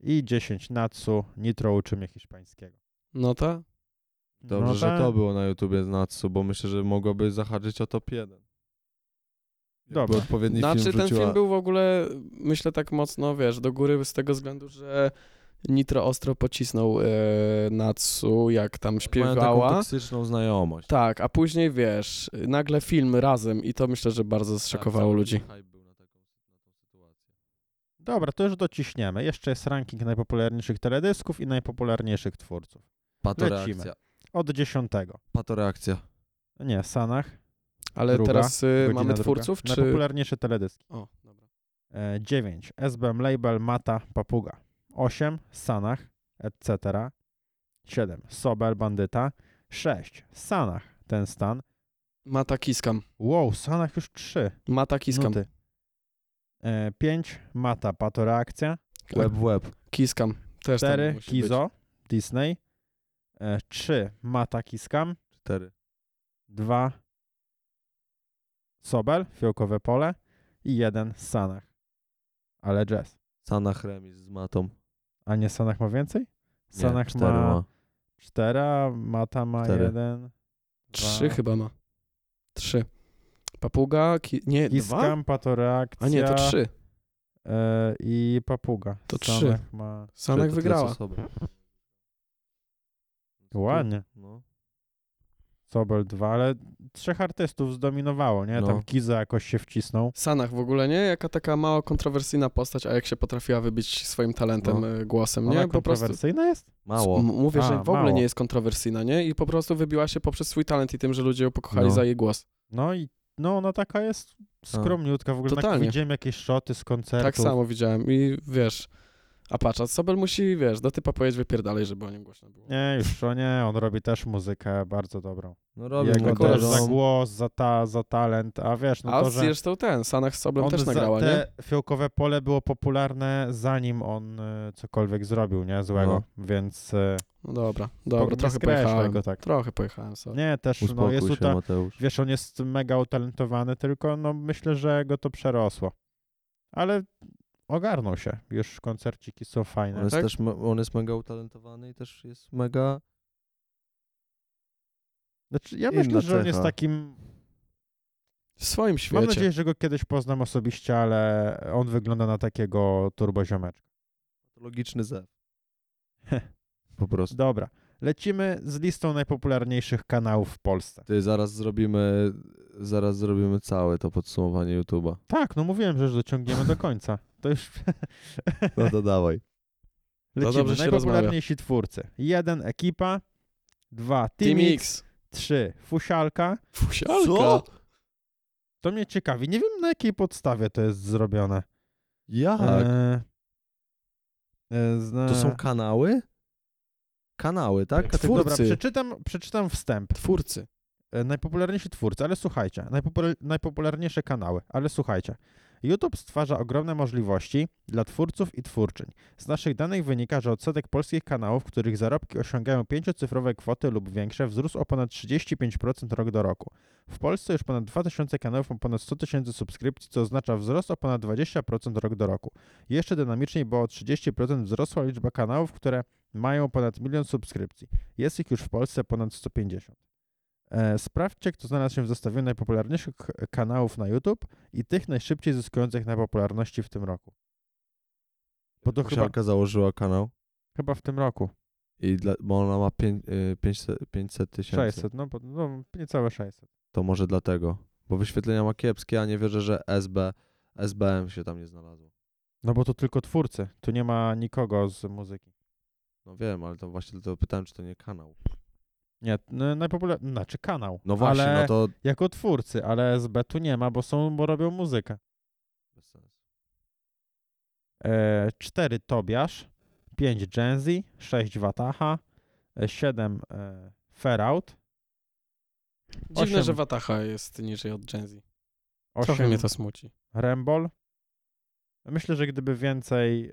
I 10. Natsu. Nitro uczy mnie hiszpańskiego. No ta? Dobrze, No że tak. to było na YouTubie z Natsu, bo myślę, że mogłoby zahaczyć o top 1. Dobra. odpowiedni Znaczy film ten wrzuciła... film był w ogóle, myślę tak mocno, wiesz, do góry z tego względu, że Nitro ostro pocisnął e, Natsu, jak tam Mają taką śpiewała. toksyczną znajomość. Tak, a później wiesz, nagle film razem i to myślę, że bardzo zszokowało Tak, cały ludzi. hype był na taką- na tą sytuację. Dobra, to już dociśniemy. Jeszcze jest ranking najpopularniejszych teledysków i najpopularniejszych twórców. Patoreakcja. Od dziesiątego. Patoreakcja. Nie, Sanach. Ale Druga, teraz y, godzina mamy druga. twórców, czy... Najpopularniejsze teledyski. O, dobra. E, 9. SBM Label, Mata, Papuga. 8. Sanach, etc. 7. Sobel, Bandyta. 6. Sanach, ten stan. Mata Kiskam. Wow, Sanach już 3. Mata Kiskam. Nuty. 5. Mata, Patoreakcja. Łeb w łeb. Kiskam. Też tam 4. musi być. Kizo, Disney. 3. Mata, Kiskam. Cztery. dwa Sobel, fiołkowe pole i jeden Sanach. Ale jazz. Sanach remis z matą. A nie Sanach ma więcej? Nie, Sanach cztery ma cztery, a Mata ma Cztery. jeden. Trzy dwa. chyba ma. Trzy. Papuga, ki... nie, dwa? Kiskam, Patoreakcja A nie, to trzy. e, i Papuga. To Sanach trzy. ma... Trzy, Sanek to tyle, co wygrała. sobie. Ładnie. No. Sobel dwa, ale trzech artystów zdominowało, nie? No. Tam Kizo jakoś się wcisnął. Sanach w ogóle, nie? Jaka taka mało kontrowersyjna postać, a jak się potrafiła wybić swoim talentem, No. e, głosem, Ona nie? Po prostu. kontrowersyjna jest? Mało. M- Mówię, że A, w ogóle mało. nie jest kontrowersyjna, nie? I po prostu wybiła się poprzez swój talent i tym, że ludzie ją pokochali No. za jej głos. No i no ona taka jest skromniutka. W ogóle tak Totalnie. widziałem jakieś szoty z koncertu. Tak samo widziałem i wiesz, a patrz, a Sobel musi, wiesz, do typa powiedzieć wypierdalej, żeby o nim głośno było. Nie, już to nie, on robi też muzykę bardzo dobrą. No Robi robię mu Jego muzykę też tak też. za on- głos, za, ta, za talent, a wiesz, no a to, że zresztą ten, Sanach z Soblem on też za nagrała, nie? te fiołkowe pole było popularne zanim on y, cokolwiek zrobił, nie, złego, więc y, No dobra, dobra, nie trochę skreślaj pojechałem. go tak. Trochę pojechałem, sorry. Nie, też no, Uspokój jest się, tutaj, Mateusz. wiesz, on jest mega utalentowany, tylko no myślę, że go to przerosło. Ale ogarnął się. Już koncerciki są fajne. On jest tak? też me- on jest mega utalentowany i też jest mega. Znaczy, ja Inna myślę, że on jest cecha. takim. W swoim świecie. Mam nadzieję, że go kiedyś poznam osobiście, ale on wygląda na takiego turboziomeczka. Logiczny zew. Po prostu. Dobra, lecimy z listą najpopularniejszych kanałów w Polsce. Ty zaraz zrobimy. Zaraz zrobimy całe to podsumowanie YouTube'a. Tak, no mówiłem, że już dociągniemy do końca. To już No to dawaj. lecimy. dobrze się Najpopularniejsi twórcy. Jeden Ekipa, dwa Team Timix, X. trzy Fusialka. Fusialka. Co? To mnie ciekawi. Nie wiem, na jakiej podstawie to jest zrobione. Jak? E, e, zna... Tak. To są kanały? Kanały, tak? Twór- Kategoria- Dobra, twórcy. przeczytam, przeczytam wstęp. Twórcy. E, Najpopularniejsi twórcy, ale słuchajcie, najpopul- najpopularniejsze kanały, ale słuchajcie. YouTube stwarza ogromne możliwości dla twórców i twórczyń. Z naszych danych wynika, że odsetek polskich kanałów, których zarobki osiągają pięciocyfrowe kwoty lub większe, wzrósł o ponad 35% rok do roku. W Polsce już ponad 2000 kanałów ma ponad 100 tysięcy subskrypcji, co oznacza wzrost o ponad 20% rok do roku. Jeszcze dynamiczniej, bo o 30% wzrosła liczba kanałów, które mają ponad milion subskrypcji. Jest ich już w Polsce ponad 150. E, sprawdźcie, kto znalazł się w zestawieniu najpopularniejszych k- kanałów na YouTube i tych najszybciej zyskujących na popularności w tym roku. Bo to chyba, Kosiarka założyła kanał chyba w tym roku. i dla, bo ona ma pię, y, 500 500 tysięcy. 600, no, bo- no niecałe 600. To może dlatego. Bo wyświetlenia ma kiepskie, a nie wierzę, że SB, SBM się tam nie znalazło. No bo to tylko twórcy, tu nie ma nikogo z muzyki. No wiem, ale to właśnie dlatego pytałem, czy to nie kanał. Nie, n- najpopularniejszy, znaczy kanał. No właśnie, ale no to Jako twórcy, ale SB tu nie ma, bo są, bo robią muzykę. bez sensu. E, 4 Tobiasz, 5 Genzy, 6 Wataha, 7 e, Ferout, Dziwne, Osiem. że Wataha jest niżej od Gen Z. Trochę 8 mnie to smuci. No Rembol. Myślę, że gdyby więcej.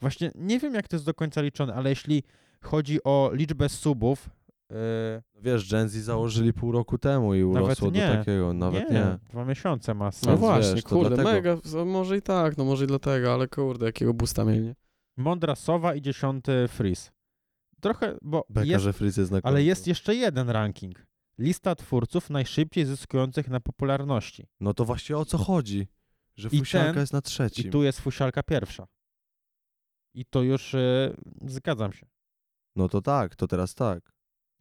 Właśnie nie wiem, jak to jest do końca liczone, ale jeśli chodzi o liczbę subów. Yy, No wiesz, Gen Z założyli pół roku temu i urosło nie. do takiego. Nawet nie. Dwa miesiące ma sens. No Więc właśnie, wiesz, to kurde, dlatego. mega, so- może i tak, no może i dlatego, ale kurde, jakiego busta mieli, nie? Mądra Sowa i dziesiąty Freeze. Trochę, bo Beka, jest, że Fritz jest na ale końcu. jest jeszcze jeden ranking. Lista twórców najszybciej zyskujących na popularności. No to właśnie o co chodzi? Że I Fusianka ten- jest na trzecim. I tu jest fusialka pierwsza. I to już yy, zgadzam się. No to tak, to teraz tak.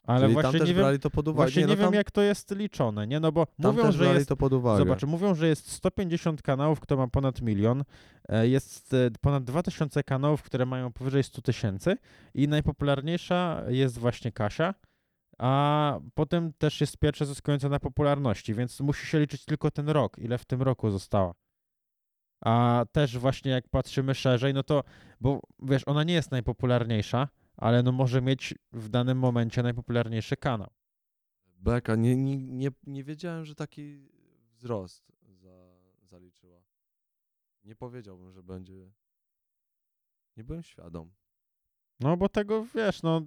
Ale Czyli właśnie tam też nie wiem, brali to pod uwagę. Właśnie nie, no wiem, tam, jak to jest liczone, nie? No bo tam mówią, też że brali jest... to pod uwagę. Zobacz, mówią, że jest 150 kanałów, kto ma ponad milion, e, jest e, ponad 2000 kanałów, które mają powyżej 100 tysięcy i najpopularniejsza jest właśnie Kasia, a potem też jest pierwsza zyskująca na popularności, więc musi się liczyć tylko ten rok, ile w tym roku została. A też właśnie jak patrzymy szerzej, no to, bo wiesz, ona nie jest najpopularniejsza, ale no może mieć w danym momencie najpopularniejszy kanał. Beka, nie, nie, nie, nie wiedziałem, że taki wzrost za, zaliczyła. Nie powiedziałbym, że będzie. Nie byłem świadom. No bo tego wiesz, no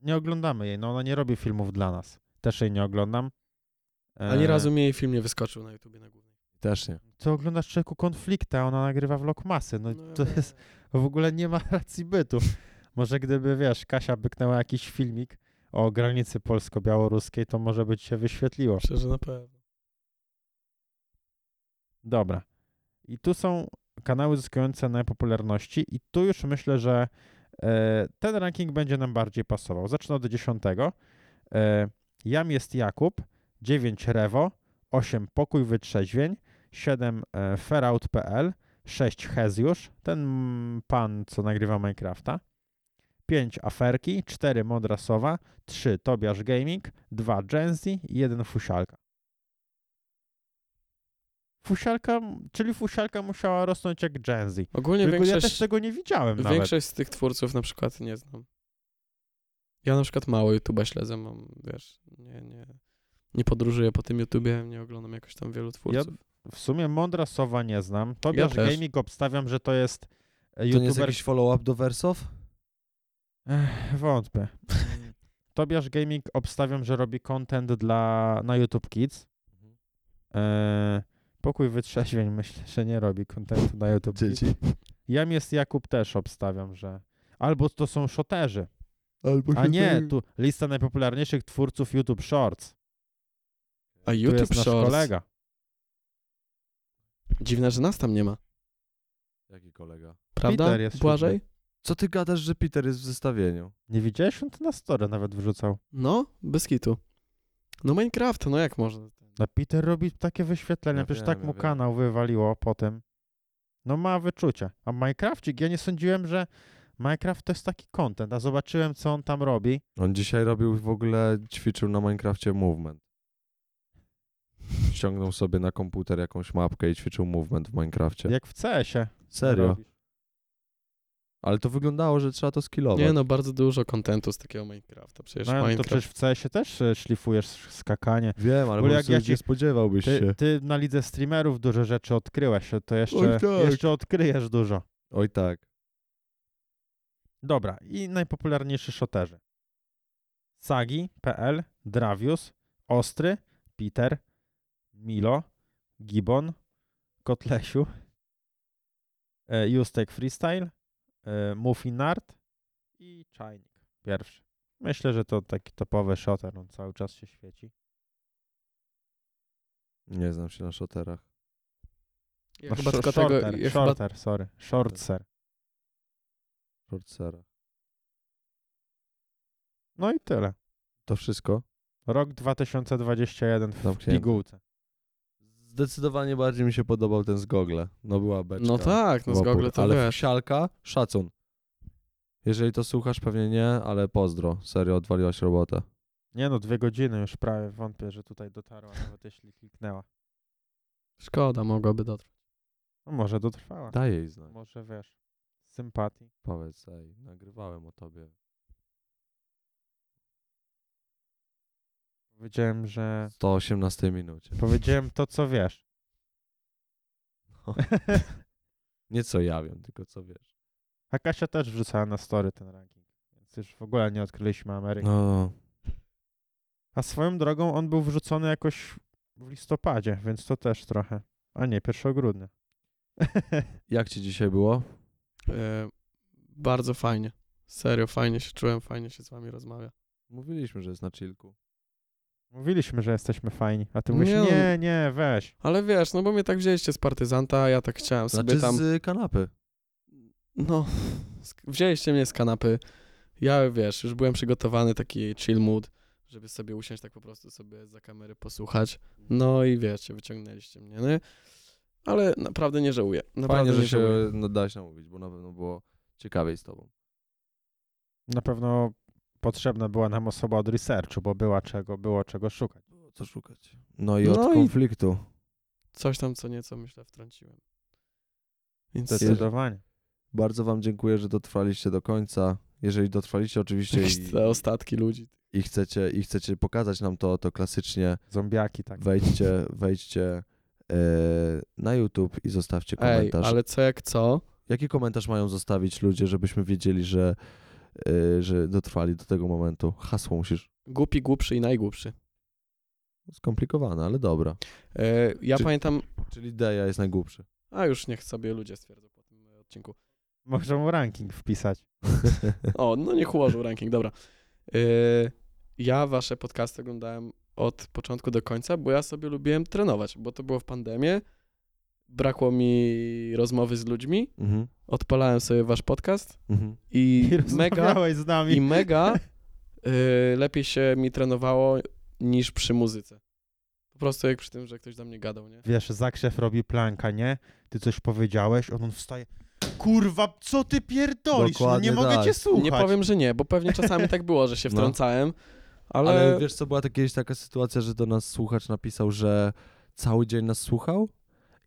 nie oglądamy jej. No ona nie robi filmów dla nas. Też jej nie oglądam. Ani E, razu mi jej film nie wyskoczył na YouTubie na głównej. Też nie. To oglądasz człowieku konflikta, ona nagrywa vlog masy. No, to ja- jest w ogóle nie ma racji bytu. Może gdyby wiesz, Kasia byknęła jakiś filmik o granicy polsko-białoruskiej, to może by ci się wyświetliło. Myślę, że na pewno. Dobra. I tu są kanały zyskujące na popularności i tu już myślę, że e, ten ranking będzie nam bardziej pasował. Zacznę od 10. E, jam jest Jakub, 9 Rewo, 8 Pokój Wytrzeźwień, 7 e, Ferout.pl, 6 Hezjusz, ten mm, pan, co nagrywa Minecrafta, 5 Aferki, 4 Modra Sowa, 3 Tobiasz Gaming, 2 Genzy i 1 Fusialka. Fusialka, m- czyli fusialka musiała rosnąć jak Gen Z. Ogólnie Tylko ja większość, też tego nie widziałem nawet. większość z tych twórców na przykład nie znam. Ja na przykład mało YouTube'a śledzę, mam, wiesz, nie, nie, nie podróżuję po tym YouTubie, nie oglądam jakoś tam wielu Ja twórców. w sumie Mądra Sowa nie znam. Tobiasz też. Gaming obstawiam, że to jest e, To nie jest youtuber... jakiś follow-up do wersów? Ech, wątpię. Tobiasz Gaming Mhm. obstawiam, że robi content dla, na YouTube Kids. E, Pokój wytrzeźwień myślę, że nie robi kontentu na YouTube. Dzieci. Jam jest Jakub też obstawiam, że. Albo to są szoterzy. Albo A nie, tu lista najpopularniejszych twórców YouTube Shorts. A tu YouTube jest nasz Shorts. kolega. Dziwne, że nas tam nie ma. Jaki kolega? Prawda? Peter jest Błażej? Co ty gadasz, że Peter jest w zestawieniu? Nie widziałeś? On to na story nawet wrzucał. No, bez kitu. No Minecraft, no jak można? No Peter robi takie wyświetlenia, Ja przecież wiem, tak ja mu wiem. kanał wywaliło potem. No ma wyczucie. A Minecrafcik, ja nie sądziłem, że Minecraft to jest taki content, a zobaczyłem, co on tam robi. On dzisiaj robił w ogóle, ćwiczył na Minecrafcie movement. Ściągnął sobie na komputer jakąś mapkę i ćwiczył movement w Minecrafcie. Jak w CS-ie. Serio. robi. Ale to wyglądało, że trzeba to skillować. Nie no, bardzo dużo kontentu z takiego Minecrafta. Przecież No, ale to Minecraft... przecież w CS-ie też e, szlifujesz skakanie. Wiem, ale Bo po jak prostu ja już ci- nie spodziewałbyś Ty, się. ty na lidze streamerów dużo rzeczy odkryłeś, e, to jeszcze, Oj, tak. jeszcze odkryjesz dużo. Oj tak. Dobra, i najpopularniejsi shoterzy. Sagi, PL, Dravius, Ostry, Peter, Milo, Gibbon, Kotlesiu, e, Justek Freestyle, e, Muffinard i Czajnik pierwszy. Myślę, że to taki topowy shoter, on cały czas się świeci. Nie znam się na szoterach. Ja No, chyba sh- tylko shorter, tego... Ja chyba... shorter, sorry, shortser. Shortsera. No i tyle. To wszystko? Rok 2021 w Zamknięte. pigułce. Zdecydowanie bardziej mi się podobał ten z Google. No była beczka. No tak, no z Wopór. Google to Ale wiesz. sialka, szacun. Jeżeli to słuchasz, pewnie nie, ale pozdro. Serio, odwaliłaś robotę. Nie no, dwie godziny już prawie wątpię, że tutaj dotarła, nawet jeśli kliknęła. Szkoda, mogłoby dotrwać. No może dotrwała. No Daj jej znać. Może wiesz, z sympatii. Powiedz, ej, nagrywałem o tobie. Powiedziałem, że... W 118 minucie. Powiedziałem to, co wiesz. Nie co ja wiem, tylko co wiesz. A Kasia też wrzucała na story ten ranking. Więc już w ogóle nie odkryliśmy Ameryki. No, A swoją drogą on był wrzucony jakoś w listopadzie, więc to też trochę. A nie, 1 grudnia. jak ci dzisiaj było? E, bardzo fajnie. Serio, fajnie się czułem, fajnie się z wami rozmawia. Mówiliśmy, że jest na chillku. Mówiliśmy, że jesteśmy fajni, a ty mówisz, Nie, no- nie, nie, weź. Ale wiesz, no bo mnie tak wzięliście z partyzanta, a ja tak chciałem sobie Znaczy tam... z y, kanapy. No, sk- wzięliście mnie z kanapy. Ja wiesz, już byłem przygotowany taki chill mood, żeby sobie usiąść tak po prostu sobie za kamery posłuchać. No i wiecie, wyciągnęliście mnie, nie? Ale naprawdę nie żałuję. Naprawdę Fajnie, nie że się żałuję. no, dałeś namówić, bo na pewno było ciekawiej z tobą. Na pewno potrzebna była nam osoba od researchu, bo była czego, było czego szukać. Było co szukać. No i od No i- konfliktu. Coś tam co nieco myślę wtrąciłem. Więc Zdecydowanie. Bardzo wam dziękuję, że dotrwaliście do końca. Jeżeli dotrwaliście oczywiście i, jakieś te ostatki ludzi. i, chcecie, i chcecie pokazać nam to, to klasycznie Zombiaki, tak. wejdźcie, wejdźcie e, na YouTube i zostawcie Ej, komentarz. ale co jak co? Jaki komentarz mają zostawić ludzie, żebyśmy wiedzieli, że, e, że dotrwali do tego momentu? Hasło musisz. Głupi, głupszy i najgłupszy. Skomplikowane, ale dobra. E, ja Czy- pamiętam... Czyli Deja jest najgłupszy. A już niech sobie ludzie stwierdzą po tym e, odcinku. Można mu ranking wpisać. O, no niech ułożył ranking, dobra. Yy, ja wasze podcasty oglądałem od początku do końca, bo ja sobie lubiłem trenować, bo to było w pandemię. Brakło mi rozmowy z ludźmi, Mhm. odpalałem sobie wasz podcast Mhm. i, I mega, rozmawiałeś z nami. i mega yy, lepiej się mi trenowało niż przy muzyce. Po prostu jak przy tym, że ktoś do mnie gadał, nie? Wiesz, Zakrzew robi planka, nie? Ty coś powiedziałeś, on, on wstaje. Kurwa, co ty pierdolisz? No nie Dokładnie mogę tak. cię słuchać. Nie powiem, że nie, bo pewnie czasami tak było, że się No. wtrącałem, ale... Ale... wiesz co, była ta- kiedyś taka sytuacja, że do nas słuchacz napisał, że cały dzień nas słuchał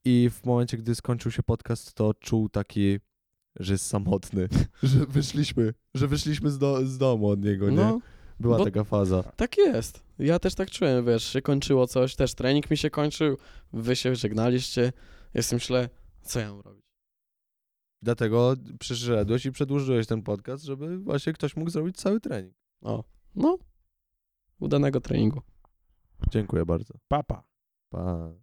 i w momencie, gdy skończył się podcast, to czuł taki, że jest samotny, że wyszliśmy, że wyszliśmy z, do, z domu od niego, nie? no, była bo- taka faza. Tak jest. Ja też tak czułem, wiesz, się kończyło coś, też trening mi się kończył, wy się żegnaliście, jestem myślę, co ja mam robić? Dlatego przyszedłeś i przedłużyłeś ten podcast, żeby właśnie ktoś mógł zrobić cały trening. O, no, udanego treningu. Dziękuję bardzo. Papa. Pa.